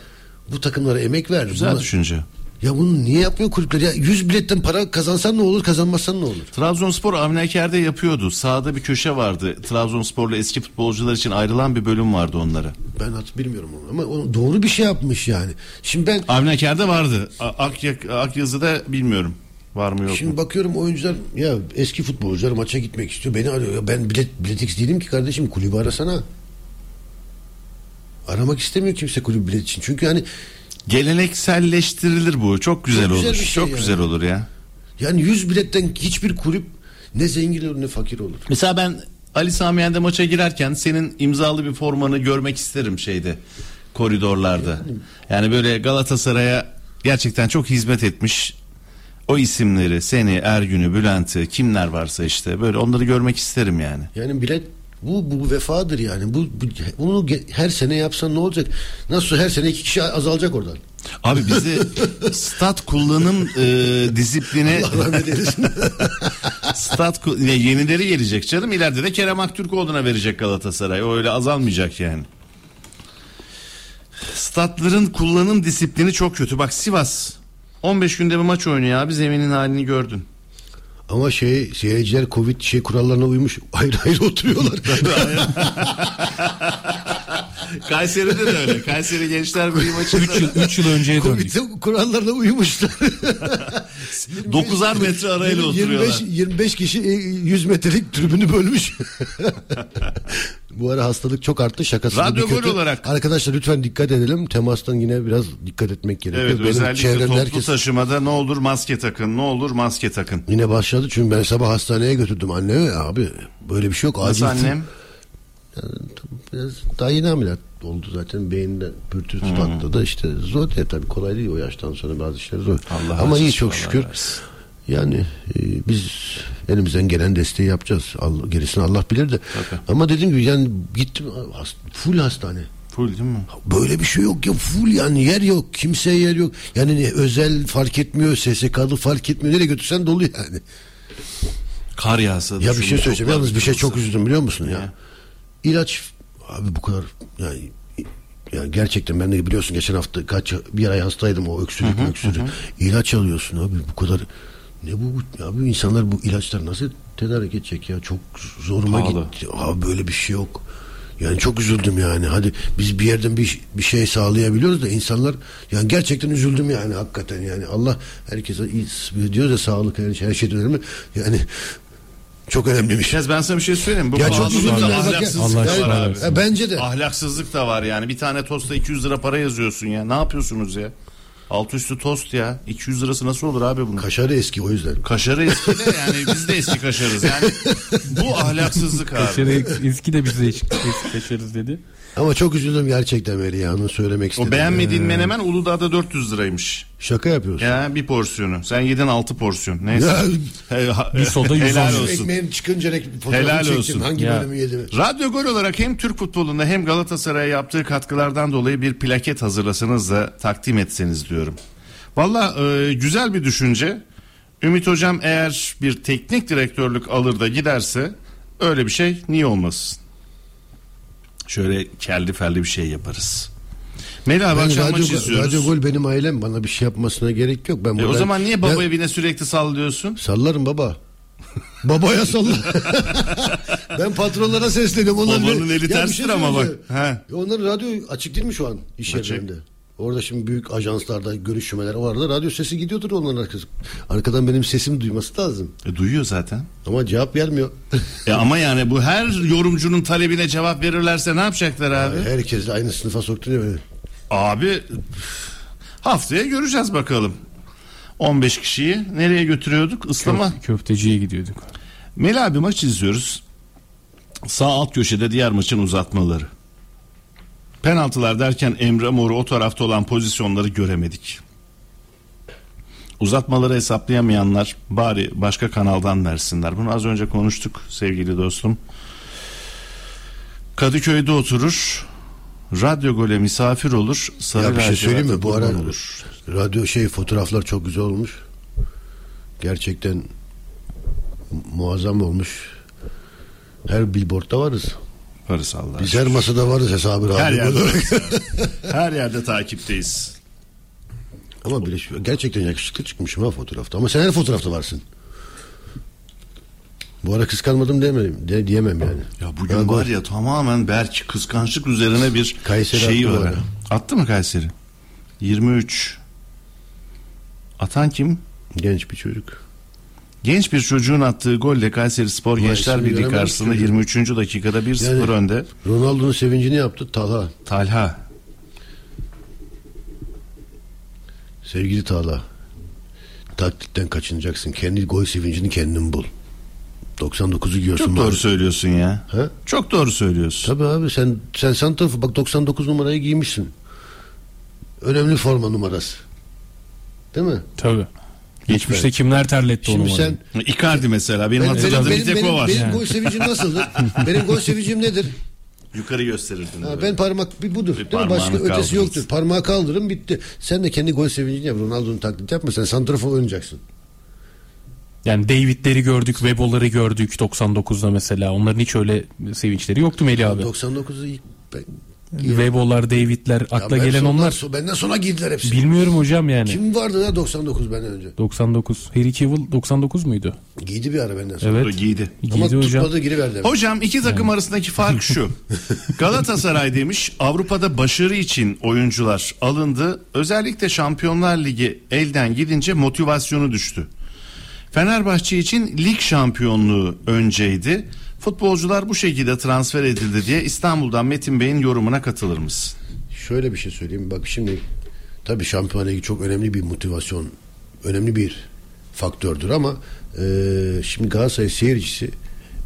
Speaker 6: Bu takımlara emek verdi.
Speaker 5: Güzel
Speaker 6: Buna-
Speaker 5: düşünce.
Speaker 6: Ya bunu niye yapmıyor kulüpler? Ya 100 biletten para kazansan ne olur kazanmazsan ne olur?
Speaker 5: Trabzonspor Avniaker'de yapıyordu. Sağda bir köşe vardı. Trabzonsporlu eski futbolcular için ayrılan bir bölüm vardı onlara.
Speaker 6: Ben hat bilmiyorum onu ama o doğru bir şey yapmış yani. Şimdi ben
Speaker 5: Avniaker'de vardı. A- Akyak, Akyazı'da bilmiyorum. Var mı yok
Speaker 6: Şimdi
Speaker 5: mu?
Speaker 6: bakıyorum oyuncular ya eski futbolcular maça gitmek istiyor. Beni arıyor. Ya ben bilet, biletix değilim ki kardeşim kulübü arasana. Aramak istemiyor kimse kulüp bilet için. Çünkü hani
Speaker 5: Gelenekselleştirilir bu. Çok güzel
Speaker 6: Çok
Speaker 5: olur.
Speaker 6: güzel bir şey
Speaker 5: Çok
Speaker 6: yani.
Speaker 5: güzel olur ya.
Speaker 6: yani 100 biletten hiçbir kulüp ne zengin olur ne fakir olur.
Speaker 5: Mesela ben Ali Sami Yen'de maça girerken senin imzalı bir formanı görmek isterim şeyde koridorlarda. Yani böyle Galatasaray'a gerçekten çok hizmet etmiş o isimleri seni Ergün'ü Bülent'i kimler varsa işte böyle onları görmek isterim yani.
Speaker 6: Yani bilet bu bu vefadır yani. Bu, bu bunu ge- her sene yapsan ne olacak? Nasıl her sene iki kişi azalacak oradan.
Speaker 5: Abi bizde stat kullanım e, disiplini stat ku- ya yenileri gelecek canım ileride de Kerem Aktürkoğlu'na verecek Galatasaray o öyle azalmayacak yani. Statların kullanım disiplini çok kötü. Bak Sivas 15 günde bir maç oynuyor abi zeminin halini gördün.
Speaker 6: Ama şey seyirciler Covid şey kurallarına uymuş. Ayrı ayrı oturuyorlar.
Speaker 5: Kayseri'de de öyle. Kayseri Gençler Birliği maçında. 3 yıl,
Speaker 4: üç yıl önceye
Speaker 5: döndük.
Speaker 6: Covid kurallarına uymuşlar.
Speaker 5: 9'ar metre arayla oturuyorlar.
Speaker 6: 25, 25 kişi e, 100 metrelik tribünü bölmüş. Bu ara hastalık çok arttı şakası da bir
Speaker 5: Radyo
Speaker 6: kötü.
Speaker 5: gol olarak.
Speaker 6: Arkadaşlar lütfen dikkat edelim. Temastan yine biraz dikkat etmek gerekiyor.
Speaker 5: Evet özellikle
Speaker 6: çevremde
Speaker 5: toplu taşımada ne olur maske takın ne olur maske takın.
Speaker 6: Yine başladı çünkü ben sabah hastaneye götürdüm annemi abi. Böyle bir şey yok.
Speaker 5: Nasıl
Speaker 6: Acil-
Speaker 5: annem?
Speaker 6: Biraz daha yeni ameliyat oldu zaten. Beyinde pürtüz patladı. işte zor değil tabii kolay değil o yaştan sonra bazı işler zor.
Speaker 5: Allah
Speaker 6: Ama
Speaker 5: acil
Speaker 6: iyi çok
Speaker 5: şifalar
Speaker 6: şükür.
Speaker 5: versin.
Speaker 6: Yani e, biz elimizden gelen desteği yapacağız. Allah, gerisini Allah bilir de.
Speaker 5: Tabii.
Speaker 6: Ama dediğim gibi yani gittim hast- full hastane.
Speaker 5: Full değil mi?
Speaker 6: Böyle bir şey yok ya full yani yer yok. Kimseye yer yok. Yani ne, özel fark etmiyor. SSK'lı fark etmiyor. Nereye götürsen dolu yani.
Speaker 5: Kar yağsa. da
Speaker 6: Ya bir
Speaker 5: şunu
Speaker 6: şey söyleyeceğim.
Speaker 5: toplar
Speaker 6: Yalnız bir şey
Speaker 5: götürürsen.
Speaker 6: çok üzüldüm biliyor musun ya? İlaç abi bu kadar yani yani gerçekten ben de biliyorsun geçen hafta kaç bir ay hastaydım o öksürük öksürük. İlaç alıyorsun abi bu kadar ne bu abi insanlar bu ilaçlar nasıl tedarik edecek ya çok zoruma
Speaker 5: Pahalı.
Speaker 6: gitti. Abi böyle bir şey yok. Yani çok üzüldüm yani. Hadi biz bir yerden bir, bir şey sağlayabiliyoruz da insanlar yani gerçekten üzüldüm yani hakikaten yani. Allah herkese iyi diyoruz ya sağlık her şey, her şeyden önemli. Yani çok önemli bir şey.
Speaker 5: Biraz ben sana bir şey söyleyeyim. mi? Bu
Speaker 6: Ya çok
Speaker 5: pahalılıkta
Speaker 6: üzüldüm ya, bak ya.
Speaker 5: ahlaksızlık
Speaker 6: Allah
Speaker 5: da
Speaker 6: aşkına
Speaker 5: var abi.
Speaker 6: ya, bence de.
Speaker 5: Ahlaksızlık da var yani. Bir tane tosta 200 lira para yazıyorsun ya. Ne yapıyorsunuz ya? Altı üstü tost ya. 200 lirası nasıl olur abi bunun?
Speaker 6: Kaşarı eski o yüzden.
Speaker 5: Kaşarı eski de yani biz de eski kaşarız yani. Bu ahlaksızlık abi.
Speaker 4: Kaşarı eski de bize eski kaşarız dedi.
Speaker 6: Ama çok üzüldüm gerçekten Meriyan'ın söylemek
Speaker 5: O
Speaker 6: istedim.
Speaker 4: Ee,
Speaker 5: beğenmediğin menemen Uludağ'da 400 liraymış.
Speaker 6: Şaka yapıyorsun.
Speaker 5: Ya bir porsiyonu. Sen yedin 6 porsiyon. Neyse.
Speaker 4: Bir soda yüz
Speaker 5: Helal
Speaker 4: olsun.
Speaker 5: olsun.
Speaker 6: Ekmeğin çıkınca rek- fotoğrafını
Speaker 5: Helal
Speaker 6: çektim.
Speaker 5: olsun.
Speaker 6: Hangi
Speaker 4: Ya.
Speaker 6: bölümü yediğimi.
Speaker 5: Radyo Gol olarak hem Türk futbolunda hem Galatasaray'a yaptığı katkılardan dolayı bir plaket hazırlasanız da takdim etseniz diyorum. Valla e, güzel bir düşünce. Ümit Hocam eğer bir teknik direktörlük alır da giderse öyle bir şey niye olmasın? Şöyle kelli felli bir şey yaparız. Melih abi
Speaker 6: Ben
Speaker 5: akşam maç
Speaker 6: radyo, Gol-
Speaker 5: izliyoruz.
Speaker 6: radyo gol benim ailem bana bir şey yapmasına gerek yok. Ben
Speaker 5: E, o
Speaker 6: buradan-
Speaker 5: zaman niye baba
Speaker 6: Ben-
Speaker 5: evine sürekli sallıyorsun?
Speaker 6: Sallarım baba. Babaya sallar. ben patronlara sesleniyorum. Onlar
Speaker 5: Babanın eli
Speaker 6: ne- Ya bir şey
Speaker 5: terstir ama
Speaker 6: söyleyeceğim.
Speaker 5: bak. Ha.
Speaker 6: Ya Onların radyo açık değil mi şu an iş
Speaker 5: Açık.
Speaker 6: yerlerinde? Orada şimdi büyük ajanslarda görüşmeler var da radyo sesi gidiyordur onların arkası. Arkadan benim sesim duyması lazım.
Speaker 5: E, duyuyor zaten.
Speaker 6: Ama cevap vermiyor.
Speaker 5: E, ama yani bu her yorumcunun talebine cevap verirlerse ne yapacaklar abi?
Speaker 6: Herkes de aynı sınıfa soktu diye böyle.
Speaker 5: Abi haftaya göreceğiz bakalım. 15 kişiyi nereye götürüyorduk? Islama.
Speaker 4: Köfteciye gidiyorduk.
Speaker 5: Melih abi maç izliyoruz. Sağ alt köşede diğer maçın uzatmaları. Penaltılar derken Emre Mor'u o tarafta olan pozisyonları göremedik. Uzatmaları hesaplayamayanlar bari başka kanaldan versinler. Bunu az önce konuştuk sevgili dostum. Kadıköy'de oturur. Radyo gole misafir olur. Sarı
Speaker 6: Ya bir şey
Speaker 5: lacivert'e
Speaker 6: söyleyeyim mi? Bu ara
Speaker 5: kurban olur.
Speaker 6: radyo şey fotoğraflar çok güzel olmuş. Gerçekten mu- muazzam olmuş. Her billboardda varız.
Speaker 5: Parası Allah'a
Speaker 6: Biz her masada varız hesabı
Speaker 5: Her
Speaker 6: radyo
Speaker 5: yerde.
Speaker 6: olarak.
Speaker 5: Her yerde takipteyiz.
Speaker 6: Ama bile şu- gerçekten yakışıklı çıkmışım ha fotoğrafta. Ama sen her fotoğrafta varsın. Bu ara kıskanmadım demedim, de, diyemem yani.
Speaker 5: Ya bugün var ya tamamen belki kıskançlık üzerine bir
Speaker 6: Kayseri
Speaker 5: şeyi
Speaker 6: attı bu
Speaker 5: var.
Speaker 6: arada.
Speaker 5: Attı mı Kayseri? 23. Atan kim?
Speaker 6: Genç bir çocuk.
Speaker 5: Genç bir çocuğun attığı golle Kayseri Spor
Speaker 6: Ulan
Speaker 5: Gençler
Speaker 6: ismini
Speaker 5: Birliği
Speaker 6: göremedim
Speaker 5: karşısında
Speaker 6: çocuğu.
Speaker 5: 23. dakikada 1-0
Speaker 6: Yani-
Speaker 5: önde.
Speaker 6: Ronaldo'nun sevincini yaptı Talha.
Speaker 5: Talha.
Speaker 6: Sevgili Talha. Taktikten kaçınacaksın. Kendi gol sevincini kendin bul. 99'u giyiyorsun.
Speaker 5: Çok
Speaker 6: bari.
Speaker 5: doğru söylüyorsun ya.
Speaker 6: Ha?
Speaker 5: Çok doğru söylüyorsun.
Speaker 6: Tabii abi sen sen santrafor bak 99 numarayı giymişsin. Önemli forma numarası. Değil mi?
Speaker 4: Tabii. Geçmişte kimler terletti onu?
Speaker 6: Şimdi sen-
Speaker 5: Icardi mesela benim
Speaker 6: Benim-
Speaker 5: hatırladığım
Speaker 6: benim-
Speaker 5: bir tek
Speaker 6: benim-
Speaker 5: o var.
Speaker 6: benim gol sevincim nasıldır? Benim gol sevincim nedir?
Speaker 5: Yukarı gösterirdin.
Speaker 6: Ha,
Speaker 5: böyle.
Speaker 6: ben parmak bir budur. değil mi?
Speaker 5: parmağını
Speaker 6: Başka
Speaker 5: kaldırırız.
Speaker 6: ötesi yoktur. Parmağı kaldırın bitti. Sen de kendi gol sevincini yap. Ronaldo'nun taklidi yapma. Sen santrafor oynayacaksın.
Speaker 4: Yani David'leri gördük, Webo'ları gördük 99'da mesela. Onların hiç öyle sevinçleri yoktu Melih abi.
Speaker 6: 99'u ilk ben,
Speaker 4: Webo'lar, David'ler akla
Speaker 6: ben
Speaker 4: gelen
Speaker 6: sondan-
Speaker 4: onlar.
Speaker 6: so- benden sonra girdiler hepsi.
Speaker 4: Bilmiyorum hocam yani.
Speaker 6: Kim vardı ya 99 benden önce?
Speaker 4: 99. Harry Cavill 99 muydu?
Speaker 6: Giydi bir ara benden sonra.
Speaker 4: Evet.
Speaker 5: Giydi.
Speaker 6: Ama
Speaker 4: Giydi hocam.
Speaker 6: tutmadı giriverdi. hemen.
Speaker 5: Hocam iki takım arasındaki fark şu. Galatasaray demiş Avrupa'da başarı için oyuncular alındı. Özellikle Şampiyonlar Ligi elden gidince motivasyonu düştü. Fenerbahçe için lig şampiyonluğu önceydi. Futbolcular bu şekilde transfer edildi diye İstanbul'dan Metin Bey'in yorumuna katılır mısın?
Speaker 6: Şöyle bir şey söyleyeyim. Bak şimdi tabii Şampiyon Ligi çok önemli bir motivasyon, önemli bir faktördür ama e, şimdi Galatasaray seyircisi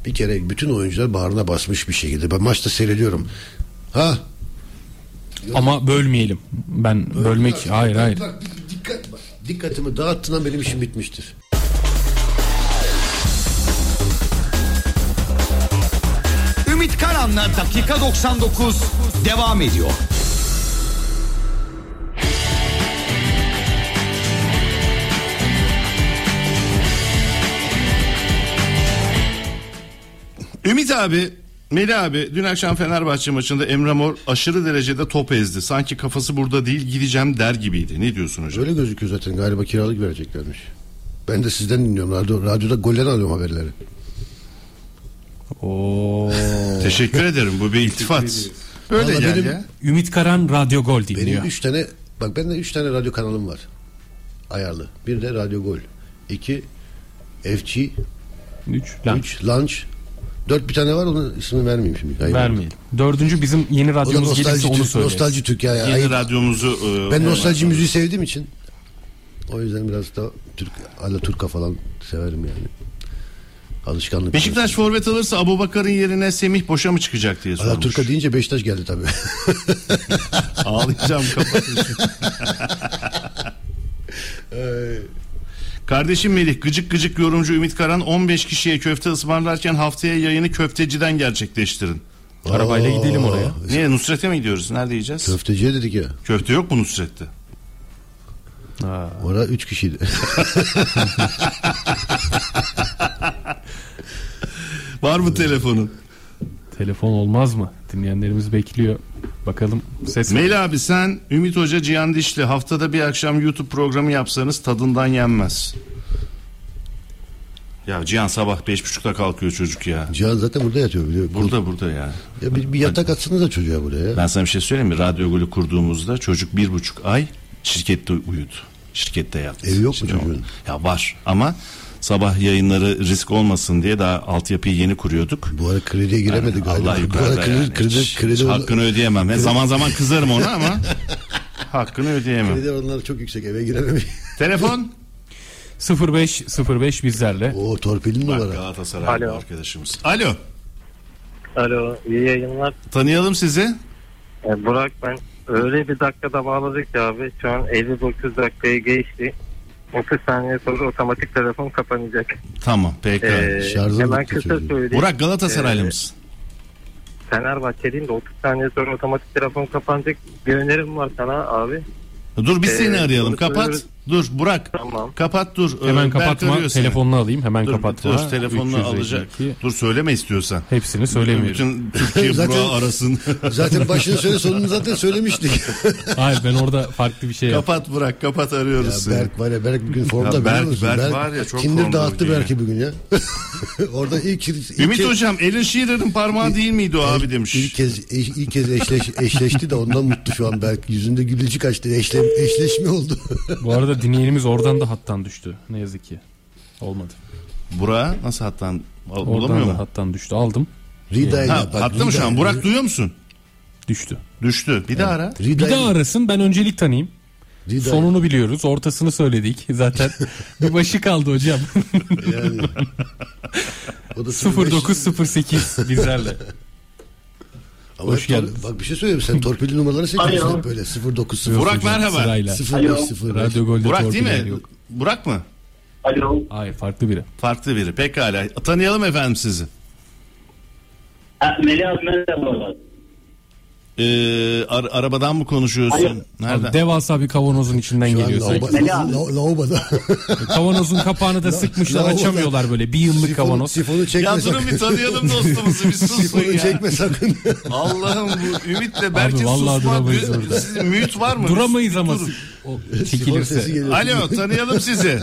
Speaker 6: bir kere bütün oyuncular bağrına basmış bir şekilde. Ben maçta seyrediyorum. Ha
Speaker 4: Ama bölmeyelim. Ben bölmek hayır hayır.
Speaker 6: Bak, dikkat, bak, dikkatimi dağıttığından benim işim bitmiştir.
Speaker 2: Ümit Karan'la dakika 99 devam ediyor.
Speaker 5: Ümit abi, Melih abi dün akşam Fenerbahçe maçında Emre Mor aşırı derecede top ezdi. Sanki kafası burada değil gideceğim der gibiydi. Ne diyorsun hocam?
Speaker 6: Öyle gözüküyor zaten galiba kiralık vereceklermiş. Ben de sizden dinliyorum. Radyo, radyoda golleri alıyorum haberleri.
Speaker 5: Teşekkür ederim bu bir iltifat. Böyle
Speaker 6: Vallahi
Speaker 5: gel
Speaker 6: benim-
Speaker 5: ya.
Speaker 4: Ümit Karan Radyo Gol dinliyor.
Speaker 6: Benim 3 tane bak bende 3 tane radyo kanalım var. Ayarlı. Bir de Radyo Gol. 2 FC
Speaker 4: 3.
Speaker 6: 3 Lunch. 4 bir tane var onun ismini vermeyeyim şimdi. Hayır.
Speaker 4: Vermeyelim. Dördüncü bizim yeni
Speaker 6: O da
Speaker 4: radyomuz
Speaker 6: nostalji
Speaker 4: gelirse onu
Speaker 6: Türk,
Speaker 4: söyleriz.
Speaker 6: nostalji Türk ya. ya.
Speaker 5: Yeni
Speaker 6: Hayır.
Speaker 5: radyomuzu e,
Speaker 6: Ben
Speaker 5: hemen-
Speaker 6: nostalji müziği sevdiğim için o yüzden biraz da Türk ala Turka falan severim yani. Alışkanlık.
Speaker 5: Beşiktaş forvet alırsa Abubakar'ın yerine Semih Boşa mı çıkacak diye
Speaker 6: Ala
Speaker 5: sormuş.
Speaker 6: Turka deyince Beşiktaş geldi tabii.
Speaker 5: Ağlayacağım kapatın. şunu. Kardeşim Melih gıcık gıcık yorumcu Ümit Karan 15 kişiye köfte ısmarlarken haftaya yayını köfteciden gerçekleştirin.
Speaker 4: Arabayla
Speaker 6: Aa,
Speaker 4: gidelim oraya.
Speaker 5: Niye Nusret'e mi gidiyoruz? Nerede yiyeceğiz?
Speaker 6: Köfteciye dedik ya.
Speaker 5: Köfte yok mu Nusret'te?
Speaker 6: Orada 3 kişiydi.
Speaker 5: Var mı telefonun?
Speaker 4: Telefon olmaz mı? Dinleyenlerimiz bekliyor. Bakalım ses
Speaker 5: Mel abi sen Ümit Hoca Cihan Dişli haftada bir akşam YouTube programı yapsanız tadından yenmez. Ya Cihan sabah beş buçukta kalkıyor çocuk ya.
Speaker 6: Cihan zaten burada yatıyor biliyor. musun?
Speaker 5: Burada burada ya.
Speaker 6: Ya bir, bir yatak atsanıza çocuğa buraya. ya.
Speaker 5: Ben sana bir şey söyleyeyim mi? Radyo golü kurduğumuzda çocuk bir buçuk ay şirkette uyudu. Şirkette yattı.
Speaker 6: Evi yok mu
Speaker 5: Şimdi o-
Speaker 6: çocuğun?
Speaker 5: Ya var ama sabah yayınları risk olmasın diye daha altyapıyı yeni kuruyorduk.
Speaker 6: Bu ara krediye giremedi galiba.
Speaker 5: Allah
Speaker 6: Bu ara
Speaker 5: yukarıda
Speaker 6: kredi,
Speaker 5: yani.
Speaker 6: kredi,
Speaker 5: Hiç-
Speaker 6: kredi,
Speaker 5: hiç hakkını ödeyemem. Ben zaman zaman kızarım ona ama hakkını ödeyemem.
Speaker 6: kredi oranları çok yüksek eve girememiş.
Speaker 5: Telefon.
Speaker 4: 05 05 bizlerle.
Speaker 6: Oo torpilin
Speaker 5: Bak
Speaker 6: numara.
Speaker 5: Galatasaraylı
Speaker 11: Alo.
Speaker 5: arkadaşımız. Alo.
Speaker 11: Alo iyi yayınlar.
Speaker 5: Tanıyalım sizi.
Speaker 11: E, Burak ben öyle bir dakikada bağladık ki abi şu an 59 dakikaya geçti. 30 saniye sonra otomatik telefon kapanacak.
Speaker 5: Tamam peki.
Speaker 11: E,
Speaker 6: şarjı
Speaker 11: hemen
Speaker 6: bitti
Speaker 11: kısa
Speaker 6: çocuğun.
Speaker 11: söyleyeyim.
Speaker 5: Burak Galatasaraylı
Speaker 11: Ee,
Speaker 5: mısın?
Speaker 11: Fenerbahçeliyim de 30 saniye sonra otomatik telefon kapanacak. Bir önerim var sana abi.
Speaker 5: Dur biz
Speaker 11: e,
Speaker 5: seni arayalım.
Speaker 11: konuşuyoruz.
Speaker 5: Kapat. Dur Burak. Kapat dur. Ee,
Speaker 4: Hemen
Speaker 5: Berk
Speaker 4: kapatma
Speaker 5: arıyor seni.
Speaker 4: telefonunu alayım hemen
Speaker 5: Dur,
Speaker 4: kapatma.
Speaker 5: Dur telefonunu
Speaker 4: 352.
Speaker 5: alacak. Dur söyleme istiyorsan.
Speaker 4: Hepsini söylemiyorum.
Speaker 5: Bütün Türkiye
Speaker 4: Zaten-
Speaker 5: Burak'ı arasın.
Speaker 4: zaten başını söyle, sonunu
Speaker 6: zaten söylemiştik.
Speaker 4: Hayır ben orada farklı bir şey yap-
Speaker 5: kapat Burak kapat arıyoruz
Speaker 6: Ya
Speaker 5: seni.
Speaker 6: Berk var ya Berk bugün formda
Speaker 5: Ya
Speaker 6: biliyor
Speaker 5: Berk-
Speaker 6: musun?
Speaker 5: Berk var ya, çok
Speaker 6: Tinder
Speaker 5: formda
Speaker 6: dağıttı
Speaker 5: bugün
Speaker 6: Berk'i bugün ya. Orada ilk, ilk
Speaker 5: Ümit hocam Alan Shearer'ın parmağı değil miydi o abi demiş.
Speaker 6: İlk kez ilk, ilk kez eşleş, eşleşti de ondan mutlu şu an Berk. Yüzünde gülücük açtı. Eşle, eşleşme oldu.
Speaker 4: Bu arada dinleyenimiz oradan da hattan düştü. Ne yazık ki. Olmadı.
Speaker 5: Burak'a nasıl hattan al-
Speaker 4: Oradan
Speaker 5: bulamıyor
Speaker 4: da
Speaker 5: mu?
Speaker 4: hattan düştü. Aldım.
Speaker 6: Rida'yı
Speaker 5: Ha,
Speaker 6: yap bak,
Speaker 5: hatta mı şu an?
Speaker 6: Rida'yı-
Speaker 5: Burak duyuyor musun?
Speaker 4: Düştü.
Speaker 5: Düştü. Bir daha ara.
Speaker 4: Bir daha arasın ben öncelik tanıyayım.
Speaker 6: Rida'yı-
Speaker 4: Sonunu biliyoruz. Ortasını söyledik. Zaten bir başı kaldı hocam.
Speaker 6: Yani. O da
Speaker 4: 0908 bizlerle.
Speaker 6: Ama
Speaker 4: Hoş
Speaker 6: hep
Speaker 4: geldin.
Speaker 6: tor- Bak bir şey söyleyeyim sen torpilli numaraları seçiyorsun
Speaker 5: Alo.
Speaker 6: hep böyle 09
Speaker 5: Burak merhaba.
Speaker 4: Sırayla.
Speaker 6: 05
Speaker 4: Radyo Gol'de
Speaker 5: Burak değil
Speaker 4: torpil
Speaker 5: mi?
Speaker 4: yok.
Speaker 5: Burak mı?
Speaker 10: Alo.
Speaker 4: Hayır farklı biri.
Speaker 5: Farklı biri. Pekala. Tanıyalım efendim sizi.
Speaker 10: Ha, Melih merhaba.
Speaker 5: Ee, ar- arabadan mı konuşuyorsun?
Speaker 10: Hayır.
Speaker 5: Nereden?
Speaker 4: Abi, devasa bir kavanozun içinden geliyor sanki.
Speaker 6: Lavabada.
Speaker 4: Kavanozun kapağını da sıkmışlar
Speaker 6: lavabo-
Speaker 4: açamıyorlar böyle. Bir yıllık kavanoz.
Speaker 6: Sifonu çekme
Speaker 5: ya durun
Speaker 6: sakın.
Speaker 5: bir tanıyalım dostumuzu bir susun
Speaker 6: Sifonu
Speaker 5: ya.
Speaker 6: çekme sakın.
Speaker 5: Allah'ım bu Ümit'le
Speaker 4: Abi
Speaker 5: Berk'in susma.
Speaker 4: vallahi duramayız
Speaker 5: Mü-
Speaker 4: orada.
Speaker 5: Sizin mute var mı?
Speaker 4: Duramayız
Speaker 5: Biz-
Speaker 4: ama
Speaker 5: durun.
Speaker 4: o
Speaker 6: Sifon sesi
Speaker 4: çekilirse.
Speaker 6: geliyor.
Speaker 5: Alo tanıyalım sizi.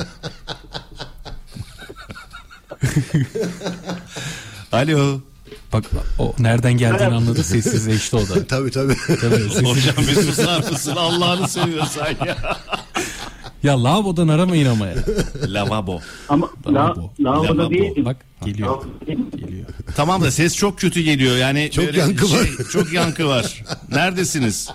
Speaker 5: Alo.
Speaker 4: Bak o nereden geldiğini anladı sessizleşti o da.
Speaker 6: tabii tabii.
Speaker 4: Tabii, sessiz-
Speaker 5: Hocam bir susar mısın? Allah'ını seviyorsan ya.
Speaker 4: ya lavabodan aramayın ama ya.
Speaker 5: Lavabo.
Speaker 10: Ama
Speaker 4: Lavabo.
Speaker 10: lavaboda değil.
Speaker 4: Bak geliyor. geliyor.
Speaker 5: Tamam da ses çok kötü geliyor yani.
Speaker 6: Çok
Speaker 5: böyle şey,
Speaker 6: yankı var.
Speaker 5: Çok yankı var. Neredesiniz?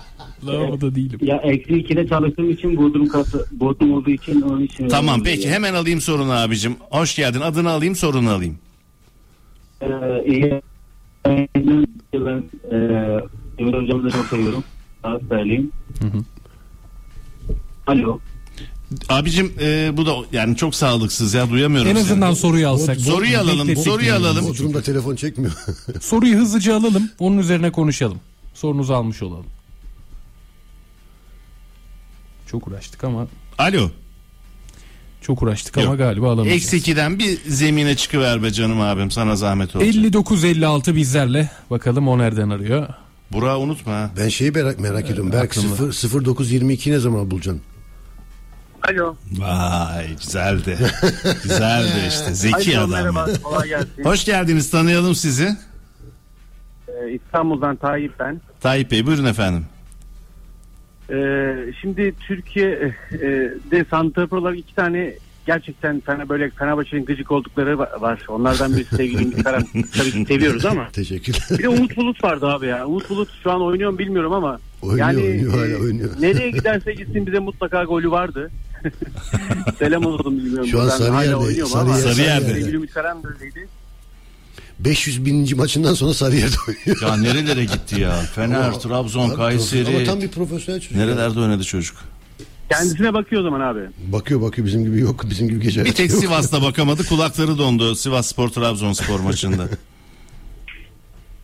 Speaker 4: Lavaboda değilim.
Speaker 10: Ya eksi 2'de çalıştığım için Bodrum katı, Bodrum olduğu için onun için.
Speaker 5: Tamam peki hemen alayım sorunu abicim. Hoş geldin adını alayım sorunu alayım.
Speaker 10: Ee, iyi. Ben, ben e, Emir hocamı da çok seviyorum. Galatasaraylıyım. Alo.
Speaker 5: Abicim e, bu da yani çok sağlıksız ya duyamıyorum.
Speaker 4: En
Speaker 5: seni.
Speaker 4: azından soruyu alsak.
Speaker 5: Soruyu alalım,
Speaker 4: Beklettik
Speaker 5: soruyu
Speaker 4: yani.
Speaker 5: alalım.
Speaker 6: Bodrum'da telefon çekmiyor.
Speaker 4: Soruyu hızlıca alalım. Onun üzerine konuşalım. Sorunuzu almış olalım. Çok uğraştık ama
Speaker 5: Alo.
Speaker 4: çok uğraştık ama
Speaker 5: Yok.
Speaker 4: galiba alamayacağız.
Speaker 5: Eksi ikiden bir zemine çıkıver be canım abim sana zahmet olsun.
Speaker 4: 59-56 bizlerle. Bakalım o nereden arıyor.
Speaker 5: Burak'ı unutma ha.
Speaker 6: Ben şeyi merak, merak ediyorum. Berk 0, 0922 ne zaman bulacaksın?
Speaker 11: E, Alo.
Speaker 5: Vay güzeldi. güzeldi işte zeki
Speaker 11: Alo,
Speaker 5: adam. ya.
Speaker 11: merhaba. Kolay gelsin.
Speaker 5: Hoş geldiniz tanıyalım sizi.
Speaker 11: Ee, İstanbul'dan Tayyip ben.
Speaker 5: Tayyip Bey buyurun efendim.
Speaker 11: Ee, şimdi Türkiye'de santrafor olarak iki tane gerçekten sana böyle Fenerbahçe'nin gıcık oldukları va- var. Onlardan birisi sevgili Ümit Karan. Tabii ki seviyoruz ama.
Speaker 6: Teşekkürler.
Speaker 11: Bir de Umut Bulut vardı abi ya. Umut Bulut şu an oynuyor mu bilmiyorum ama.
Speaker 6: Oynuyor,
Speaker 11: yani
Speaker 6: oynuyor, hala
Speaker 11: e,
Speaker 6: oynuyor.
Speaker 11: nereye giderse gitsin bize mutlaka golü vardı. Selam olsun bilmiyorum.
Speaker 6: Şu an
Speaker 11: buradan.
Speaker 6: Sarıyer'de,
Speaker 11: Hala oynuyor mu ama
Speaker 6: Sarıyer-
Speaker 5: Sarıyer'de.
Speaker 11: Sevgili Ümit Karan böyleydi.
Speaker 6: 500 bininci maçından sonra Sarıyer'de oynuyor.
Speaker 5: Ya nerelere gitti ya? Fener,
Speaker 6: Ama-
Speaker 5: Trabzon,
Speaker 6: Abi, Ama tam
Speaker 5: Kayseri.
Speaker 6: bir profesyonel çocuk.
Speaker 5: Nerelerde oynadı çocuk?
Speaker 11: Kendisine bakıyor o zaman abi.
Speaker 6: Bakıyor bakıyor bizim gibi yok. Bizim gibi gece.
Speaker 5: Bir tek
Speaker 6: yok.
Speaker 5: Sivas'ta bakamadı kulakları dondu Sivas Spor Trabzonspor maçında.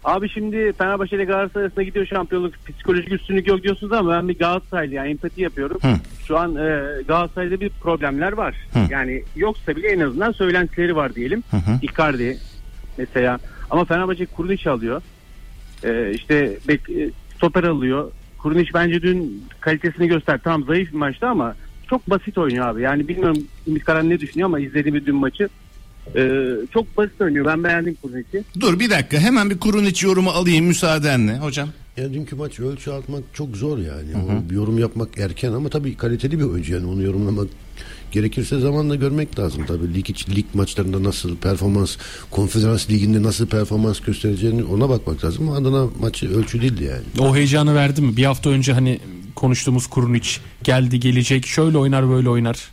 Speaker 11: Abi şimdi Fenerbahçe ile Galatasaray arasında gidiyor şampiyonluk psikolojik üstünlük yok diyorsunuz ama ben bir Galatasaraylı yani empati yapıyorum.
Speaker 5: Hı.
Speaker 11: Şu an e, Galatasaray'da bir problemler var.
Speaker 5: Hı.
Speaker 11: Yani yoksa bile en azından söylentileri var diyelim.
Speaker 5: Hı hı.
Speaker 11: Icardi mesela ama Fenerbahçe Kurniş alıyor. E, işte bek, e, stoper alıyor. Kurniş bence dün kalitesini göster. Tam zayıf bir maçtı ama çok basit oynuyor abi. Yani bilmiyorum Ümit Karan ne düşünüyor ama izlediğim dün maçı e, çok basit oynuyor. Ben beğendim Kurniç'i.
Speaker 5: Dur bir dakika hemen bir kurun iç yorumu alayım müsaadenle hocam.
Speaker 6: Ya dünkü maç ölçü atmak çok zor yani. O yorum yapmak erken ama tabii kaliteli bir oyuncu yani onu yorumlamak gerekirse zamanla görmek lazım. Tabii lig, iç- lig maçlarında nasıl performans, konferans liginde nasıl performans göstereceğini ona bakmak lazım. Ama Adana maçı ölçü değildi yani.
Speaker 4: O heyecanı verdi mi? Bir hafta önce hani konuştuğumuz Kurunic geldi gelecek şöyle oynar böyle oynar.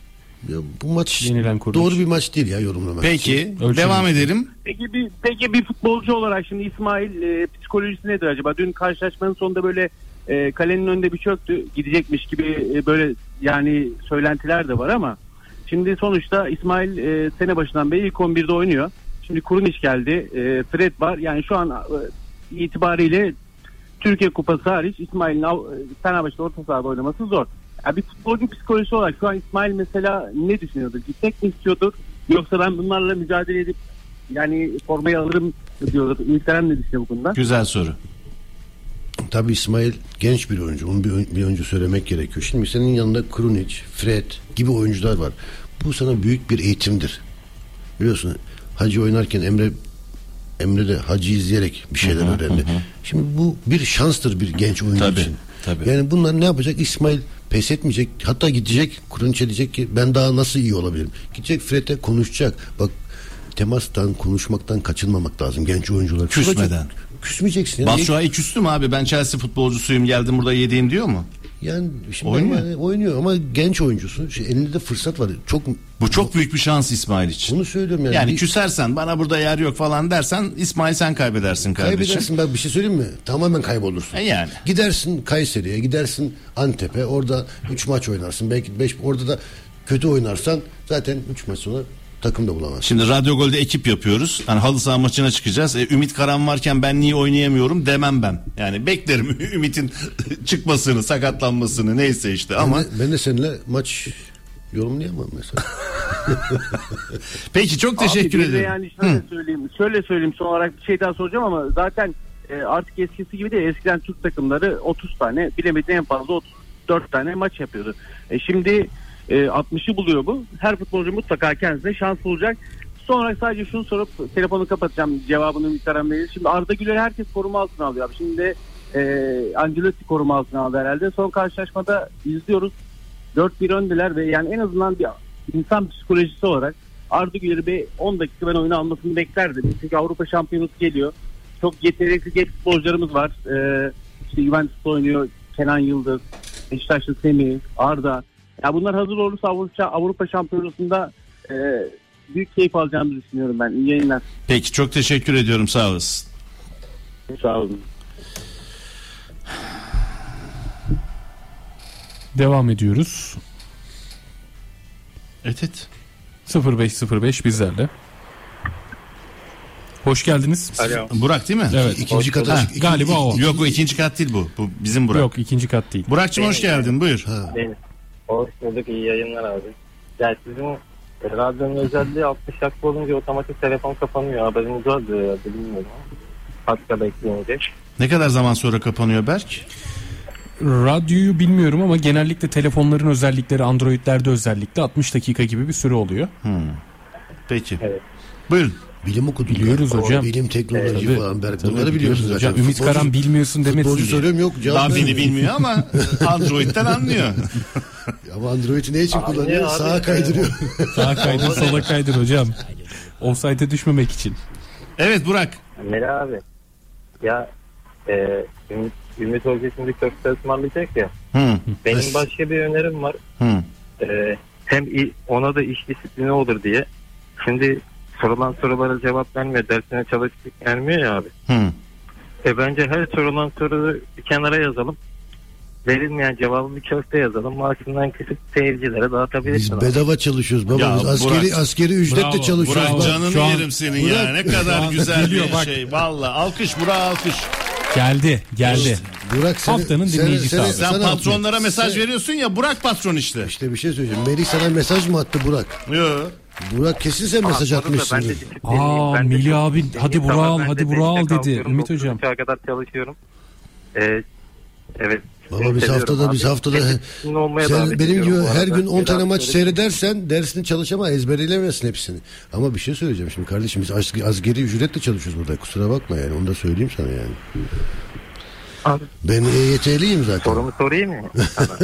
Speaker 6: Ya bu maç
Speaker 4: Yenilen kuruluş.
Speaker 6: doğru bir maç değil ya yorumlamak.
Speaker 5: Peki
Speaker 4: Ölçelim.
Speaker 5: devam edelim.
Speaker 11: Peki bir peki bir futbolcu olarak şimdi İsmail e, psikolojisi nedir acaba? Dün karşılaşmanın sonunda böyle e, kalenin önünde bir çöktü gidecekmiş gibi e, böyle yani söylentiler de var ama şimdi sonuçta İsmail e, sene başından beri ilk 11'de oynuyor. Şimdi Kurunic geldi, e, Fred var. Yani şu an e, itibariyle Türkiye Kupası hariç İsmail'in av- e, Fenerbahçe'de orta sahada oynaması zor. Ya bir futbolcu psikolojisi olarak şu an İsmail mesela ne düşünüyordur? Gitmek mi istiyordur? Yoksa ben bunlarla mücadele edip yani formayı alırım diyordur. Ümit ne düşünüyor bu konuda?
Speaker 5: Güzel soru.
Speaker 6: Tabii İsmail genç bir oyuncu. Onu bir, ön- bir önce söylemek gerekiyor. Şimdi senin yanında Krunic, Fred gibi oyuncular var. Bu sana büyük bir eğitimdir. Biliyorsun Hacı oynarken Emre Emre de Hacı izleyerek bir şeyler
Speaker 5: Hı hı,
Speaker 6: öğrendi.
Speaker 5: hı hı.
Speaker 6: Şimdi bu bir şanstır bir genç oyuncu
Speaker 5: Tabii,
Speaker 6: için.
Speaker 5: tabii.
Speaker 6: Yani bunlar ne yapacak? İsmail pes etmeyecek. Hatta gidecek. Krunic diyecek ki ben daha nasıl iyi olabilirim? Gidecek Fred'e konuşacak. Bak temastan, konuşmaktan kaçınmamak lazım genç oyuncular.
Speaker 5: Küsmeden.
Speaker 6: Küsmeyeceksin. Yani
Speaker 5: Batshuayi küstü mü abi? Ben Chelsea futbolcusuyum geldim burada yediğim diyor mu?
Speaker 6: Yani şimdi
Speaker 5: Oynuyor.
Speaker 6: ama- oynuyor ama genç oyuncusu. Şey, elinde de fırsat var. Çok
Speaker 5: Bu çok büyük bir şans İsmail için.
Speaker 6: Bunu söylüyorum yani.
Speaker 5: Yani,
Speaker 6: Bir-
Speaker 5: küsersen bana burada yer yok falan dersen İsmail sen kaybedersin kardeşim.
Speaker 6: kaybedersin. Bak bir şey söyleyeyim mi? Tamamen kaybolursun.
Speaker 5: E yani.
Speaker 6: Gidersin Kayseri'ye, gidersin Antep'e. Orada 3 maç oynarsın. Belki 5 orada da kötü oynarsan zaten 3 maç sonra takım da bulamazsın.
Speaker 5: Şimdi Radyo Gol'de ekip yapıyoruz. Hani halı saha maçına çıkacağız. E, Ümit Karan varken ben niye oynayamıyorum demem ben. Yani beklerim Ümit'in çıkmasını, sakatlanmasını neyse işte ama.
Speaker 6: ben, de, ben de seninle maç yorumlayamam mesela.
Speaker 5: Peki çok
Speaker 11: Abi bir de Yani şöyle söyleyeyim. Şöyle söyleyeyim son olarak bir şey daha soracağım ama zaten e, artık eskisi gibi değil. Eskiden Türk takımları 30 tane bilemedin en fazla 34 tane maç yapıyordu. E, şimdi e, 60'ı buluyor bu. Her futbolcu mutlaka kendisine şans bulacak. Son olarak sadece şunu sorup telefonu kapatacağım cevabını Miktaran Bey'e. Şimdi Arda Güler herkes koruma altına alıyor abi. Şimdi de, e, Ancelotti koruma altına aldı herhalde. Son karşılaşmada izliyoruz. 4-1 öndeler ve yani en azından bir insan psikolojisi olarak Arda Güler'i bir 10 dakika ben oyunu almasını beklerdim. Çünkü Avrupa şampiyonası geliyor. Çok yetenekli genç futbolcularımız var. Ee, işte Juventus'ta oynuyor Kenan Yıldız, Beşiktaşlı Semih, Arda. Ya bunlar hazır olursa Avrupa, Avrupa şampiyonasında e, büyük keyif alacağımızı düşünüyorum ben. İyi yayınlar.
Speaker 5: Peki çok teşekkür ediyorum sağ olasın.
Speaker 11: Sağ olun.
Speaker 4: Devam ediyoruz.
Speaker 5: Evet evet.
Speaker 4: 0505 bizlerle. Hoş geldiniz.
Speaker 5: Burak değil mi?
Speaker 4: Evet. İkinci kat- Ha, galiba o.
Speaker 5: Yok bu ikinci kat değil bu. Bu bizim Burak.
Speaker 4: Yok ikinci kat değil.
Speaker 5: Burak'cığım hoş geldin buyur.
Speaker 13: Benim. Hoş bulduk iyi yayınlar abi. Ya sizin o radyonun özelliği 60 dakika olunca otomatik telefon kapanıyor. Haberiniz vardı herhalde bilmiyorum. Hatta bekleyince.
Speaker 5: Ne kadar zaman sonra kapanıyor Berk?
Speaker 4: Radyoyu bilmiyorum ama genellikle telefonların özellikleri Android'lerde özellikle 60 dakika gibi bir süre oluyor.
Speaker 1: Hmm.
Speaker 5: Peki.
Speaker 6: Buyurun. Bilim okudun.
Speaker 4: Biliyoruz
Speaker 6: galiba.
Speaker 4: hocam.
Speaker 6: Bilim teknoloji
Speaker 4: Tabii.
Speaker 6: falan. Berk.
Speaker 4: Tabii,
Speaker 6: Bunları
Speaker 4: biliyoruz
Speaker 6: biliyorsun zaten.
Speaker 4: hocam. Ümit Karan bilmiyorsun demesin
Speaker 6: Futbolcu
Speaker 4: diye.
Speaker 6: soruyorum yok. cevap
Speaker 5: Daha beni
Speaker 6: vermiyorum.
Speaker 5: bilmiyor ama Android'den anlıyor.
Speaker 6: Ama Android'i ne için
Speaker 13: Abi,
Speaker 6: kullanıyor?
Speaker 13: abi.
Speaker 6: Sağa kaydırıyor.
Speaker 4: Sağa kaydır sola kaydır hocam. Offside'e düşmemek için.
Speaker 5: Evet Burak.
Speaker 13: Meri abi. Ya e, Ümit, Ümit Hoca şimdi köfte ısmarlayacak ya.
Speaker 5: Hı.
Speaker 13: Benim başka bir önerim var.
Speaker 5: Hı.
Speaker 13: E, hem i- ona da iş disiplini olur diye. Şimdi sorulan sorulara cevap vermiyor. Dersine çalıştık vermiyor ya abi.
Speaker 5: Hı.
Speaker 13: E bence her sorulan soruyu bir kenara yazalım. Verilmeyen cevabı bir köfte yazalım. Maaşından kesip seyircilere dağıtabiliriz.
Speaker 6: Biz bedava çalışıyoruz babamız.
Speaker 5: Ya
Speaker 6: askeri
Speaker 5: Burak-
Speaker 6: askeri ücretle
Speaker 5: Bravo.
Speaker 6: çalışıyoruz.
Speaker 5: Burak
Speaker 6: Bak,
Speaker 5: canını
Speaker 6: şu an-
Speaker 5: yerim senin
Speaker 6: Burak-
Speaker 5: ya. Ne
Speaker 6: Şu
Speaker 5: kadar
Speaker 6: an
Speaker 5: güzel
Speaker 4: geliyor
Speaker 5: bir
Speaker 4: bak.
Speaker 5: şey. Valla alkış Burak alkış.
Speaker 4: Geldi geldi.
Speaker 6: Burak seni-
Speaker 4: Haftanın
Speaker 6: seni-
Speaker 4: dinleyicisi
Speaker 6: seni-
Speaker 4: abi.
Speaker 5: Sen
Speaker 6: Sana-
Speaker 5: patronlara mesaj
Speaker 6: Sen-
Speaker 5: veriyorsun ya Burak patron işte.
Speaker 6: İşte bir şey söyleyeceğim. Melih sana mesaj mı attı Burak?
Speaker 5: Yo.
Speaker 6: Burak kesin sen mesaj atmışsındır.
Speaker 4: Aa Melih abi hadi Burak al hadi Burak al dedi Ümit hocam.
Speaker 13: kadar çalışıyorum. E, evet.
Speaker 6: Baba biz haftada biz haftada sen benim gibi her gün 10 tane maç seyredersen dersini çalışama ezberleyemezsin hepsini. Ama bir şey söyleyeceğim şimdi kardeşim biz as- asgari ücretle çalışıyoruz burada kusura bakma yani onu da söyleyeyim sana yani.
Speaker 13: Abi.
Speaker 6: Ben EYT'liyim zaten.
Speaker 13: Sorumu sorayım mı?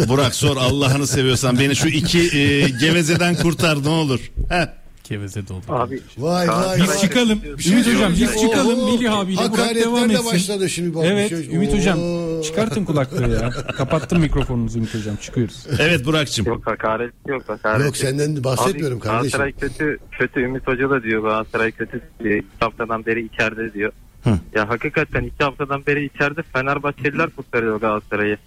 Speaker 5: Burak sor Allah'ını seviyorsan beni şu iki e, gevezeden kurtar ne olur. Heh.
Speaker 4: Keveze doldu.
Speaker 13: Abi. şey
Speaker 6: Vay vay
Speaker 4: Biz
Speaker 6: vay.
Speaker 4: çıkalım. Ümit
Speaker 5: şey
Speaker 4: hocam biz çıkalım. Melih abiyle Burak
Speaker 6: Hakaretler
Speaker 4: devam
Speaker 6: de
Speaker 4: etsin.
Speaker 6: başladı şimdi bak.
Speaker 4: Evet
Speaker 6: Bir şey-
Speaker 4: Ümit
Speaker 6: Oo.
Speaker 4: hocam çıkartın kulaklığı ya. Kapattım mikrofonunuzu Ümit hocam çıkıyoruz.
Speaker 5: Evet Burak'cığım.
Speaker 13: Yok hakaret yok hakaret.
Speaker 6: Yok, senden bahsetmiyorum
Speaker 13: Abi,
Speaker 6: kardeşim.
Speaker 13: Galatasaray kötü kötü Ümit Hoca da diyor Galatasaray kötü diye. İki haftadan beri içeride diyor. Ya hakikaten iki haftadan beri içeride Fenerbahçeliler kurtarıyor Galatasaray'ı.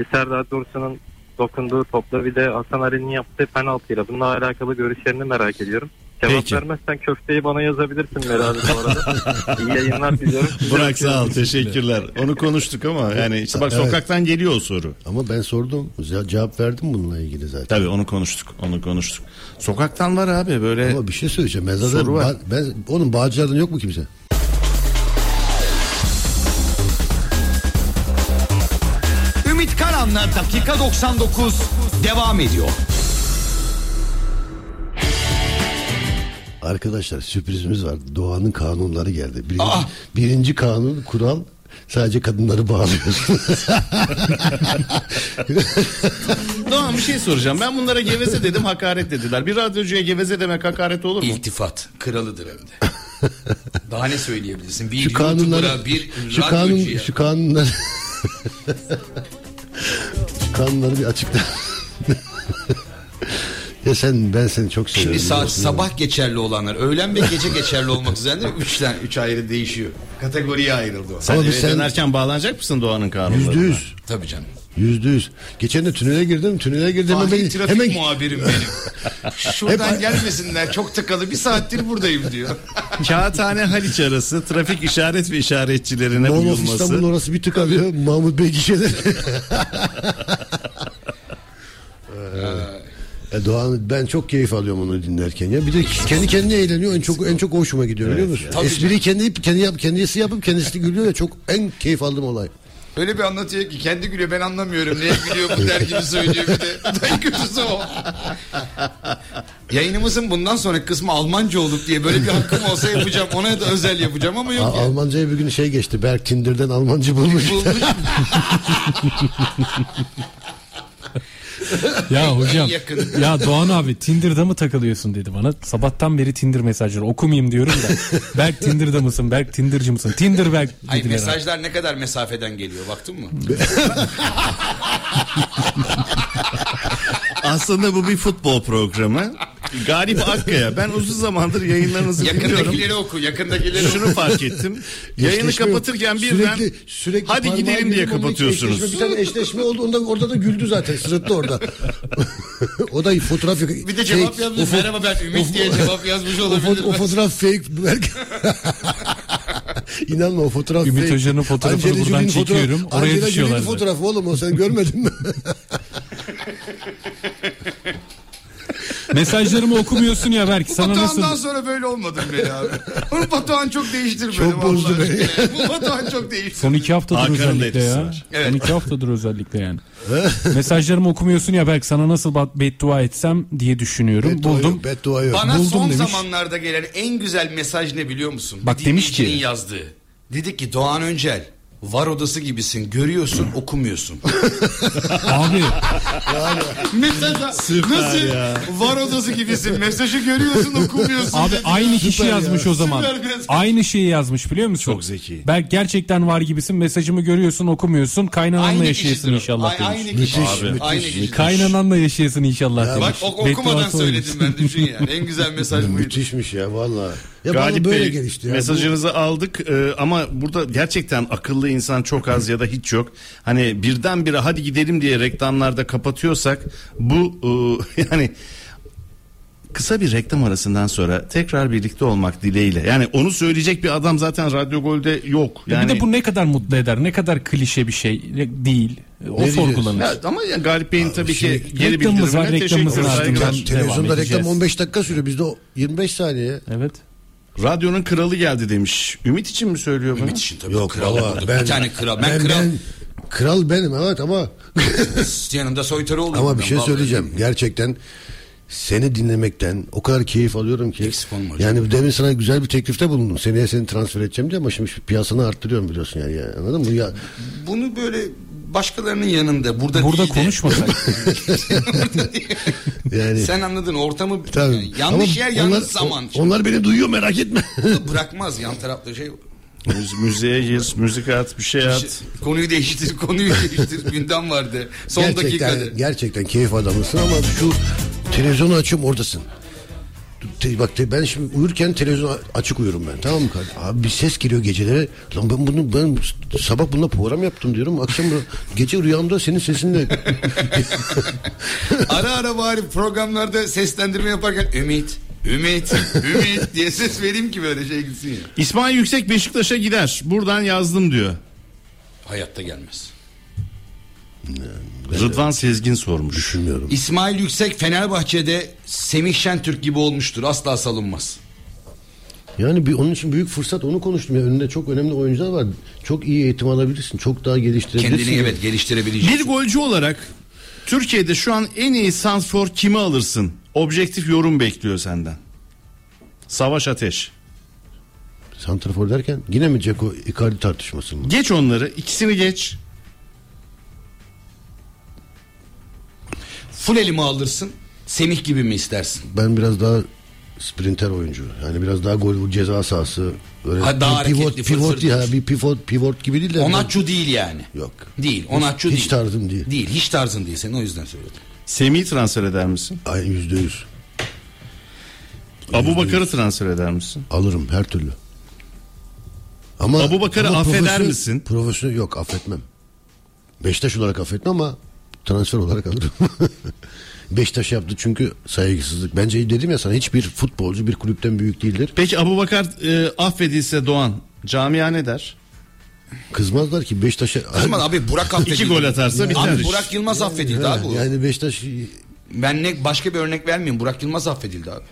Speaker 13: Bir Serdar Dursun'un dokunduğu topla bir de Hasan Ali'nin yaptığı penaltıyla. Bununla alakalı görüşlerini merak ediyorum. Cevap
Speaker 5: Peki.
Speaker 13: vermezsen köfteyi bana yazabilirsin Merhaba bu arada. İyi yayınlar diliyorum.
Speaker 5: Burak sağ ol teşekkürler. Onu konuştuk ama yani işte bak
Speaker 6: Evet.
Speaker 5: sokaktan geliyor o soru.
Speaker 6: Ama ben sordum. Ze- Cevap verdim bununla ilgili zaten.
Speaker 5: Tabii onu konuştuk. Onu konuştuk. Sokaktan var abi böyle.
Speaker 6: Ama bir şey söyleyeceğim. Ben zaten
Speaker 5: Soru var.
Speaker 6: ba- ben, onun bağcılardan yok mu kimse?
Speaker 2: Ümit Karan'la dakika 99 devam ediyor.
Speaker 6: Arkadaşlar sürprizimiz var. Doğanın kanunları geldi. Birinci, birinci kanun kural sadece kadınları bağlıyorsun.
Speaker 5: Doğan bir şey soracağım. Ben bunlara geveze dedim hakaret dediler. Bir radyocuya geveze demek hakaret olur mu?
Speaker 14: İltifat kralıdır hem de. Daha ne söyleyebilirsin? Bir
Speaker 6: şu
Speaker 14: YouTuber'a
Speaker 6: kanunları
Speaker 14: bir
Speaker 6: şu kanun
Speaker 14: radyocuya.
Speaker 6: şu kanunları kanunları bir açıkla. ya sen ben seni çok seviyorum.
Speaker 14: Şimdi saat
Speaker 6: biliyorsun.
Speaker 14: sabah geçerli olanlar öğlen ve gece geçerli olmak üzere değil mi? Üçten üç ayrı değişiyor. Kategoriye ayrıldı o.
Speaker 5: Sen
Speaker 6: Ama
Speaker 5: eve
Speaker 6: biz sen-
Speaker 5: dönerken bağlanacak mısın Doğan'ın kanunlarına?
Speaker 6: Yüzde yüz.
Speaker 14: Tabii canım.
Speaker 6: Yüzde yüz. Geçen de tünele girdim. Tünele girdim.
Speaker 14: Fahri
Speaker 6: hemen-
Speaker 14: trafik
Speaker 6: hemen,
Speaker 14: muhabirim benim. Şuradan
Speaker 6: Hep-
Speaker 14: gelmesinler çok tıkalı bir saattir buradayım diyor.
Speaker 5: Kağıthane Haliç arası trafik işaret ve işaretçilerine
Speaker 6: Mall of İstanbul
Speaker 5: uyulması.
Speaker 6: orası bir tık alıyor. Mahmut Bey gişeleri. E Doğan ben çok keyif alıyorum onu dinlerken ya. Bir de kendi kendine eğleniyor. En çok en çok hoşuma gidiyor biliyor musun?
Speaker 14: Tabii
Speaker 6: Espriyi kendi kendi yap, kendisi yapıp kendisi gülüyor ya çok en keyif aldığım olay.
Speaker 14: Öyle bir anlatıyor ki kendi gülüyor ben anlamıyorum. Neye gülüyor bu der gibi söylüyor bir de. En kötüsü o. Yayınımızın bundan sonraki kısmı Almanca olup diye böyle bir hakkım olsa yapacağım. Ona da özel yapacağım ama yok.
Speaker 6: Al- Almanca'ya bir gün şey geçti. Berk Tinder'den Almanca bulmuş.
Speaker 14: Bulmuş.
Speaker 4: Ya hocam
Speaker 14: yakın.
Speaker 4: ya Doğan abi Tinder'da mı takılıyorsun dedi bana. Sabahtan beri Tinder mesajları okumayayım diyorum da. Berk Tinder'da mısın? Berk Tinder'cı mısın? Tinder Berk
Speaker 14: Ay
Speaker 4: dediler abi.
Speaker 14: mesajlar ne kadar mesafeden geliyor baktın mı?
Speaker 5: Aslında bu bir futbol programı. Galip Akkaya. Ben uzun zamandır yayınlarınızı dinliyorum.
Speaker 14: Yakındakileri oku yakındakileri oku.
Speaker 5: Şunu fark ettim. Yayını
Speaker 6: Eşleşme yok.
Speaker 5: kapatırken birden
Speaker 6: Sürekli- sürekli
Speaker 5: hadi
Speaker 6: parmağı
Speaker 5: gidelim diye
Speaker 6: girdim, onun iki
Speaker 5: kapatıyorsunuz.
Speaker 6: eşleşme, Bir tane eşleşme oldu. Onda, orada da güldü zaten. Sırıttı orada. o da fotoğraf
Speaker 14: Bir de cevap yazmış. Merhaba ben Ümit diye cevap yazmış
Speaker 6: O, fo-
Speaker 14: olabilir.
Speaker 6: o fotoğraf fake. Berk. İnanma o fotoğraf
Speaker 4: Ümit
Speaker 6: fake.
Speaker 4: Hoca'nın fotoğrafını
Speaker 6: Angelina
Speaker 4: buradan
Speaker 6: Jolie'nin
Speaker 4: çekiyorum.
Speaker 6: fotoğraf-
Speaker 4: Oraya
Speaker 6: Angelina
Speaker 4: düşüyorlar
Speaker 6: Jolie'nin
Speaker 4: zaten.
Speaker 6: fotoğrafı oğlum o sen görmedin mi?
Speaker 4: Mesajlarımı okumuyorsun ya Berk. Sana
Speaker 14: Batuhan'dan
Speaker 4: nasıl?
Speaker 14: sonra böyle olmadım beni abi. Onu Batuhan çok değiştirmedi.
Speaker 6: Çok bozdu
Speaker 14: vallahi.
Speaker 6: beni.
Speaker 14: Bu Batuhan çok değiştirmedi.
Speaker 4: Son iki haftadır
Speaker 5: Hakan'ın da
Speaker 4: özellikle
Speaker 5: etkisi
Speaker 4: ya.
Speaker 5: var.
Speaker 14: Evet.
Speaker 4: Son iki haftadır özellikle yani. Mesajlarımı okumuyorsun ya Berk sana nasıl bat- beddua etsem diye düşünüyorum.
Speaker 6: Beddua
Speaker 4: Buldum.
Speaker 6: yok, Beddua yok.
Speaker 14: Bana
Speaker 4: Buldum
Speaker 14: son
Speaker 4: demiş.
Speaker 14: zamanlarda gelen en güzel mesaj ne biliyor musun?
Speaker 4: Bak
Speaker 14: Bir
Speaker 4: demiş ki-
Speaker 14: dinleyicinin yazdığı. Dedi ki Doğan Öncel var odası gibisin görüyorsun okumuyorsun.
Speaker 4: Abi
Speaker 14: Mesela nasıl var odası gibisin mesajı görüyorsun okumuyorsun.
Speaker 4: Abi
Speaker 14: dedi.
Speaker 4: aynı kişi yazmış o zaman.
Speaker 14: Süper mesaj.
Speaker 4: Aynı şeyi yazmış biliyor musun?
Speaker 5: Çok zeki.
Speaker 4: Berk gerçekten var gibisin. Mesajımı görüyorsun, okumuyorsun. Kaynananla
Speaker 14: Aynı
Speaker 4: yaşayasın
Speaker 14: kişidir o.
Speaker 4: inşallah
Speaker 14: Ay-
Speaker 4: demiş.
Speaker 14: Aynı kişi.
Speaker 6: Müthiş,
Speaker 14: Abi, aynı
Speaker 6: müthiş.
Speaker 14: kişi.
Speaker 4: Kaynananla yaşayasın inşallah demiş.
Speaker 14: Bak ok- okumadan
Speaker 4: Bedduası oymuş.
Speaker 14: söyledim ben düşün yani. En güzel mesaj buydu.
Speaker 6: Müthişmiş ya valla. Ya bana
Speaker 5: Galip
Speaker 6: böyle
Speaker 5: Bey,
Speaker 6: gelişti ya. Bu-
Speaker 5: mesajınızı aldık e, ama burada gerçekten akıllı insan çok az ya da hiç yok. Hani birdenbire hadi gidelim diye reklamlarda kapatıyorsak bu e, yani kısa bir reklam arasından sonra tekrar birlikte olmak dileğiyle. Yani onu söyleyecek bir adam zaten Radyo Gol'de yok. Yani
Speaker 4: Bir de bu ne kadar mutlu eder? Ne kadar klişe bir şey değil. O
Speaker 6: Ne
Speaker 4: sorgulanır.
Speaker 5: Ya ama ya Galip Bey'in tabii ki geri
Speaker 4: Reklamımız var,
Speaker 5: bildirimine
Speaker 4: reklamımız
Speaker 5: teşekkür
Speaker 4: var.
Speaker 5: saygılar.
Speaker 4: Devam
Speaker 6: Televizyonda reklam
Speaker 4: edeceğiz.
Speaker 6: 15 dakika sürüyor. Bizde o 25 saniye.
Speaker 4: Evet.
Speaker 5: Radyonun kralı geldi demiş. Ümit için mi söylüyor bunu?
Speaker 14: Ümit için tabii
Speaker 6: Yok
Speaker 14: kral
Speaker 6: valla
Speaker 14: oldu.
Speaker 6: ben,
Speaker 14: Bir tane kral. Ben, kral
Speaker 6: ben- kral benim evet ama
Speaker 14: yanımda soytarı olurum.
Speaker 6: ama bir
Speaker 14: ben,
Speaker 6: şey
Speaker 14: vallahi.
Speaker 6: söyleyeceğim. Gerçekten seni dinlemekten o kadar keyif alıyorum ki.
Speaker 14: Eksik olma hocam.
Speaker 6: Yani demin sana güzel bir teklifte bulundum. Seneye seni transfer edeceğim diye ama şimdi şu piyasanı arttırıyorum biliyorsun yani. ya. Anladın mı? Ya,
Speaker 14: Bunu böyle başkalarının yanında burada
Speaker 4: Burada
Speaker 14: değil de-
Speaker 4: konuşmasak.
Speaker 6: yani
Speaker 14: Sen anladın ortamı
Speaker 6: Tabii.
Speaker 14: yani yanlış
Speaker 6: Ama
Speaker 14: yer yanlış
Speaker 6: onlar-
Speaker 14: zaman.
Speaker 6: o- Onlar beni duyuyor merak etme.
Speaker 14: Bunu bırakmaz yan tarafta şey.
Speaker 5: Müz- müziğe gir, müzik at, bir şey at.
Speaker 14: Konuyu değiştir, konuyu değiştir. Gündem vardı. Son
Speaker 6: gerçekten,
Speaker 14: dakikada.
Speaker 6: gerçekten keyif adamısın ama şu televizyonu açıyorum oradasın. Te- Bak te- ben şimdi uyurken televizyon a- açık uyurum ben tamam mı kardeşim? Abi bir ses geliyor geceleri. Lan ben bunu ben sabah bununla program yaptım diyorum. Akşam bu- gece rüyamda senin sesinle
Speaker 14: Ara ara bari programlarda seslendirme yaparken Ümit Ümit, Ümit diye ses vereyim ki böyle şey gitsin ya.
Speaker 5: İsmail Yüksek Beşiktaş'a gider. Buradan yazdım diyor.
Speaker 14: Hayatta gelmez.
Speaker 5: Rıdvan Sezgin sormuş.
Speaker 6: Düşünmüyorum.
Speaker 14: İsmail Yüksek Fenerbahçe'de Semih Şentürk gibi olmuştur. Asla salınmaz.
Speaker 6: Yani bir, onun için büyük fırsat onu konuştum. ya önünde çok önemli oyuncular var. Çok iyi eğitim alabilirsin. Çok daha geliştirebilirsin.
Speaker 14: Kendini evet geliştirebilecek.
Speaker 5: Bir golcü olarak Türkiye'de şu an en iyi sanfor kimi alırsın? Objektif yorum bekliyor senden. Savaş Ateş.
Speaker 6: Santrafor derken yine mi Ceko Icardi tartışması mı?
Speaker 5: Geç onları. ikisini geç.
Speaker 14: Full elimi alırsın. Semih gibi mi istersin?
Speaker 6: Ben biraz daha sprinter oyuncu. Yani biraz daha gol ceza sahası. Böyle
Speaker 14: Ha, daha
Speaker 6: bir pivot,
Speaker 14: hareketli,
Speaker 6: pivot
Speaker 14: fırfır.
Speaker 6: ya bir pivot pivot gibi değil de.
Speaker 14: Onatçu değil yani.
Speaker 6: Yok.
Speaker 14: Değil. Onatçu
Speaker 6: hiç
Speaker 14: değil.
Speaker 6: tarzım değil.
Speaker 14: Değil. Hiç tarzın değil senin o yüzden söyledim.
Speaker 5: Semih'i transfer eder misin?
Speaker 6: Ay yüzde yüz.
Speaker 5: Abu Bakar'ı transfer eder misin?
Speaker 6: Alırım her türlü. Ama
Speaker 5: Abu Bakar'ı
Speaker 6: ama
Speaker 5: affeder
Speaker 6: profesyonel-
Speaker 5: misin?
Speaker 6: Profesyonel yok affetmem. Beşiktaş olarak affetmem ama transfer olarak alırım. Beşiktaş yaptı çünkü saygısızlık. Bence dedim ya sana hiçbir futbolcu bir kulüpten büyük değildir.
Speaker 5: Peki Abu Bakar Ee, affedilse Doğan camia ne der?
Speaker 6: Kızmazlar ki Beşiktaş'a...
Speaker 14: Kızman abi Burak affedildi.
Speaker 5: İki gol atarsa biter
Speaker 14: Abi
Speaker 5: iş.
Speaker 14: Burak Yılmaz affedildi abi. o.
Speaker 6: Yani Beşiktaş
Speaker 14: Ben ne başka bir örnek vermeyeyim. Burak Yılmaz affedildi abi.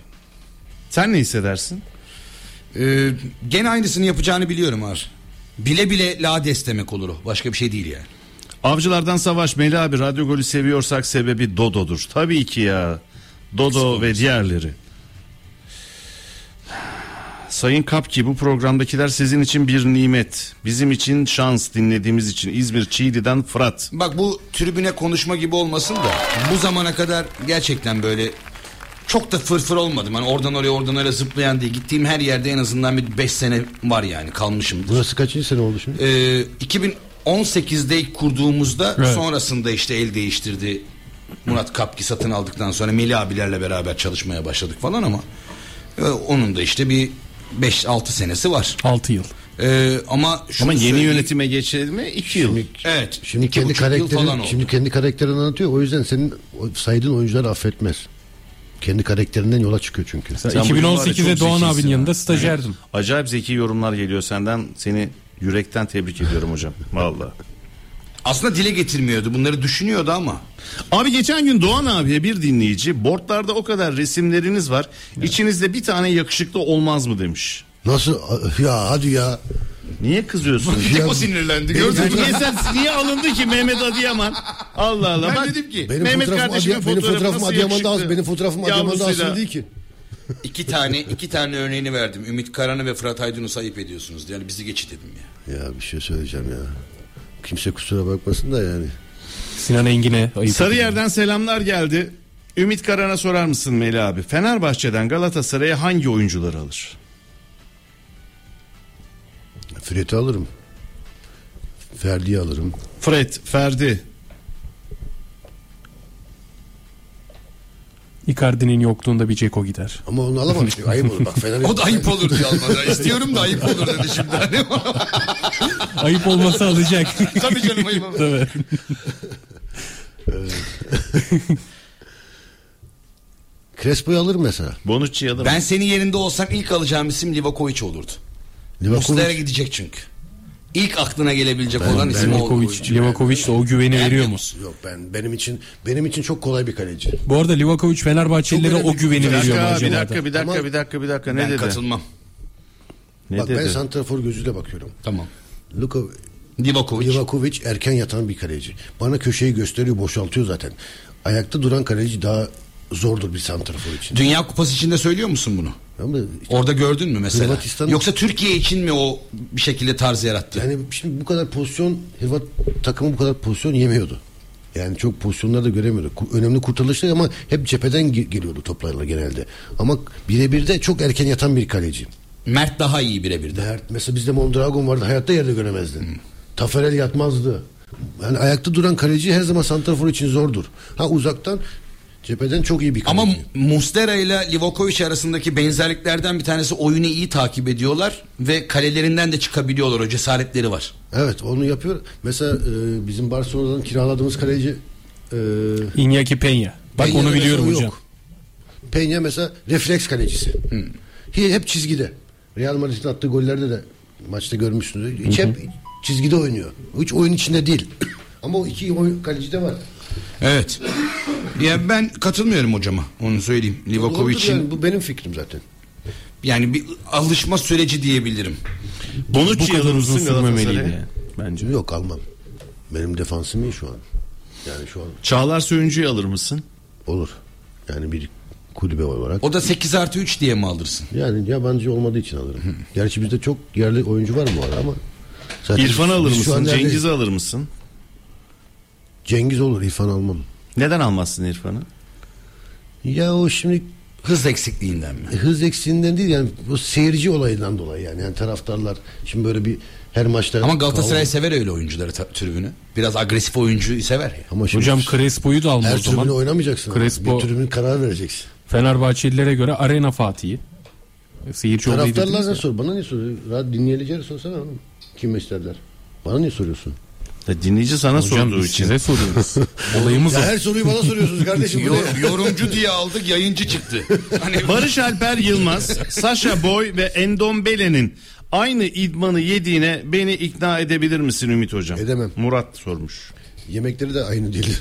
Speaker 5: Sen ne hissedersin?
Speaker 14: Ee, gene aynısını yapacağını biliyorum abi. Bile bile lades demek olur o. Başka bir şey değil yani.
Speaker 5: Avcılardan Savaş Melih abi radyo golü seviyorsak sebebi Dodo'dur. Tabii ki ya. Dodo ve diğerleri. Sayın Kapki bu programdakiler sizin için bir nimet. Bizim için şans dinlediğimiz için. İzmir Çiğli'den Fırat.
Speaker 14: Bak bu tribüne konuşma gibi olmasın da bu zamana kadar gerçekten böyle çok da fırfır olmadım. Hani oradan oraya oradan oraya zıplayan diye gittiğim her yerde en azından bir 5 sene var yani kalmışım.
Speaker 6: Burası kaçıncı sene oldu şimdi?
Speaker 14: Ee, 2018'de kurduğumuzda
Speaker 6: Evet.
Speaker 14: sonrasında işte el değiştirdi. Murat Kapki satın aldıktan sonra Melih abilerle beraber çalışmaya başladık falan ama e, onun da işte bir 5-6 senesi var. Ee,
Speaker 4: 6 yıl.
Speaker 14: ama şunu
Speaker 5: Ama yeni
Speaker 14: söyleyeyim-
Speaker 5: yönetime geçelim 2 yıl.
Speaker 14: Evet.
Speaker 6: Şimdi
Speaker 14: iki
Speaker 6: kendi
Speaker 14: buçuk yıl falan
Speaker 6: karakterini
Speaker 14: oldu.
Speaker 6: şimdi kendi karakterini anlatıyor. O yüzden senin o saydığın oyuncular affetmez. Kendi karakterinden yola çıkıyor çünkü.
Speaker 5: Sen bugün var ya,
Speaker 4: 2018'de
Speaker 5: çok
Speaker 4: Doğan
Speaker 5: zekisin
Speaker 4: abinin
Speaker 5: ha.
Speaker 4: yanında stajyerdim.
Speaker 5: Evet. Acayip zeki yorumlar geliyor senden. Seni yürekten tebrik ediyorum hocam. Vallahi.
Speaker 14: Aslında dile getirmiyordu. Bunları düşünüyordu ama.
Speaker 5: Abi geçen gün Doğan abiye bir dinleyici bortlarda o kadar resimleriniz var. İçinizde bir tane yakışıklı olmaz mı demiş.
Speaker 6: Nasıl ya hadi ya.
Speaker 5: Niye kızıyorsun?
Speaker 14: Tek o sinirlendi. Gördün mü?
Speaker 5: niye, sen, niye alındı ki Mehmet Adıyaman? Allah Allah.
Speaker 14: Ben
Speaker 5: Bak,
Speaker 14: dedim ki-
Speaker 6: Benim
Speaker 5: Mehmet
Speaker 6: fotoğrafım,
Speaker 5: kardeşimin
Speaker 6: Adıya- benim
Speaker 5: fotoğrafı
Speaker 6: fotoğrafım
Speaker 5: nasıl
Speaker 6: Adıyaman'da
Speaker 5: yakışıktı?
Speaker 6: as- benim fotoğrafım Adıyaman'da
Speaker 5: Yavrusuyla.
Speaker 6: asılı değil ki.
Speaker 14: İki tane iki tane örneğini verdim. Ümit Karan'ı ve Fırat Aydın'ı sayıp ediyorsunuz. Yani bizi geçit edin ya.
Speaker 6: Ya bir şey söyleyeceğim ya. Kimse kusura bakmasın da yani.
Speaker 4: Sinan Engin'e ayıp.
Speaker 5: Sarıyer'den selamlar geldi. Ümit Karan'a sorar mısın Melih abi? Fenerbahçe'den Galatasaray'a hangi oyuncuları alır?
Speaker 6: Fred'i alırım. Ferdi'yi alırım.
Speaker 5: Fred, Ferdi.
Speaker 4: Icardi'nin yokluğunda bir Ceko gider.
Speaker 6: Ama onu alamamış. ayıp olur bak. Fener'e-
Speaker 14: O da ayıp olur diye almadı. İstiyorum da ayıp olur dedi şimdi. Hani
Speaker 4: Ayıp olması alacak.
Speaker 14: Tabii canım ayıp olur.
Speaker 4: Tabii.
Speaker 6: Crespo'yu alırım mesela.
Speaker 5: Bonucci'yi alır.
Speaker 14: Ben senin yerinde olsam ilk alacağım isim Livakovic olurdu. Muslera
Speaker 6: Livakovic.
Speaker 14: gidecek çünkü. İlk aklına gelebilecek
Speaker 6: Ben-
Speaker 14: olan
Speaker 6: ben
Speaker 14: isim o.
Speaker 4: Livakovic, Livakovic de o güveni veriyor mu?
Speaker 6: Yok ben benim için benim için çok kolay bir kaleci.
Speaker 4: Bu arada Livakovic Fenerbahçelilere
Speaker 6: Çok önemli
Speaker 4: o güveni
Speaker 5: Bir
Speaker 4: veriyor mu
Speaker 5: dakika,
Speaker 4: acaba?
Speaker 5: bir dakika, bir dakika,
Speaker 6: Ama-
Speaker 5: bir dakika, bir dakika. Ne
Speaker 14: Ben
Speaker 5: dedi?
Speaker 14: katılmam.
Speaker 5: Ne
Speaker 6: bak ben
Speaker 5: dedi?
Speaker 6: santrafor gözüyle bakıyorum.
Speaker 14: Tamam.
Speaker 6: Luka
Speaker 14: Livakovic.
Speaker 6: Livakovic erken yatan bir kaleci. Bana köşeyi gösteriyor, boşaltıyor zaten. Ayakta duran kaleci daha zordur bir santrafor için.
Speaker 14: Dünya Kupası için de söylüyor musun bunu?
Speaker 6: Ama
Speaker 14: Orada gördün mü mesela?
Speaker 6: Hırvatistan-
Speaker 14: Yoksa Türkiye için mi o bir şekilde tarz yarattı?
Speaker 6: yani şimdi bu kadar pozisyon Hırvat takımı bu kadar pozisyon yemiyordu. Yani çok pozisyonlar da göremiyordu. Ku- Önemli kurtarışlar ama hep cepheden ge- geliyordu toplarla genelde. Ama birebir de çok erken yatan bir kaleci.
Speaker 14: Mert daha iyi birebir de. Hmm.
Speaker 6: Dert. Mesela bizde Mondragon vardı. Hayatta yerde göremezdin. Taferel yatmazdı. Yani ayakta duran kaleci her zaman santrafor için zordur. Ha uzaktan cepheden çok iyi bir kaleci.
Speaker 14: Ama Mustera ile Livakovic arasındaki benzerliklerden bir tanesi oyunu iyi takip ediyorlar ve kalelerinden de çıkabiliyorlar o cesaretleri var.
Speaker 6: Evet onu yapıyor. Mesela e, bizim Barcelona'dan kiraladığımız kaleci e,
Speaker 4: Iñaki Peña. Bak
Speaker 6: Peña'da
Speaker 4: onu
Speaker 6: mesela
Speaker 4: biliyorum
Speaker 6: yok.
Speaker 4: hocam.
Speaker 6: Peña mesela refleks kalecisi.
Speaker 14: Hmm.
Speaker 6: He- Hep çizgide. Real Madrid'in attığı gollerde de maçta görmüşsünüz. Hiç
Speaker 1: Hı hı.
Speaker 6: hep çizgide oynuyor. Hiç oyun içinde değil. Ama o iki oyun kaleci de var.
Speaker 14: Evet. ya ben katılmıyorum hocama. Onu söyleyeyim. Livakovic'in
Speaker 6: yani, bu benim fikrim zaten.
Speaker 14: yani bir alışma süreci diyebilirim.
Speaker 5: Bonucci alınmışsın Galatasaray'a. Bence.
Speaker 6: Yok almam. Benim defansım iyi şu an. Yani şu an.
Speaker 5: Çağlar Söyüncü'yü alır mısın?
Speaker 6: Olur. Yani bir kulübe olarak.
Speaker 14: O da 8 artı 3 diye mi alırsın?
Speaker 6: Yani yabancı olmadığı için alırım. Gerçi bizde çok yerli oyuncu var bu ara ama. zaten
Speaker 5: İrfan
Speaker 6: biz-
Speaker 5: alır
Speaker 6: biz şu an
Speaker 5: mısın?
Speaker 6: nerede-
Speaker 5: Cengiz'i alır mısın?
Speaker 6: Cengiz olur İrfan almam.
Speaker 5: Neden almazsın İrfan'ı?
Speaker 6: Ya o şimdi E,
Speaker 14: hız eksikliğinden mi?
Speaker 6: Hız eksikliğinden değil yani bu seyirci olayından dolayı yani, yani taraftarlar şimdi böyle bir her maçta
Speaker 14: Ama Galatasaray
Speaker 6: Kavga-
Speaker 14: sever öyle oyuncuları ta- tribünü. Biraz agresif oyuncuyu sever ya.
Speaker 6: Ama şimdi Hocam
Speaker 4: Crespo'yu da alma
Speaker 6: her
Speaker 4: o zaman.
Speaker 6: tribüne oynamayacaksın.
Speaker 4: Crespo-
Speaker 6: Bir tribün karar vereceksin.
Speaker 4: Fenerbahçelilere göre arena Fatih'i. E, Seyirci olayı dediniz
Speaker 6: Taraftarlar
Speaker 4: ya.
Speaker 6: ne sor? Bana ne soruyor? Rahat dinleyicileri sorsana oğlum. Kim isterler? Bana niye soruyorsun?
Speaker 5: dinleyici sana
Speaker 4: Hocam
Speaker 5: sorduğu
Speaker 4: biz
Speaker 5: için.
Speaker 4: size soruyoruz. Olayımız
Speaker 6: ya
Speaker 4: o.
Speaker 6: her soruyu bana soruyorsunuz kardeşim. bu ne?
Speaker 14: Yo- yorumcu diye aldık yayıncı çıktı.
Speaker 5: Hani Barış Alper Yılmaz, Sasha Boy ve Endombele'nin aynı idmanı yediğine beni ikna edebilir misin Ümit Hocam?
Speaker 6: Edemem.
Speaker 5: Murat sormuş.
Speaker 6: Yemekleri de aynı değil.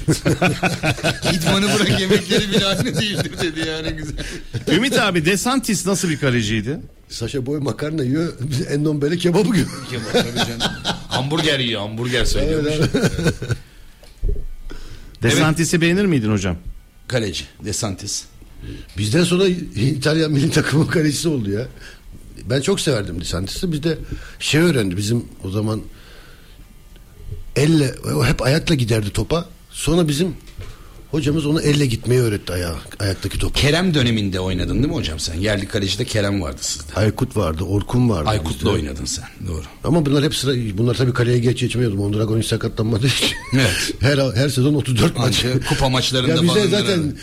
Speaker 14: İdmanı bırak yemekleri bile aynı değildir dedi yani güzel.
Speaker 5: Ümit abi Desantis nasıl bir kaleciydi?
Speaker 6: Saşa boy makarna yiyor. biz Endombele kebabı yiyor.
Speaker 14: Kim var tabii canım. hamburger yiyor hamburger söylüyormuş.
Speaker 5: Desantis'i beğenir miydin hocam?
Speaker 14: Kaleci Desantis.
Speaker 6: Bizden sonra İtalya milli takımı kalecisi oldu ya. Ben çok severdim Lisantis'i. Biz de şey öğrendi bizim o zaman elle o hep ayakla giderdi topa. Sonra bizim hocamız ona elle gitmeyi öğretti ayağa, ayaktaki topa.
Speaker 14: Kerem döneminde oynadın değil mi hocam sen? Yerli kalecide Kerem vardı sizde.
Speaker 6: Aykut vardı, Orkun vardı.
Speaker 14: Aykut'la
Speaker 6: bizde.
Speaker 14: oynadın sen. Doğru.
Speaker 6: Ama bunlar hep sıra bunlar tabii kaleye geç geçmiyordum. Mondragon hiç sakatlanmadığı için.
Speaker 14: Evet.
Speaker 6: her her sezon 34 maç.
Speaker 14: Anca kupa maçlarında
Speaker 6: Ya bize
Speaker 14: falan
Speaker 6: zaten
Speaker 14: herhalde.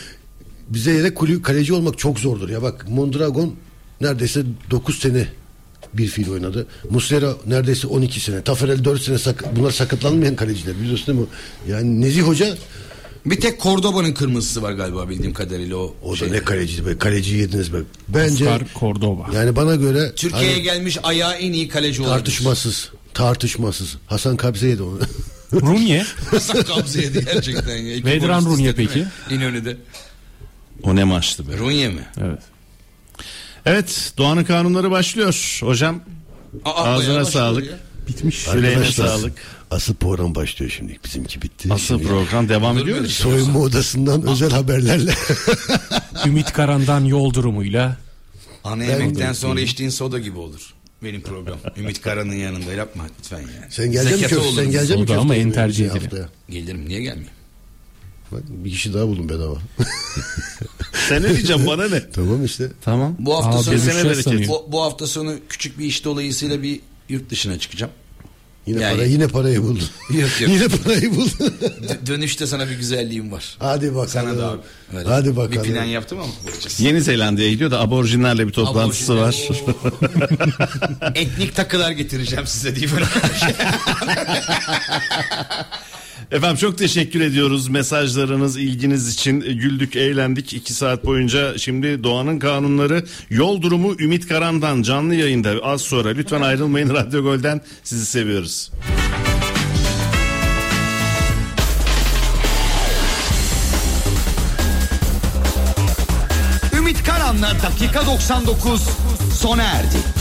Speaker 6: bize yere kulü- kaleci olmak çok zordur. Ya bak Mondragon neredeyse 9 sene bir fiil oynadı. Muslera neredeyse 12 sene. Taferel 4 sene sak- bunlar sakatlanmayan kaleciler biliyorsun değil mi? Yani Nezih Hoca
Speaker 14: Bir tek Cordoba'nın kırmızısı var galiba bildiğim kadarıyla o. şey.
Speaker 6: o da ne kaleciydi be. Kaleci yediniz be. Bence
Speaker 4: Cordoba.
Speaker 6: yani bana göre
Speaker 14: Türkiye'ye
Speaker 6: hani
Speaker 14: gelmiş ayağı en iyi kaleci olabilir.
Speaker 6: tartışmasız tartışmasız. Hasan Kabze yedi onu.
Speaker 4: Runye.
Speaker 14: Hasan Kabze'ydi gerçekten. ya. İki
Speaker 4: Vedran
Speaker 14: bonus
Speaker 4: Runye
Speaker 14: istedi
Speaker 4: peki?
Speaker 14: mi? İnönü'de.
Speaker 5: O ne maçtı be?
Speaker 14: Runye mi?
Speaker 5: Evet. Evet Doğan'ın kanunları başlıyor hocam.
Speaker 14: Aa,
Speaker 5: Ağzına
Speaker 14: bayağı
Speaker 5: sağlık.
Speaker 14: başladı
Speaker 4: Bitmiş.
Speaker 5: Yüreğine sağlık.
Speaker 6: Asıl program başlıyor şimdi. Bizimki bitti.
Speaker 5: Asıl program devam ediyor mu?
Speaker 6: şey? Soyunma odasından özel haberlerle.
Speaker 4: Ümit Karan'dan yol durumuyla.
Speaker 14: Ana yemekten sonra içtiğin soda gibi olur. Benim program. Ümit Karan'ın yanında yapma lütfen yani.
Speaker 6: Sen gelecek mi
Speaker 14: Zekatı
Speaker 6: köfte?
Speaker 14: olur.
Speaker 6: Sen gelecek mi
Speaker 4: Oldu
Speaker 6: köfte?
Speaker 4: ama en
Speaker 6: yemeye
Speaker 4: tercih
Speaker 6: bizi
Speaker 4: edilen.
Speaker 6: haftaya?
Speaker 14: Gelirim niye gelmeyeyim?
Speaker 6: Bak, bir kişi daha buldum bedava.
Speaker 5: Sen ne diyeceksin bana ne?
Speaker 6: tamam işte.
Speaker 5: Tamam.
Speaker 14: Bu hafta
Speaker 4: Aa,
Speaker 14: sonu
Speaker 4: gezene bereket.
Speaker 14: bu, bu hafta sonu küçük bir iş dolayısıyla bir yurt dışına çıkacağım.
Speaker 6: Yine
Speaker 14: Yani-
Speaker 6: para yine parayı buldun.
Speaker 14: Yok, yok.
Speaker 6: yine parayı buldun.
Speaker 14: Dö- dönüşte sana bir güzelliğim var.
Speaker 6: Hadi bakalım.
Speaker 14: Sana da abi. Öyle.
Speaker 6: Hadi bakalım.
Speaker 14: Bir plan yaptım ama bakacağız.
Speaker 5: Yeni Zelanda'ya gidiyor da aborjinlerle bir toplantısı
Speaker 14: Aborjinler.
Speaker 5: var.
Speaker 14: Etnik takılar getireceğim size diye böyle.
Speaker 5: Efendim çok teşekkür ediyoruz mesajlarınız, ilginiz için. Güldük, eğlendik 2 saat boyunca. Şimdi Doğan'ın kanunları, yol durumu Ümit Karan'dan canlı yayında az sonra. Lütfen ayrılmayın Radyo Gol'den. Sizi seviyoruz.
Speaker 2: Ümit Karan'la dakika 99 sona erdi.